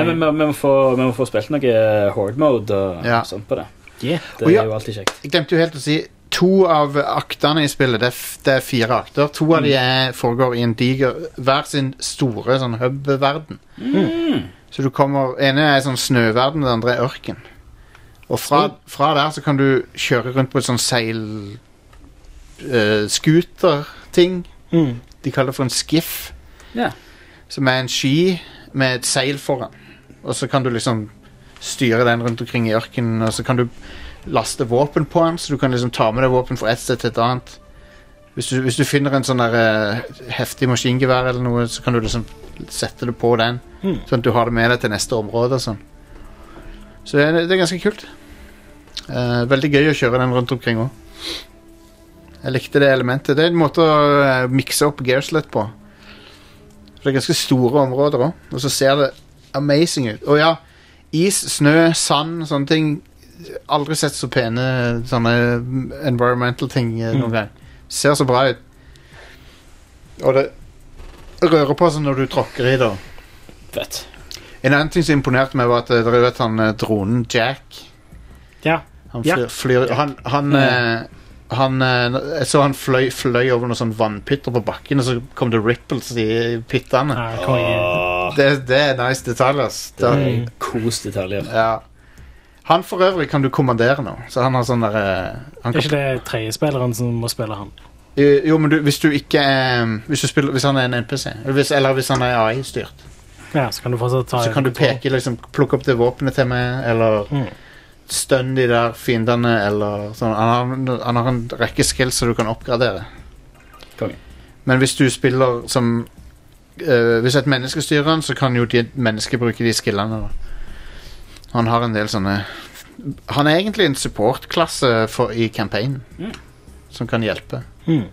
[SPEAKER 2] men vi, vi, må få, vi må få spilt noe eh, horde mode og
[SPEAKER 1] Ja.
[SPEAKER 2] sånt på det.
[SPEAKER 3] Yeah.
[SPEAKER 2] Det
[SPEAKER 1] Og ja-
[SPEAKER 2] er jo alltid kjekt.
[SPEAKER 1] Jeg glemte jo helt å si To av aktene i spillet, det er, f det er fire akter. To av de er, foregår i en diger hver sin store sånn hub-verden. Så du kommer ene er sånn snøverden, den andre er ørken. Og fra, fra der så kan du kjøre rundt på et sånn seil eh, Scooter-ting. De kaller det for en skiff.
[SPEAKER 2] Ja.
[SPEAKER 1] Som er en ski med et seil foran. Og så kan du liksom styre den rundt omkring i ørkenen, og så kan du laste våpen på den, så du kan liksom ta med deg våpen fra et sted til et annet. Hvis du, hvis du finner en sånn der eh, heftig maskingevær eller noe, så kan du liksom sette det på den,
[SPEAKER 3] Mm.
[SPEAKER 1] sånn at du har det med deg til neste område og sånn. Så det er, det er ganske kult. Eh, veldig gøy å kjøre den rundt omkring òg. Jeg likte det elementet. Det er en måte å eh, mikse opp Gears litt på. For det er ganske store områder òg, og så ser det amazing ut. Og ja, is, snø, sand, sånne ting. Aldri sett så pene sånne environmental ting eh, noen
[SPEAKER 3] Mm.
[SPEAKER 1] gang. Ser så bra ut. Og det rører på seg når du tråkker i det.
[SPEAKER 2] Fett.
[SPEAKER 1] En annen ting som imponerte meg, var at eh, dere vet han eh, dronen Jack
[SPEAKER 3] Ja.
[SPEAKER 1] Han
[SPEAKER 3] Ja.
[SPEAKER 1] flyr, flyr Han, han, eh, han eh, Jeg så han fløy, fløy over noen sånne vannpytter på bakken, og så kom det ripples i pyttene. det, det er nice detalj, ass.
[SPEAKER 2] Det er
[SPEAKER 1] Da-
[SPEAKER 2] Mm. Kos detaljer.
[SPEAKER 1] Ja. Han for øvrig kan du kommandere nå, så han har sånn der eh, han
[SPEAKER 3] Det er
[SPEAKER 1] kan,
[SPEAKER 3] ikke det tredjespilleren som må spille han.
[SPEAKER 1] Eh, Jo, men du, hvis du ikke eh, hvis, du spiller, hvis han er en NPC, eller hvis, eller hvis han er AI-styrt,
[SPEAKER 3] Ja, så kan du fortsatt ta
[SPEAKER 1] så kan du peke liksom, Plukke opp det våpenet til meg, eller stønn de der fiendene, eller sånn. Han har, han har en rekke skills som du kan oppgradere. Men hvis du spiller som eh, Hvis et menneske styrer han, så kan jo de mennesket bruke de skillene. Da. Han har en del sånne Han er egentlig en supportklasse for- i campaignen
[SPEAKER 2] Mm.
[SPEAKER 1] som kan hjelpe.
[SPEAKER 3] Mm.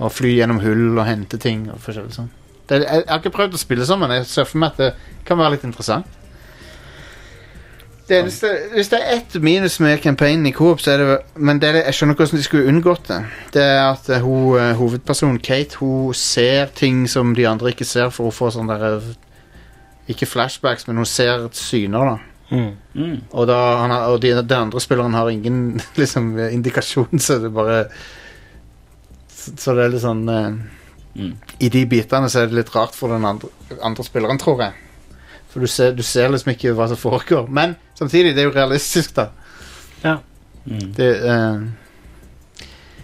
[SPEAKER 1] Og fly gjennom hull og hente ting og forskjellig sånn. Det, jeg, jeg har ikke prøvd å spille sammen, jeg ser for meg at det kan være litt interessant. Det eneste, hvis det er ett minus med campaignen i Coop, så er det Men det er, det- jeg skjønner ikke hvordan de skulle unngått det. Det er at eh, hun, eh, hovedpersonen Kate hun ser ting som de andre ikke ser, for hun får sånn derre Ikke flashbacks, men hun ser syner, da.
[SPEAKER 2] Mm.
[SPEAKER 1] Og, da, han har, og de, den andre spilleren har ingen liksom, indikasjon, så det bare Så, så det er litt sånn eh, I de bitene så er det litt rart for den andre, andre spilleren, tror jeg. For du ser, du ser liksom ikke hva som foregår. Men samtidig, det er jo realistisk, da.
[SPEAKER 3] Ja.
[SPEAKER 2] Mm.
[SPEAKER 1] Det, eh,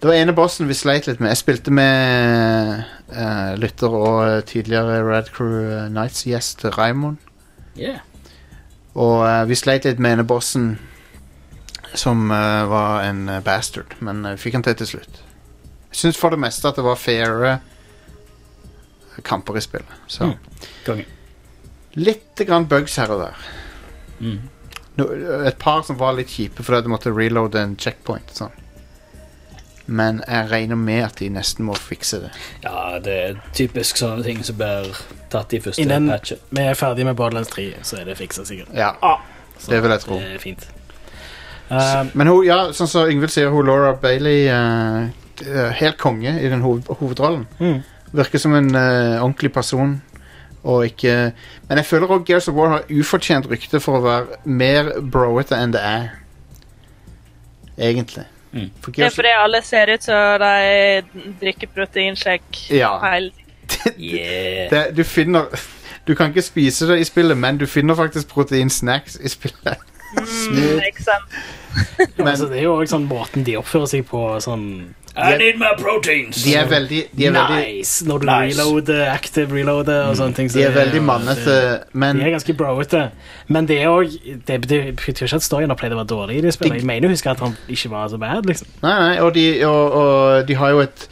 [SPEAKER 1] det var ene bossen vi sleit litt med. Jeg spilte med eh, lytter og eh, tidligere Red Crew eh, Nights-gjest Raymond.
[SPEAKER 2] Yeah.
[SPEAKER 1] Og eh, vi sleit litt med ene bossen som eh, var en eh, bastard, men eh, vi fikk han til til slutt. Jeg syns for det meste at det var faire kamper i spillet. Så.
[SPEAKER 2] Mm. Konge.
[SPEAKER 1] Litt grann bugs her og der.
[SPEAKER 2] Mm.
[SPEAKER 1] No- eh, Et par som var litt kjipe fordi du måtte reloade en checkpoint. og Sånn. Men jeg regner med at de nesten må fikse det.
[SPEAKER 2] Ja, det er typisk sånne ting som blir tatt i første
[SPEAKER 3] Innen
[SPEAKER 2] patchet.
[SPEAKER 3] vi er ferdig med Borderlands 3, så er det fiksa sikkert.
[SPEAKER 1] Ja,
[SPEAKER 2] Ah.
[SPEAKER 3] Så
[SPEAKER 1] det vil jeg tro.
[SPEAKER 3] Det er fint. Eh, Um,
[SPEAKER 1] S- Men hun, ja, sånn som Yngvild sier, hun Laura Bailey eh, d- eh, Helt konge i den hoved, hovedrollen.
[SPEAKER 3] Mm.
[SPEAKER 1] Virker som en eh, ordentlig person. Og ikke Men jeg føler òg Gears of War har ufortjent rykte for å være mer broete enn det er. Egentlig.
[SPEAKER 3] Mm.
[SPEAKER 1] For
[SPEAKER 4] Det er fordi alle ser ut som de drikker proteinshake
[SPEAKER 1] Ja.
[SPEAKER 4] hele
[SPEAKER 1] det, Du finner Du kan ikke spise det i spillet, men du finner faktisk proteinsnacks i spillet.
[SPEAKER 4] tiden. Ikke sant?
[SPEAKER 3] Men, altså, det er jo også sånn måten de oppfører seg på. Sånn,
[SPEAKER 2] I need my proteins!
[SPEAKER 1] De er veldig- de er veldig-
[SPEAKER 3] nice når du
[SPEAKER 1] Nice. Mm.
[SPEAKER 3] reloader, active reloader og sånne ting.
[SPEAKER 1] De er
[SPEAKER 3] det-
[SPEAKER 1] veldig mannete, men-
[SPEAKER 3] De er ganske broete. Men det, er også, det betyr betyr ikke at storyen opplevde å være dårlig i det spillet. Jeg mener å huske at han ikke var så bad, liksom.
[SPEAKER 1] Nei, nei, og de, og, og de har jo et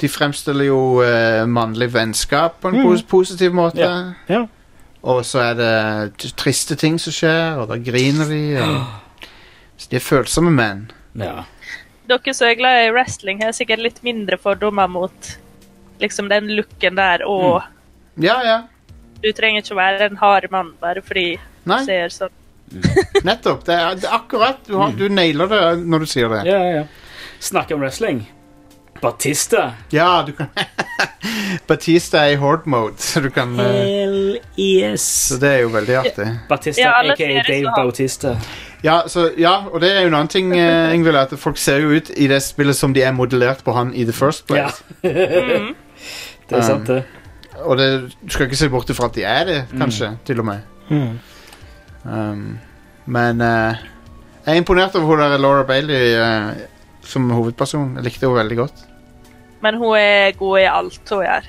[SPEAKER 1] De fremstiller jo eh, mannlig vennskap på en
[SPEAKER 3] Mm.
[SPEAKER 1] pos positiv måte.
[SPEAKER 3] Ja, ja.
[SPEAKER 1] Og så er det t- triste ting som skjer, og da griner de.
[SPEAKER 3] Ah.
[SPEAKER 1] Og... Så de er følsomme menn.
[SPEAKER 2] Ja.
[SPEAKER 4] Dere som er glad i wrestling, har sikkert litt mindre fordommer mot liksom den looken der og
[SPEAKER 1] Mm. Ja, ja.
[SPEAKER 4] Du trenger ikke å være en hard mann bare fordi du
[SPEAKER 1] Nei.
[SPEAKER 4] ser sånn
[SPEAKER 1] Nettopp. Det er, det er akkurat. Du,
[SPEAKER 3] Mm.
[SPEAKER 1] har, du nailer det når du sier det.
[SPEAKER 2] Ja, ja, ja. Snakke om wrestling. Batista.
[SPEAKER 1] Ja, du kan Batista er i horde mode, så du kan eh,
[SPEAKER 2] Hell yes.
[SPEAKER 1] Så det er jo veldig artig.
[SPEAKER 2] Batista,
[SPEAKER 4] Ja, alle
[SPEAKER 2] aka
[SPEAKER 4] ser ut som
[SPEAKER 2] Dave
[SPEAKER 4] han.
[SPEAKER 2] Bautista.
[SPEAKER 1] Ja, så, ja, og det er jo en annen ting, eh, Ingvild, at folk ser jo ut i det spillet som de er modellert på han i the first
[SPEAKER 2] Ja.
[SPEAKER 1] place.
[SPEAKER 4] Mm.
[SPEAKER 2] det er sant, det.
[SPEAKER 1] Og det, du skal ikke se bort ifra at de er det, kanskje, til og med. Um, men eh, jeg er imponert over hun der Laura Bailey eh, som hovedperson. Jeg likte henne veldig godt.
[SPEAKER 4] Men hun er god i alt hun gjør.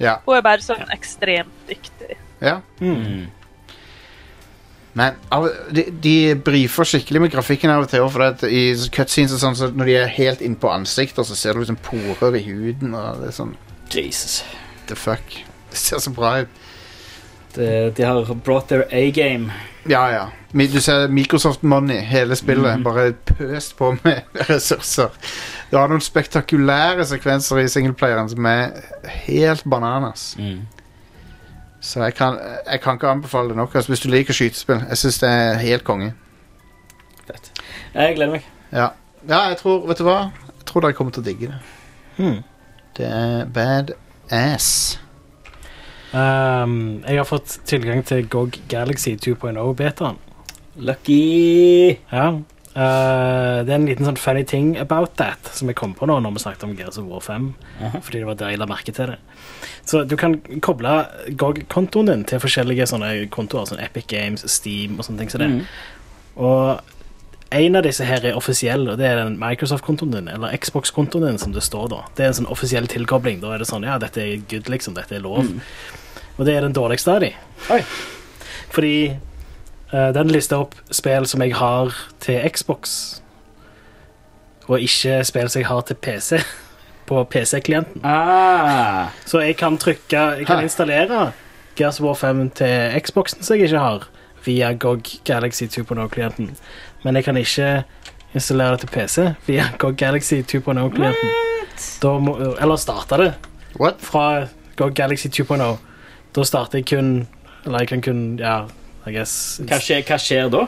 [SPEAKER 1] Ja.
[SPEAKER 4] Hun er bare sånn ekstremt dyktig.
[SPEAKER 1] ja. Mm. Men av, de, de brifer skikkelig med grafikken av og til. For at I cutscenes og sånn, så når de er helt innpå ansikter, så ser du liksom porer i huden. Og det er sånn
[SPEAKER 2] Jesus.
[SPEAKER 1] The fuck. Det ser så bra ut.
[SPEAKER 2] De, de har brought their A-game.
[SPEAKER 1] Ja, ja. Mi- Du ser Microsoft Money, hele spillet. Bare pøst på med ressurser. Du har noen spektakulære sekvenser i singleplayeren som er helt bananas.
[SPEAKER 2] Mm.
[SPEAKER 1] Så jeg kan, jeg kan ikke anbefale det nok. Altså, hvis du liker skytespill. Jeg syns det er helt konge.
[SPEAKER 2] Jeg gleder meg.
[SPEAKER 1] Ja. ja, jeg tror Vet du hva? Jeg tror Mm. dere kommer til å digge det. Det er bad ass.
[SPEAKER 3] Um, jeg har fått tilgang til GOG Galaxy 2.0-betaen.
[SPEAKER 2] Lucky!
[SPEAKER 3] Ja. Eh, det er en liten sånn funny thing about that som jeg kom på nå når vi snakket om Gears of War 5. Fordi det var der jeg la merke til det. Så du kan koble GOG-kontoen din til forskjellige sånne kontoer, som Epic Games, Steam og sånne ting som det.
[SPEAKER 2] Mhm.
[SPEAKER 3] Og en av disse her er offisiell, og det er den Microsoft-kontoen din, eller Xbox-kontoen din, som det står da. Det er en sånn offisiell tilkobling. Da er det sånn, ja, dette er good, liksom. Dette er lov.
[SPEAKER 2] Mm.
[SPEAKER 3] Og det er den dårligste av de. Fordi eh, den lister opp spill som jeg har til Xbox, og ikke spill som jeg har til PC. På PC-klienten.
[SPEAKER 2] Ah.
[SPEAKER 3] Så jeg kan trykke Jeg kan
[SPEAKER 2] Hæ.
[SPEAKER 3] installere Gears of War 5 til Xboxen som jeg ikke har, via GOG Galaxy 2.0-klienten. Men jeg kan ikke installere det til PC via GOG Galaxy 2.0-klienten. Da må- Eller starte det fra GOG Galaxy 2.0. Da starter jeg kun Eller jeg kan kun Ja, I guess
[SPEAKER 2] Hva skjer, hva skjer da?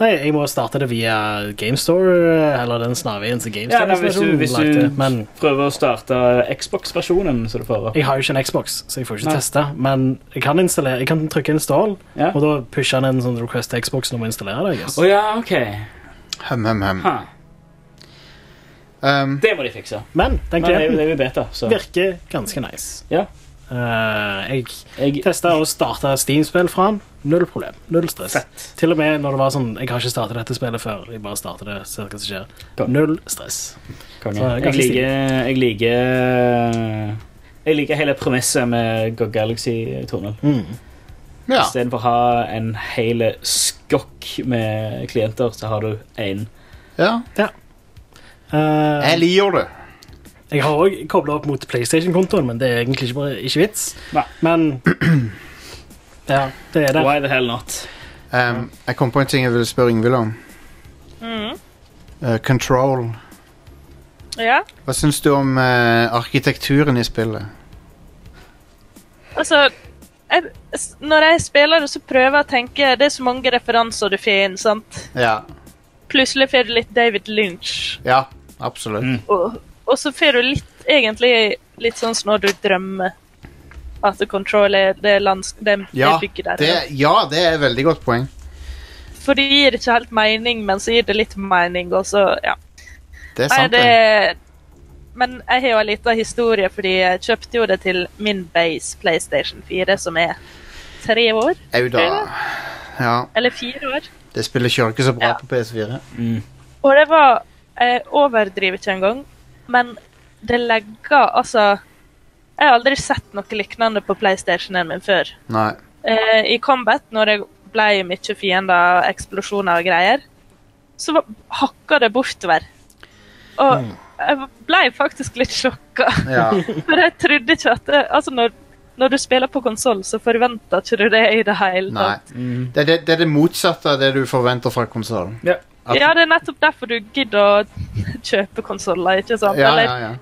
[SPEAKER 3] Nei, jeg må starte det via GameStore, eller den snarveien til
[SPEAKER 2] Ja, nei, hvis du,
[SPEAKER 3] GameStore-installasjonen
[SPEAKER 2] hvis
[SPEAKER 3] lagde.
[SPEAKER 2] du
[SPEAKER 3] Men
[SPEAKER 2] prøver å starte Xbox-versjonen, så du får opp.
[SPEAKER 3] Jeg har jo ikke en Xbox, så jeg får ikke
[SPEAKER 2] Nei.
[SPEAKER 3] teste. Men jeg kan, installere, jeg kan trykke install, og da pusher han en sånn request til Xbox når vi installerer det. jeg guess.
[SPEAKER 2] Å ja, ok.
[SPEAKER 1] Hem, hem, hem.
[SPEAKER 2] Ha.
[SPEAKER 1] Um,
[SPEAKER 2] Det må de fikse.
[SPEAKER 3] Men
[SPEAKER 2] Men
[SPEAKER 3] den
[SPEAKER 2] det er jo-
[SPEAKER 3] klienten
[SPEAKER 2] det er jo beta, så.
[SPEAKER 3] virker ganske nice.
[SPEAKER 2] Ja.
[SPEAKER 3] Eh, jeg testa og starta Steam-spill fra den. Null problem. Null stress. Til og med når det var sånn Jeg har ikke starta dette spillet før. Jeg bare starter det, ser hva som skjer. Null stress.
[SPEAKER 2] Konge.
[SPEAKER 3] Så,
[SPEAKER 2] Jeg
[SPEAKER 3] ganske
[SPEAKER 2] liker, jeg liker Jeg liker hele premisset med Go Galaxy 2.0.
[SPEAKER 3] Mm.
[SPEAKER 1] Ja.
[SPEAKER 2] Istedenfor å ha en hel skokk med klienter, så har du én.
[SPEAKER 1] Ja.
[SPEAKER 3] jeg
[SPEAKER 1] liker det.
[SPEAKER 3] Eh, Jeg har òg kobla opp mot PlayStation-kontoen, men det er egentlig ikke, bare, ikke vits. Men ja, det er det.
[SPEAKER 2] Why the hell not?
[SPEAKER 1] Um, jeg kom på en ting jeg ville spørre Ingvild om.
[SPEAKER 4] Mm.
[SPEAKER 1] Eh, Control.
[SPEAKER 4] Ja.
[SPEAKER 1] Hva syns du om eh, arkitekturen i spillet?
[SPEAKER 4] Altså, jeg, s- når jeg spiller det, så prøver jeg å tenke Det er så mange referanser du får inn, sant?
[SPEAKER 1] Ja.
[SPEAKER 4] Plutselig får du litt David Lynch,
[SPEAKER 1] Ja, absolutt.
[SPEAKER 4] og, og så får du litt egentlig litt sånn som når du drømmer. At the control er det, lands, det,
[SPEAKER 1] Ja,
[SPEAKER 4] det bygget der.
[SPEAKER 1] det, ja, det er et veldig godt poeng.
[SPEAKER 4] For det gir ikke helt mening, men så gir det litt mening, og så Ja.
[SPEAKER 1] Det er sant,
[SPEAKER 4] Nei,
[SPEAKER 1] det.
[SPEAKER 4] Men jeg har jo en liten historie, fordi jeg kjøpte jo det til min base PlayStation 4, som er tre år.
[SPEAKER 1] Au da. Ja,
[SPEAKER 4] Eller fire år.
[SPEAKER 1] det spillet kjører ikke så bra på PS4.
[SPEAKER 4] Og det var Jeg overdriver ikke engang, men det legger Altså Jeg har aldri sett noe lignende på PlayStationen min før.
[SPEAKER 1] Nei.
[SPEAKER 4] Eh, I Combat, når det ble mye fiender, eksplosjoner og greier, så var- hakka det bortover. Og
[SPEAKER 1] Mm.
[SPEAKER 4] jeg ble faktisk litt sjokka.
[SPEAKER 1] Ja.
[SPEAKER 4] For jeg trodde ikke at det, Altså, når, når du spiller på konsoll, så forventer ikke du det i det hele
[SPEAKER 1] Nei.
[SPEAKER 4] tatt. Mm.
[SPEAKER 1] Det, er det, det er det motsatte av det du forventer fra konsollen.
[SPEAKER 2] Ja.
[SPEAKER 1] At-
[SPEAKER 4] Ja, det er nettopp derfor du gidder å kjøpe konsoller, ikke sant?
[SPEAKER 1] Ja,
[SPEAKER 4] Eller-
[SPEAKER 1] ja, ja.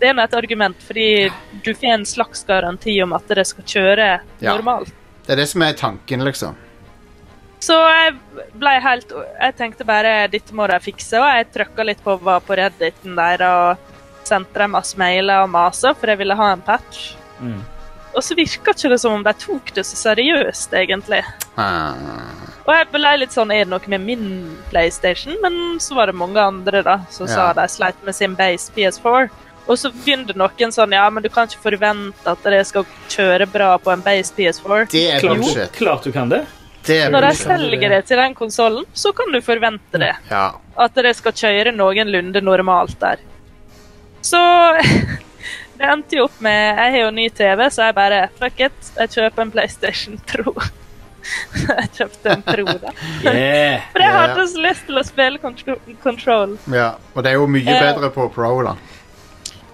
[SPEAKER 4] Det er nå et argument, fordi du får en slags garanti om at det skal kjøre
[SPEAKER 1] Ja.
[SPEAKER 4] normalt.
[SPEAKER 1] Det er det som er tanken, liksom.
[SPEAKER 4] Så jeg ble helt Jeg tenkte bare dette må de fikse, og jeg trykka litt på hva på Redditen der og sendte dem masse mailer og maser, for jeg ville ha en patch.
[SPEAKER 2] Mm.
[SPEAKER 4] Og så virka ikke det som om de tok det så seriøst, egentlig.
[SPEAKER 1] Ah.
[SPEAKER 4] Og jeg ble litt sånn Er det noe med min PlayStation? Men så var det mange andre da som
[SPEAKER 1] Ja.
[SPEAKER 4] sa de sleit med sin base PS4. Og så begynte noen sånn Ja, men du kan ikke forvente at det skal kjøre bra på en base PS4. Jo,
[SPEAKER 2] klart, klart du kan det.
[SPEAKER 1] Det
[SPEAKER 4] Når de selger det til den konsollen, så kan du forvente det.
[SPEAKER 1] Ja.
[SPEAKER 4] At det skal kjøre noenlunde normalt der. Så det endte jo opp med Jeg har jo ny TV, så jeg bare Fuck it, jeg kjøper en PlayStation Pro. jeg kjøpte en Pro, da.
[SPEAKER 2] Yeah.
[SPEAKER 4] For jeg hadde
[SPEAKER 1] Ja.
[SPEAKER 4] så lyst til å spille kontro- Control.
[SPEAKER 1] ja. Og det er jo mye
[SPEAKER 4] Eh.
[SPEAKER 1] bedre på Pro, da.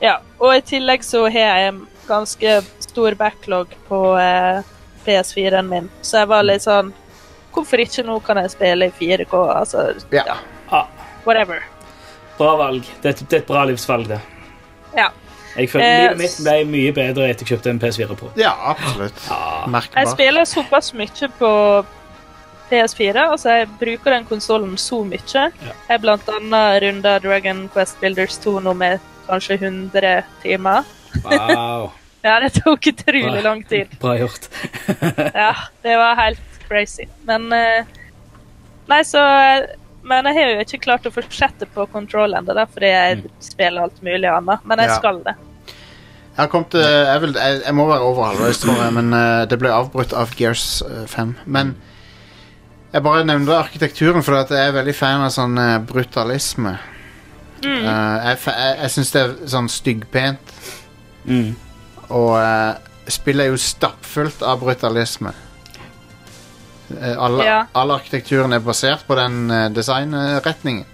[SPEAKER 4] Ja, og i tillegg så har jeg en ganske stor backlog på eh, PS4-en min, så jeg var litt sånn Hvorfor ikke nå kan jeg spille i 4K? Altså,
[SPEAKER 1] ja.
[SPEAKER 2] Ah,
[SPEAKER 4] whatever.
[SPEAKER 2] bra valg. Det er, et- det er et bra livsvalg, det.
[SPEAKER 4] Ja.
[SPEAKER 2] Jeg føler
[SPEAKER 4] Eh,
[SPEAKER 2] Livet mitt ble mye bedre etter jeg kjøpte en PS4 Pro.
[SPEAKER 1] Ja, absolutt.
[SPEAKER 4] Jeg spiller såpass mye på PS4. Altså, jeg bruker den konsollen så mye. Jeg blant annet runda Dragon Quest Builders 2 nå med kanskje 100 timer.
[SPEAKER 2] Wow.
[SPEAKER 4] Ja, det tok utrolig lang tid.
[SPEAKER 2] Bra gjort.
[SPEAKER 4] Ja, det var helt crazy. Men eh, Nei, så eh, Men jeg har jo ikke klart å fortsette på Control ennå, da, fordi jeg spiller alt mulig annet. Men jeg
[SPEAKER 1] Ja.
[SPEAKER 4] skal det.
[SPEAKER 1] Jeg, har kommet, eh, jeg, vil, jeg, jeg må være over halvveis, tror jeg, men eh, det ble avbrutt av Gears eh, 5. Men jeg bare nevner arkitekturen, for at jeg er veldig fan av sånn eh, brutalisme. Eh, jeg fa- jeg, jeg syns det er sånn styggpent. Og eh, spillet er jo stappfullt av brutalisme. Eh, alle,
[SPEAKER 4] Ja.
[SPEAKER 1] all arkitekturen er basert på den eh, designretningen.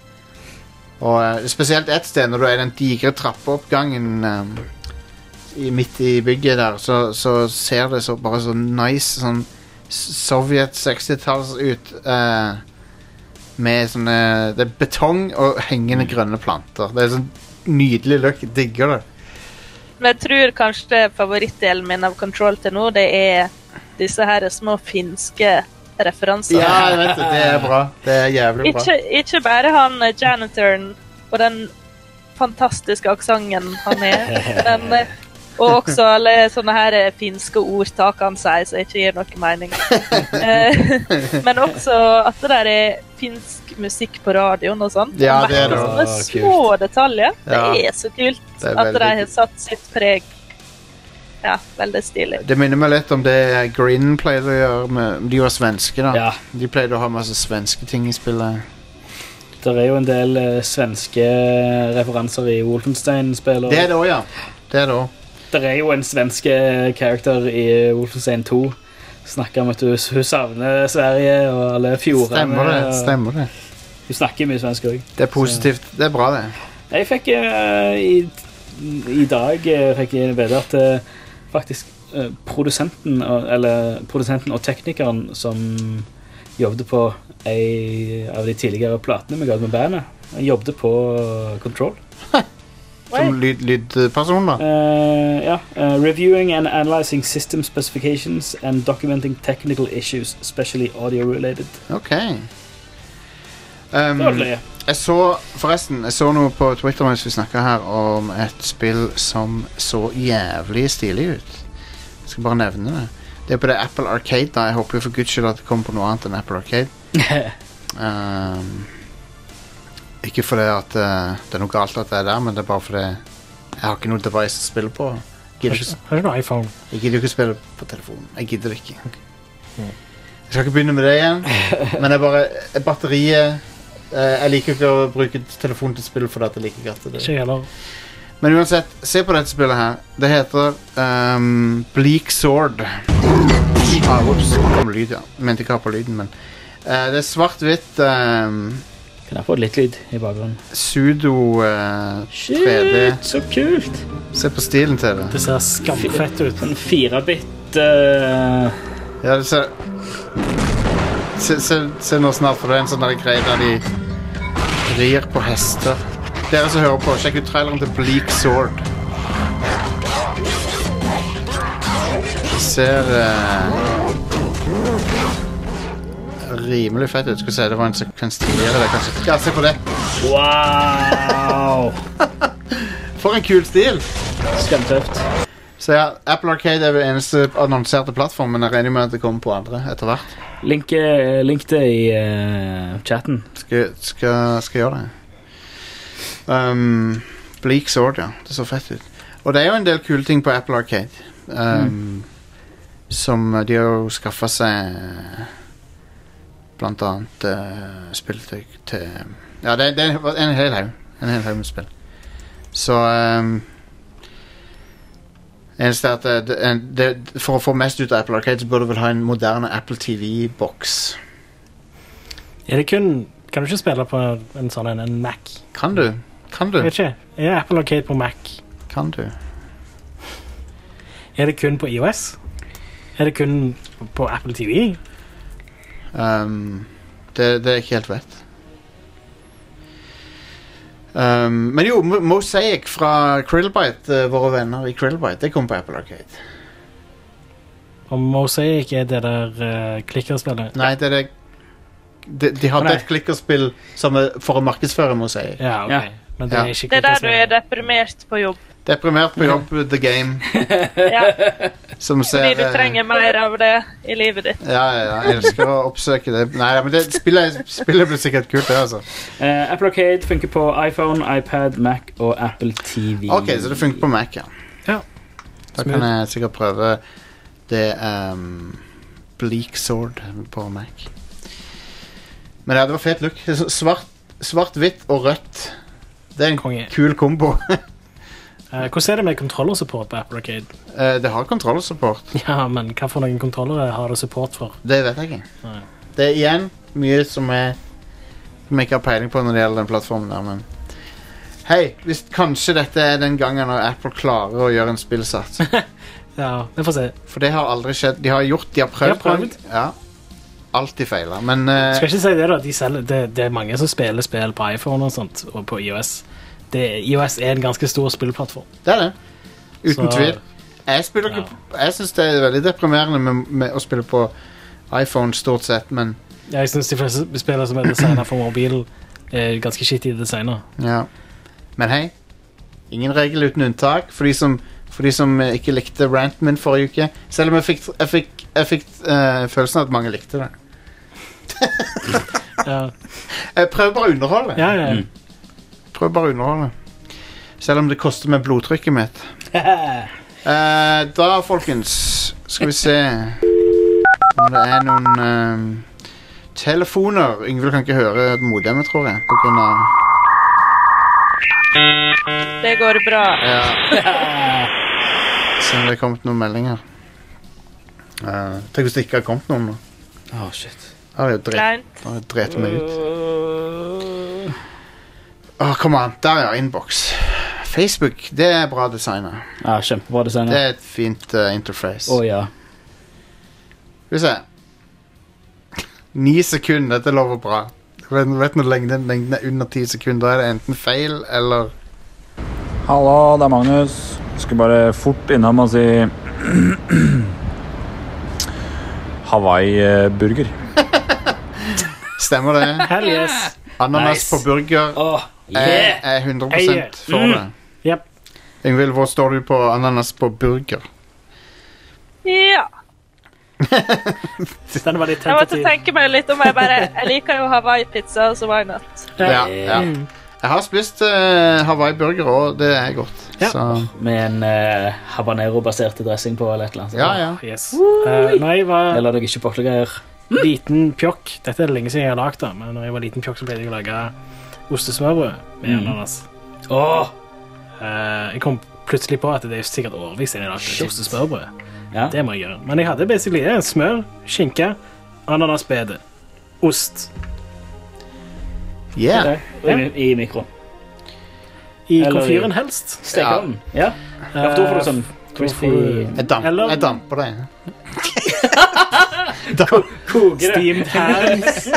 [SPEAKER 1] Og eh, spesielt ett sted, når du er i den digre trappeoppgangen eh, i, midt i bygget der, så, så ser det så bare så nice sånn s- Sovjet 60-talls ut. eh, med sånne Det er betong og hengende grønne planter. Det er sånn nydelig look. Jeg Digger det.
[SPEAKER 4] Men jeg tror kanskje favorittdelen min av Control til nå, det er disse her små finske referansene.
[SPEAKER 1] Ja, jeg vet det. Det er bra. Det er jævlig bra.
[SPEAKER 4] Ikke, ikke bare han eh, janitoren og den fantastiske aksenten han er, men eh, og også alle sånne her eh, finske ordtak han sier som ikke gir noe mening. Eh, men også at det der er finsk musikk på radioen og sånn.
[SPEAKER 1] Ja, det er det.
[SPEAKER 4] Sånne
[SPEAKER 1] Ah,
[SPEAKER 4] små detaljer. Det
[SPEAKER 1] Ja.
[SPEAKER 4] er så kult
[SPEAKER 1] Det er
[SPEAKER 4] at de
[SPEAKER 1] veldig
[SPEAKER 4] har satt sitt preg. Ja, veldig stilig.
[SPEAKER 1] Det minner meg litt om det Green pleide å gjøre med De var svenske, da. De pleide å ha masse svenske ting i spillet.
[SPEAKER 2] Det er jo en del eh, svenske referanser i Wolfenstein-spillet.
[SPEAKER 1] Det er det òg, ja. Det er det òg.
[SPEAKER 2] Det er jo en svenske character i Wolfenstein 2. Snakker om at hun, hun savner Sverige og alle fjordene.
[SPEAKER 1] Stemmer det.
[SPEAKER 2] og-
[SPEAKER 1] stemmer det
[SPEAKER 2] Hun snakker mye svensk òg.
[SPEAKER 1] Det er positivt. Det er bra, det.
[SPEAKER 2] Jeg fikk eh, i, i dag eh, fikk jeg vite at eh, faktisk eh, produsenten, og- eller produsenten og teknikeren som jobbet på ei av de tidligere platene vi ga ut med bandet, han jobbet på Control.
[SPEAKER 1] Som lyd- lydperson, da.
[SPEAKER 2] Eh, ja. eh, reviewing and analyzing system specifications and documenting technical issues, especially audio related.
[SPEAKER 1] Ok. Um,
[SPEAKER 2] Det var løye.
[SPEAKER 1] jeg så forresten, jeg så noe på Twitter mens vi snakket her om et spill som så jævlig stilig ut. Jeg skal bare nevne det. Det er på det Apple Arcade, da. Jeg håper jo for guds skyld at det kommer på noe annet enn Apple Arcade. um, ikke fordi at eh, det er noe galt at det er der, men det er bare fordi jeg har ikke noe device å spille på.
[SPEAKER 3] Har
[SPEAKER 1] Gidder
[SPEAKER 3] ikke
[SPEAKER 1] ikke,
[SPEAKER 3] har ikke noe iPhone.
[SPEAKER 1] jeg gidder ikke å spille på telefonen. Jeg gidder ikke. Jeg skal ikke begynne med det igjen, men jeg bare eh, Batteriet eh, Jeg liker ikke å bruke telefonen til spill fordi at jeg liker ikke at det
[SPEAKER 3] Ikke heller.
[SPEAKER 1] Men uansett, se på dette spillet her. Det heter ehm, Bleak Sword. Ah, Ops. Det kom lyd, ja. Jeg mente ikke ha på lyden, men eh, Det er svart-hvitt ehm,
[SPEAKER 2] Kan jeg få litt lyd i bakgrunnen?
[SPEAKER 1] Sudo eh, 3D.
[SPEAKER 2] så kult!
[SPEAKER 1] Se på stilen til det.
[SPEAKER 3] Det ser skamfett ut.
[SPEAKER 2] En firebit uh...
[SPEAKER 1] Ja, det ser Se, se, se nå snart, for det er en sånn der greie der de rir på hester. Dere som hører på, sjekk ut traileren til Bleak Sword. Det ser eh, rimelig fett ut. Skal vi se, det var en sekvens tidligere der, kanskje. Ja, se på det.
[SPEAKER 2] Wow!
[SPEAKER 1] For en kul stil!
[SPEAKER 2] Skamtøft.
[SPEAKER 1] Så ja, Apple Arcade er den eneste annonserte plattformen. Jeg regner med at det kommer på andre etter hvert.
[SPEAKER 2] Link, eh, link det i eh, chatten.
[SPEAKER 1] Skal, skal, skal gjøre det. Um, Bleak Sword, ja. Det så fett ut. Og det er jo en del kule ting på Apple Arcade. Um, Som eh, de har jo skaffa seg eh, Blant annet eh, spill til, til Ja, det, det er en hel haug. En hel haug med spill. Så um, Eneste er at eh, det, en- det, For å få mest ut av Apple Arcade, så bør du vel ha en moderne Apple TV-boks.
[SPEAKER 3] Er det kun Kan du ikke spille på en sånn en, en Mac?
[SPEAKER 1] Kan du? Kan du?
[SPEAKER 3] Jeg vet ikke. Er Apple Arcade på Mac?
[SPEAKER 1] Kan du?
[SPEAKER 3] Er det kun på IOS? Er det kun på Apple TV?
[SPEAKER 1] Um, det, det er ikke helt vett. Um, men jo, Mo- Mosaic fra Krillbite, eh, våre venner i Krillbite, det kom på Apple Arcade.
[SPEAKER 3] Og Mosaic er det der eh, klikkerspillet?
[SPEAKER 1] Nei, det er det De, de hadde
[SPEAKER 3] Å, nei.
[SPEAKER 1] et klikkerspill som er for å markedsføre Mosaic.
[SPEAKER 3] Ja, ok. Men det er
[SPEAKER 1] altså.
[SPEAKER 3] ikke
[SPEAKER 4] Det er der du er deprimert på jobb.
[SPEAKER 1] Deprimert på jobb, The Game.
[SPEAKER 4] Ja,
[SPEAKER 1] Som ser
[SPEAKER 4] fordi du
[SPEAKER 1] eh,
[SPEAKER 4] trenger mer av det i livet ditt.
[SPEAKER 1] Ja, ja, ja, jeg elsker å oppsøke det. Nei, men det, spillet, spillet blir sikkert kult, det, altså.
[SPEAKER 2] Eh, Apple Arcade funker på iPhone, iPad, Mac og Apple TV.
[SPEAKER 1] Ok, så det funker på Mac, ja.
[SPEAKER 3] Ja.
[SPEAKER 1] Da kan jeg sikkert prøve det ehm, Bleak Sword på Mac. Men ja, det var fet look. Det er så Svart, svart hvitt og rødt. Det er en kul kombo.
[SPEAKER 3] Eh, hvordan er det med kontrollersupport på Apple Arcade?
[SPEAKER 1] Eh, det har kontrollsupport.
[SPEAKER 3] Ja, men hva for noen kontrollere har det support for?
[SPEAKER 1] Det vet jeg ikke. Det er igjen mye som jeg, som jeg ikke har peiling på når det gjelder den plattformen der, men Hei, hvis kanskje dette er den gangen når Apple klarer å gjøre en spillsats.
[SPEAKER 3] Ja, vi får se.
[SPEAKER 1] For det har aldri skjedd. De har gjort, de har prøvd.
[SPEAKER 3] De har prøvd.
[SPEAKER 1] Ja. Alltid feiler, men eh,
[SPEAKER 3] Skal ikke si det, da. De selger, det, det er mange som spiller spill på iPhone og sånt, og på iOS. Det, iOS er en ganske stor spillplattform.
[SPEAKER 1] Det er det. Uten
[SPEAKER 3] Så-
[SPEAKER 1] tvil. Jeg, spiller ikke, jeg syns det er veldig deprimerende med, med å spille på iPhone stort sett, men
[SPEAKER 3] Ja, Jeg syns de fleste spillere som er designet for mobil, er ganske skittige designer.
[SPEAKER 1] ja. Men hei, ingen regel uten unntak. For de som, for de som eh, ikke likte ranten min forrige uke. Selv om jeg fikk, jeg fikk, jeg fikk eh, følelsen av at mange likte det. Jeg prøver bare å underholde.
[SPEAKER 3] Ja, ja.
[SPEAKER 1] Prøver bare å underholde. Selv om det koster meg blodtrykket mitt. Eh, da, folkens, skal vi se om det er noen eh, telefoner. Yngvild kan ikke høre modemet, tror jeg. På grunn av
[SPEAKER 4] Det går bra.
[SPEAKER 1] Ja. Se om det er kommet noen meldinger. Eh, tenk hvis det ikke har kommet noen. nå.
[SPEAKER 2] Å, shit.
[SPEAKER 1] Da har jeg jo
[SPEAKER 4] Kleint.
[SPEAKER 1] drept, da har jeg drept meg ut. Åh, Kom an. Der, ja. Innboks. Facebook, det er bra designa.
[SPEAKER 2] Ja, kjempebra design.
[SPEAKER 1] Det er et fint eh, interface.
[SPEAKER 2] Å ja.
[SPEAKER 1] Skal vi se. Ni sekunder, dette lover bra. Vet, vet når lengden, lengden er under ti sekunder, da er det enten feil eller
[SPEAKER 13] Hallo, det er Magnus. Jeg skulle bare fort innom og si Hawaii-burger.
[SPEAKER 1] Stemmer det?
[SPEAKER 3] Hell yes.
[SPEAKER 1] Ananas
[SPEAKER 3] Nice.
[SPEAKER 1] på burger
[SPEAKER 3] yeah.
[SPEAKER 1] er, er 100
[SPEAKER 3] Eier.
[SPEAKER 1] for
[SPEAKER 3] Mm.
[SPEAKER 1] det. Yngvild, hvor står du på ananas på burger?
[SPEAKER 4] Ja.
[SPEAKER 3] Den var litt
[SPEAKER 4] Jeg måtte
[SPEAKER 3] tentativ.
[SPEAKER 4] tenke meg litt om jeg bare Jeg liker jo Hawaii-pizza, så why not?
[SPEAKER 1] Ja, ja. Jeg har spist eh, Hawaii-burger, og det er godt. Så.
[SPEAKER 2] Med en eh, habanero-basert dressing på eller et eller annet.
[SPEAKER 1] Ja, ja.
[SPEAKER 3] Yes. Eh, når jeg var
[SPEAKER 2] Eller deg ikke portlegreier.
[SPEAKER 3] liten pjokk Dette er det lenge siden jeg har lagd det, men når jeg var liten pjokk, så pleide jeg å lage ostesmørbrød med
[SPEAKER 2] Mm.
[SPEAKER 3] ananas.
[SPEAKER 2] Åh!
[SPEAKER 3] Eh, jeg kom plutselig på at det er sikkert årevis siden jeg har lagd ostesmørbrød. Det må jeg gjøre. Men jeg hadde basically eh, smør, skinke, ananasbede, ost.
[SPEAKER 1] Yeah.
[SPEAKER 2] Og I, mi- I mikro.
[SPEAKER 3] I
[SPEAKER 2] Eller i-
[SPEAKER 3] komfyren helst. Eh,
[SPEAKER 2] Stekeovnen. Ja. ja. for Da får du
[SPEAKER 1] Eh,
[SPEAKER 2] sånn crispy
[SPEAKER 1] Jeg, damp, jeg damper det.
[SPEAKER 3] Steamed hams.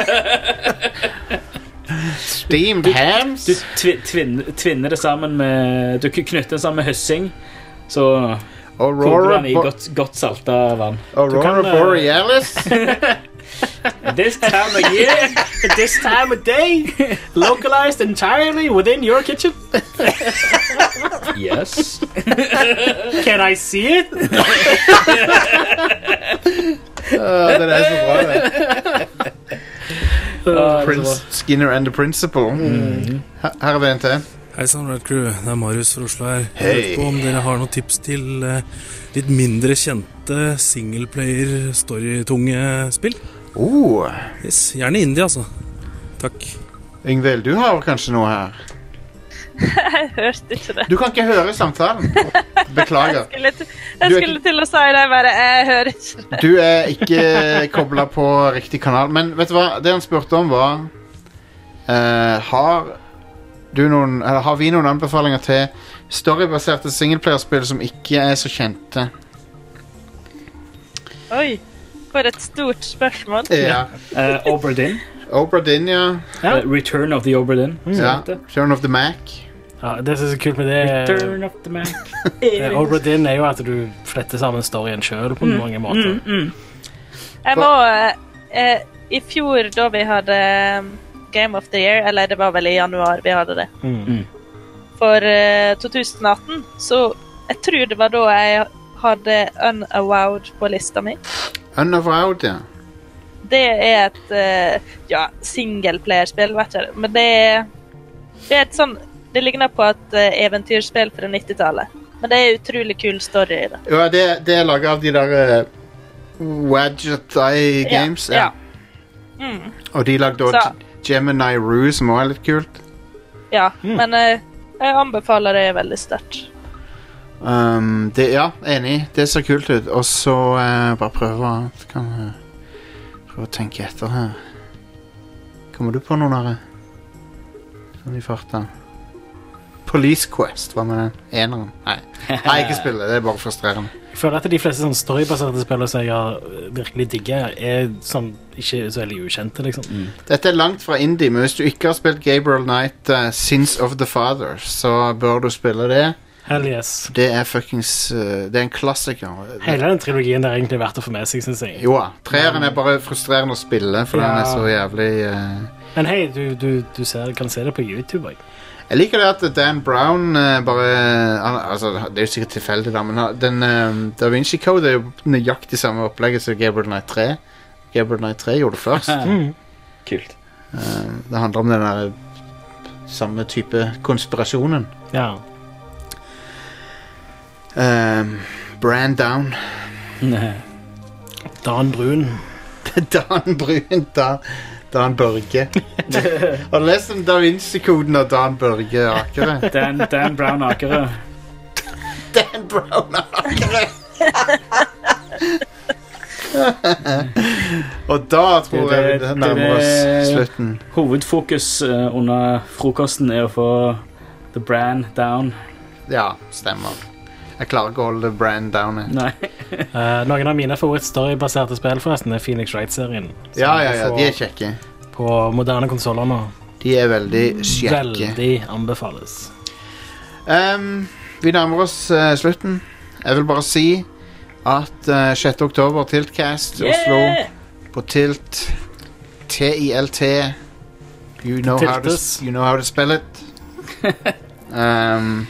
[SPEAKER 1] Steamed hams?
[SPEAKER 2] Du, du tvi, tvin, tvinner det sammen med Du knytter det sammen med høssing, så koker
[SPEAKER 1] Aurora
[SPEAKER 2] den i
[SPEAKER 1] Bo-
[SPEAKER 2] godt, godt salta vann.
[SPEAKER 1] Aurora
[SPEAKER 2] eh, Du kan, eh,
[SPEAKER 1] Borealis?
[SPEAKER 2] This time of year,
[SPEAKER 3] this time of day, localized entirely within your kitchen.
[SPEAKER 2] Yes.
[SPEAKER 3] Can I see it?
[SPEAKER 1] Ja, den er så bra, det. Prince, Skinner and the Principle. Her, her er vi en til.
[SPEAKER 14] Hei sann, Red Crew. Det er Marius fra Oslo her. Jeg
[SPEAKER 1] Hei.
[SPEAKER 14] vet på om dere har noen tips til eh, litt mindre kjente singleplayer-storytunge spill?
[SPEAKER 1] Oh.
[SPEAKER 14] Yes, gjerne indie, altså. Takk.
[SPEAKER 1] Yngvild, du har kanskje noe her?
[SPEAKER 4] Jeg hørte ikke det.
[SPEAKER 1] Du kan ikke høre samtalen. Beklager.
[SPEAKER 4] Jeg skulle, til, jeg
[SPEAKER 1] Du er
[SPEAKER 4] skulle til å si det, jeg bare Jeg hører ikke.
[SPEAKER 1] Du er ikke kobla på riktig kanal. Men vet du hva? Det han spurte om, var eh, Har du noen Eller har vi noen anbefalinger til storybaserte singelplayerspill som ikke er så kjente?
[SPEAKER 4] Oi, for et stort spørsmål.
[SPEAKER 1] Ja.
[SPEAKER 2] Uh, Oberdin.
[SPEAKER 1] Oberdin, ja.
[SPEAKER 2] Eh, Return of the Oberdin.
[SPEAKER 3] Mm.
[SPEAKER 2] som
[SPEAKER 1] ja.
[SPEAKER 2] det heter.
[SPEAKER 1] Turn of the Mac.
[SPEAKER 3] Ja, det som er så kult med det
[SPEAKER 2] Return of the Mac.
[SPEAKER 3] eh, Obra Dinn, er jo at du fletter sammen storyen sjøl på
[SPEAKER 4] Mm,
[SPEAKER 3] mange måter.
[SPEAKER 4] Jeg må eh, eh, I fjor, um,
[SPEAKER 1] Mm.
[SPEAKER 4] da vi hadde eh, Game of the Year, eller det var vel i januar vi hadde det, for eh, 2018, så jeg tror det var da jeg hadde Unavowed på lista mi.
[SPEAKER 1] Unavowed, ja.
[SPEAKER 4] Det er et eh, ja, singleplayerspill, vet jeg. Men det er, det er et sånn Det ligner på et eh, eventyrspill fra 90-tallet. Men det er utrolig kul story i det.
[SPEAKER 1] ja det, det er laga av de der eh, Wadget Eye
[SPEAKER 4] Ja,
[SPEAKER 1] Games.
[SPEAKER 4] ja. Mm.
[SPEAKER 1] Og de lagde
[SPEAKER 4] Så-
[SPEAKER 1] også Gemini Rue, som også er litt kult.
[SPEAKER 4] Ja,
[SPEAKER 1] Hmm.
[SPEAKER 4] men eh, jeg anbefaler det veldig sterkt.
[SPEAKER 1] Um, det, ja, enig. Det ser kult ut. Og så eh, bare prøve å kan, eh, Prøve å tenke etter her. Kommer du på noen av det? Sånn i farta. Police Quest, hva med den? Eneren? Nei. Nei, ikke spill det. Det er bare frustrerende.
[SPEAKER 3] Jeg føler at de fleste sånn storybaserte spillene som jeg har virkelig digger, er sånn ikke så veldig ukjente, liksom.
[SPEAKER 2] Mm.
[SPEAKER 1] Dette er langt fra indie, men hvis du ikke har spilt Gabriel Knight eh, Sins of the Father, så bør du spille det.
[SPEAKER 3] Hell yes.
[SPEAKER 1] Det er fuckings eh, Det er en klassiker.
[SPEAKER 3] Hele den trilogien der er egentlig verdt å få med seg, synes jeg.
[SPEAKER 1] Jo da. Treeren er bare frustrerende å spille, for den
[SPEAKER 3] Ja.
[SPEAKER 1] er så jævlig eh,
[SPEAKER 3] Men hei, du, du, du ser, kan se det på YouTube òg.
[SPEAKER 1] Jeg liker det at Dan Brown eh, bare han, altså, Det er jo sikkert tilfeldig, da, men han- den, eh, Da Vinci Code er jo nøyaktig samme opplegget som Gabriel Knight 3. Gabriel Knight 3 gjorde det først.
[SPEAKER 2] Mm. Kult.
[SPEAKER 1] Eh, det handler om den der samme type konspirasjonen.
[SPEAKER 3] Ja.
[SPEAKER 1] Um, Brand down.
[SPEAKER 3] Dan Brun.
[SPEAKER 1] Dan Brun. Da, Dan Børge. Har du lest om Da Vinci-koden og Dan Børge Akere?
[SPEAKER 2] Dan, Dan Brown Akere.
[SPEAKER 1] Dan Brown Akere. og da tror jeg vi nærmer oss slutten.
[SPEAKER 2] Hovedfokus eh, under frokosten er å få the brand down.
[SPEAKER 1] Ja, stemmer. Jeg klarer ikke å holde brand down. jeg.
[SPEAKER 3] Eh, noen av mine favoritt-storybaserte spill forresten er Phoenix Wright-serien. som
[SPEAKER 1] Ja, ja, ja,
[SPEAKER 3] jeg får
[SPEAKER 1] de er kjekke.
[SPEAKER 3] På moderne konsoller nå.
[SPEAKER 1] De er veldig kjekke.
[SPEAKER 3] Veldig anbefales.
[SPEAKER 1] Ehm, vi nærmer oss eh, slutten. Jeg vil bare si at eh, 6. oktober Tiltcast
[SPEAKER 2] Yeah!
[SPEAKER 4] Eh,
[SPEAKER 1] Oslo på Tilt TILT You know how to,
[SPEAKER 2] Tiltes.
[SPEAKER 1] you know how to spell it. Ehm,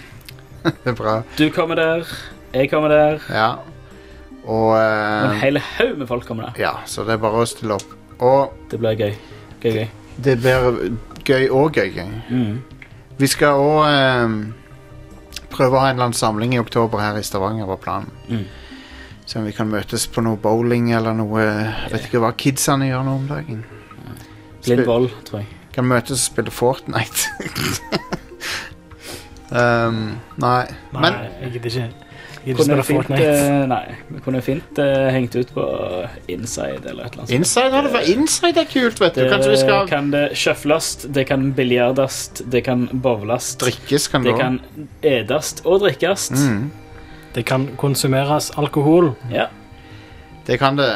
[SPEAKER 1] det er bra.
[SPEAKER 2] Du kommer der, jeg kommer der.
[SPEAKER 1] Ja. Og
[SPEAKER 2] og En
[SPEAKER 1] eh,
[SPEAKER 2] hel haug med folk kommer der.
[SPEAKER 1] Ja, så det er bare å stille opp. Og
[SPEAKER 2] Det blir gøy. Gøy, gøy. Mm.
[SPEAKER 1] det blir gøy og gøy, gøy. Vi skal òg prøve å ha en eller annen samling i oktober her i Stavanger, var planen.
[SPEAKER 2] Mm.
[SPEAKER 1] Se om vi kan møtes på noe bowling eller noe Jeg vet ikke hva kidsene gjør nå om dagen.
[SPEAKER 2] Blind vold, tror jeg.
[SPEAKER 1] Kan møtes og spille Fortnite. um, nei.
[SPEAKER 3] Nei,
[SPEAKER 1] Men
[SPEAKER 3] jeg gidder ikke. Jeg gidder ikke
[SPEAKER 2] Kunne
[SPEAKER 3] spille
[SPEAKER 2] fint,
[SPEAKER 3] Fortnite.
[SPEAKER 2] eh, nei, vi kunne fint eh, hengt ut på Inside eller et eller annet. sånt.
[SPEAKER 1] Inside, hadde vært- Inside er kult, vet du.
[SPEAKER 2] Altså, Det
[SPEAKER 1] Kanskje vi skal
[SPEAKER 2] kan det sjøflast, det kan biljardast, det kan bowlast.
[SPEAKER 1] Drikkes kan det også.
[SPEAKER 2] det kan edast og drikkast.
[SPEAKER 1] Mm.
[SPEAKER 3] Det kan konsumeres alkohol.
[SPEAKER 2] Ja.
[SPEAKER 1] Det kan det.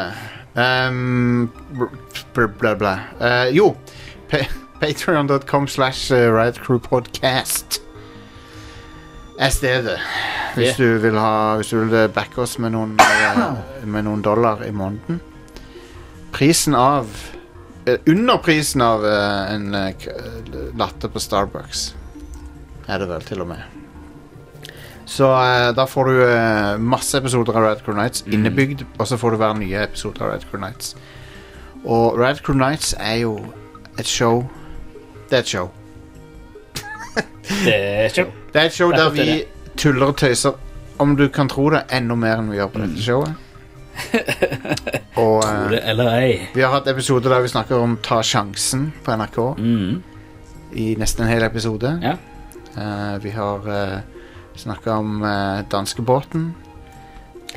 [SPEAKER 1] Um, bla, bla, bla. Eh, jo. Pa- Patreon.com slash uh, Riotcrewpodcast er stedet. Hvis
[SPEAKER 2] Yeah.
[SPEAKER 1] du vil ha Hvis du vil backe oss med noen, eh, med noen dollar i måneden. Prisen av eh, Under prisen av eh, en eh, k- latte på Starbucks er det vel, til og med. Så eh, da får du eh, masse episoder av Rad Crew Nights innebygd, og så får du hver nye episode av Rad Crew Nights. Og Rad Crew Nights er jo et show Det er et show.
[SPEAKER 2] Det er et show.
[SPEAKER 1] Det er et show
[SPEAKER 2] Det er
[SPEAKER 1] der
[SPEAKER 2] godt, det
[SPEAKER 1] vi tuller og tøyser, om du kan tro det, enda mer enn vi gjør på dette showet. Og eh,
[SPEAKER 2] Mm. det eller ei.
[SPEAKER 1] vi har hatt episoder der vi snakker om Ta sjansen på NRK.
[SPEAKER 2] Mm.
[SPEAKER 1] I nesten en hel episode. Eh, vi har uh, snakka om eh, danskebåten.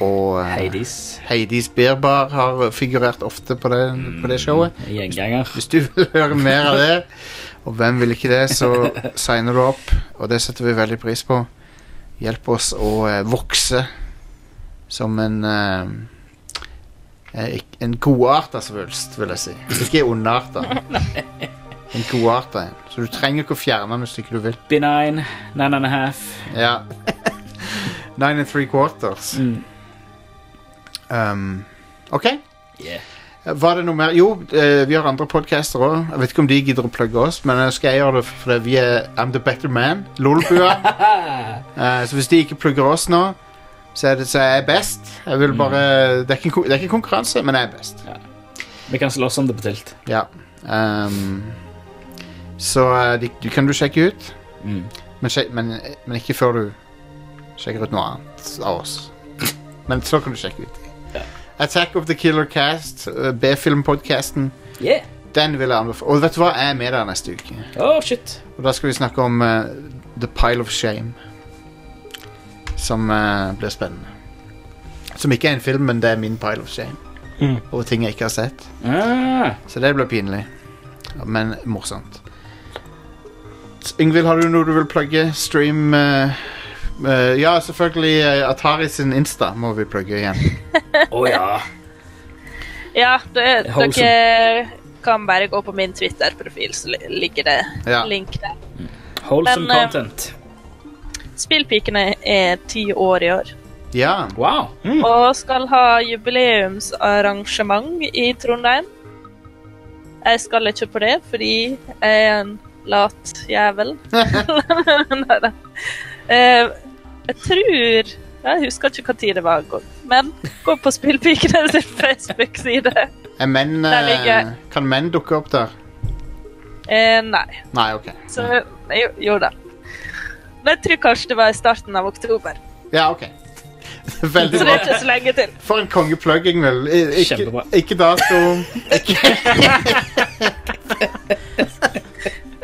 [SPEAKER 1] Og eh,
[SPEAKER 2] Hades.
[SPEAKER 1] Hades Beer Bar har figurert ofte på det, på
[SPEAKER 2] Mm.
[SPEAKER 1] det showet.
[SPEAKER 2] Gjenganger.
[SPEAKER 1] Hvis du vil høre mer av det, og hvem vil ikke det, så signer du opp. Og det setter vi veldig pris på. Hjelp oss å eh, vokse som en eh, eh, ikk- En godarta svulst, vil jeg si. Ikke ondarta. En godarta en. Så du trenger ikke å fjerne den hvis ikke du vil.
[SPEAKER 2] Benign, nine and a half.
[SPEAKER 1] Ja.
[SPEAKER 2] Mm.
[SPEAKER 1] Nine and three quarters. Um, ok.
[SPEAKER 2] Yeah.
[SPEAKER 1] Var det noe mer? Jo, eh, vi har andre podcaster òg. Jeg vet ikke om de gidder å plugge oss, men eh, skal jeg gjøre det fordi vi er I'm the better man. Lolbua. Eh, så hvis de ikke plugger oss nå, så er, det, så er jeg best. Jeg vil bare det, er ikke, en kon- det er ikke en konkurranse, men jeg er best.
[SPEAKER 2] Vi kan slåss om det på tilt.
[SPEAKER 1] Ja. Ehm, så eh, de, de kan du sjekke ut,
[SPEAKER 2] Mm.
[SPEAKER 1] men, sjek, men, men ikke før du sjekker ut noe annet av oss. Men så kan du sjekke ut. Attack of the Killer Cast, eh, B-filmpodcasten.
[SPEAKER 2] Yeah.
[SPEAKER 1] Den vil jeg anbefale. Og vet du hva, jeg er med der neste uke.
[SPEAKER 2] Oh, shit.
[SPEAKER 1] Og da skal vi snakke om eh, The Pile of Shame. Som eh, blir spennende. Som ikke er en film, men det er min pile of shame.
[SPEAKER 3] Mm.
[SPEAKER 1] Over ting jeg ikke har sett.
[SPEAKER 2] Ah.
[SPEAKER 1] Så det blir pinlig. Men morsomt. S- Yngvild, har du noe du vil plugge? Stream eh, eh, Ja, selvfølgelig eh, Atari sin Insta må vi plugge igjen.
[SPEAKER 2] Å ja.
[SPEAKER 4] Ja, det,
[SPEAKER 1] Wholesome.
[SPEAKER 4] dere kan bare gå på min Twitter-profil, så li- ligger det
[SPEAKER 1] Ja.
[SPEAKER 4] link der.
[SPEAKER 2] Wholesome
[SPEAKER 4] Men, eh,
[SPEAKER 2] content.
[SPEAKER 4] Spillpikene er ti år i år.
[SPEAKER 1] Ja.
[SPEAKER 2] Wow.
[SPEAKER 4] Og skal ha jubileumsarrangement i Trondheim. Jeg skal ikke på det, fordi jeg er en lat jævel. Nei da. Eh, Jeg tror Jeg husker ikke hva tid det var, gått, men gå på Spillpikene sin Facebook-side.
[SPEAKER 1] Er menn,
[SPEAKER 4] Der
[SPEAKER 1] eh,
[SPEAKER 4] ligger-
[SPEAKER 1] kan menn dukke opp der?
[SPEAKER 4] Eh, Nei.
[SPEAKER 1] Nei, OK.
[SPEAKER 4] Så jo, jo da. Men Jeg tror kanskje det var i starten av oktober.
[SPEAKER 1] Ja, OK. Veldig
[SPEAKER 4] så det
[SPEAKER 1] bra.
[SPEAKER 4] er ikke så lenge til.
[SPEAKER 1] For en kongeplugg, Ingvild. I- Ikke,
[SPEAKER 2] Kjempebra.
[SPEAKER 1] ikke dato.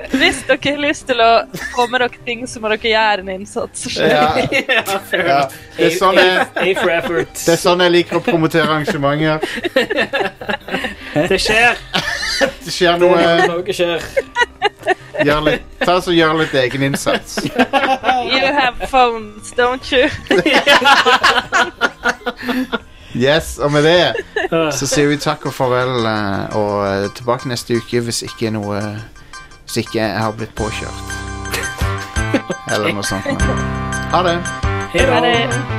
[SPEAKER 4] Hvis dere har lyst til å få med dere ting, så må dere gjøre en innsats.
[SPEAKER 1] Ja. Ja. Det er sånn jeg,
[SPEAKER 2] A for effort.
[SPEAKER 1] det er sånn jeg liker å promotere arrangementer.
[SPEAKER 2] Det skjer.
[SPEAKER 1] Det skjer
[SPEAKER 2] Noe,
[SPEAKER 1] noe.
[SPEAKER 2] skjer.
[SPEAKER 1] Gjør litt, ta så gjør litt egen innsats.
[SPEAKER 4] You have phones, don't you?
[SPEAKER 1] Yes, og med det så sier vi takk og farvel, eh, og eh, tilbake neste uke hvis ikke noe Hvis ikke jeg har blitt påkjørt. Eller noe sånt. noe. Ha det.
[SPEAKER 4] Ha det.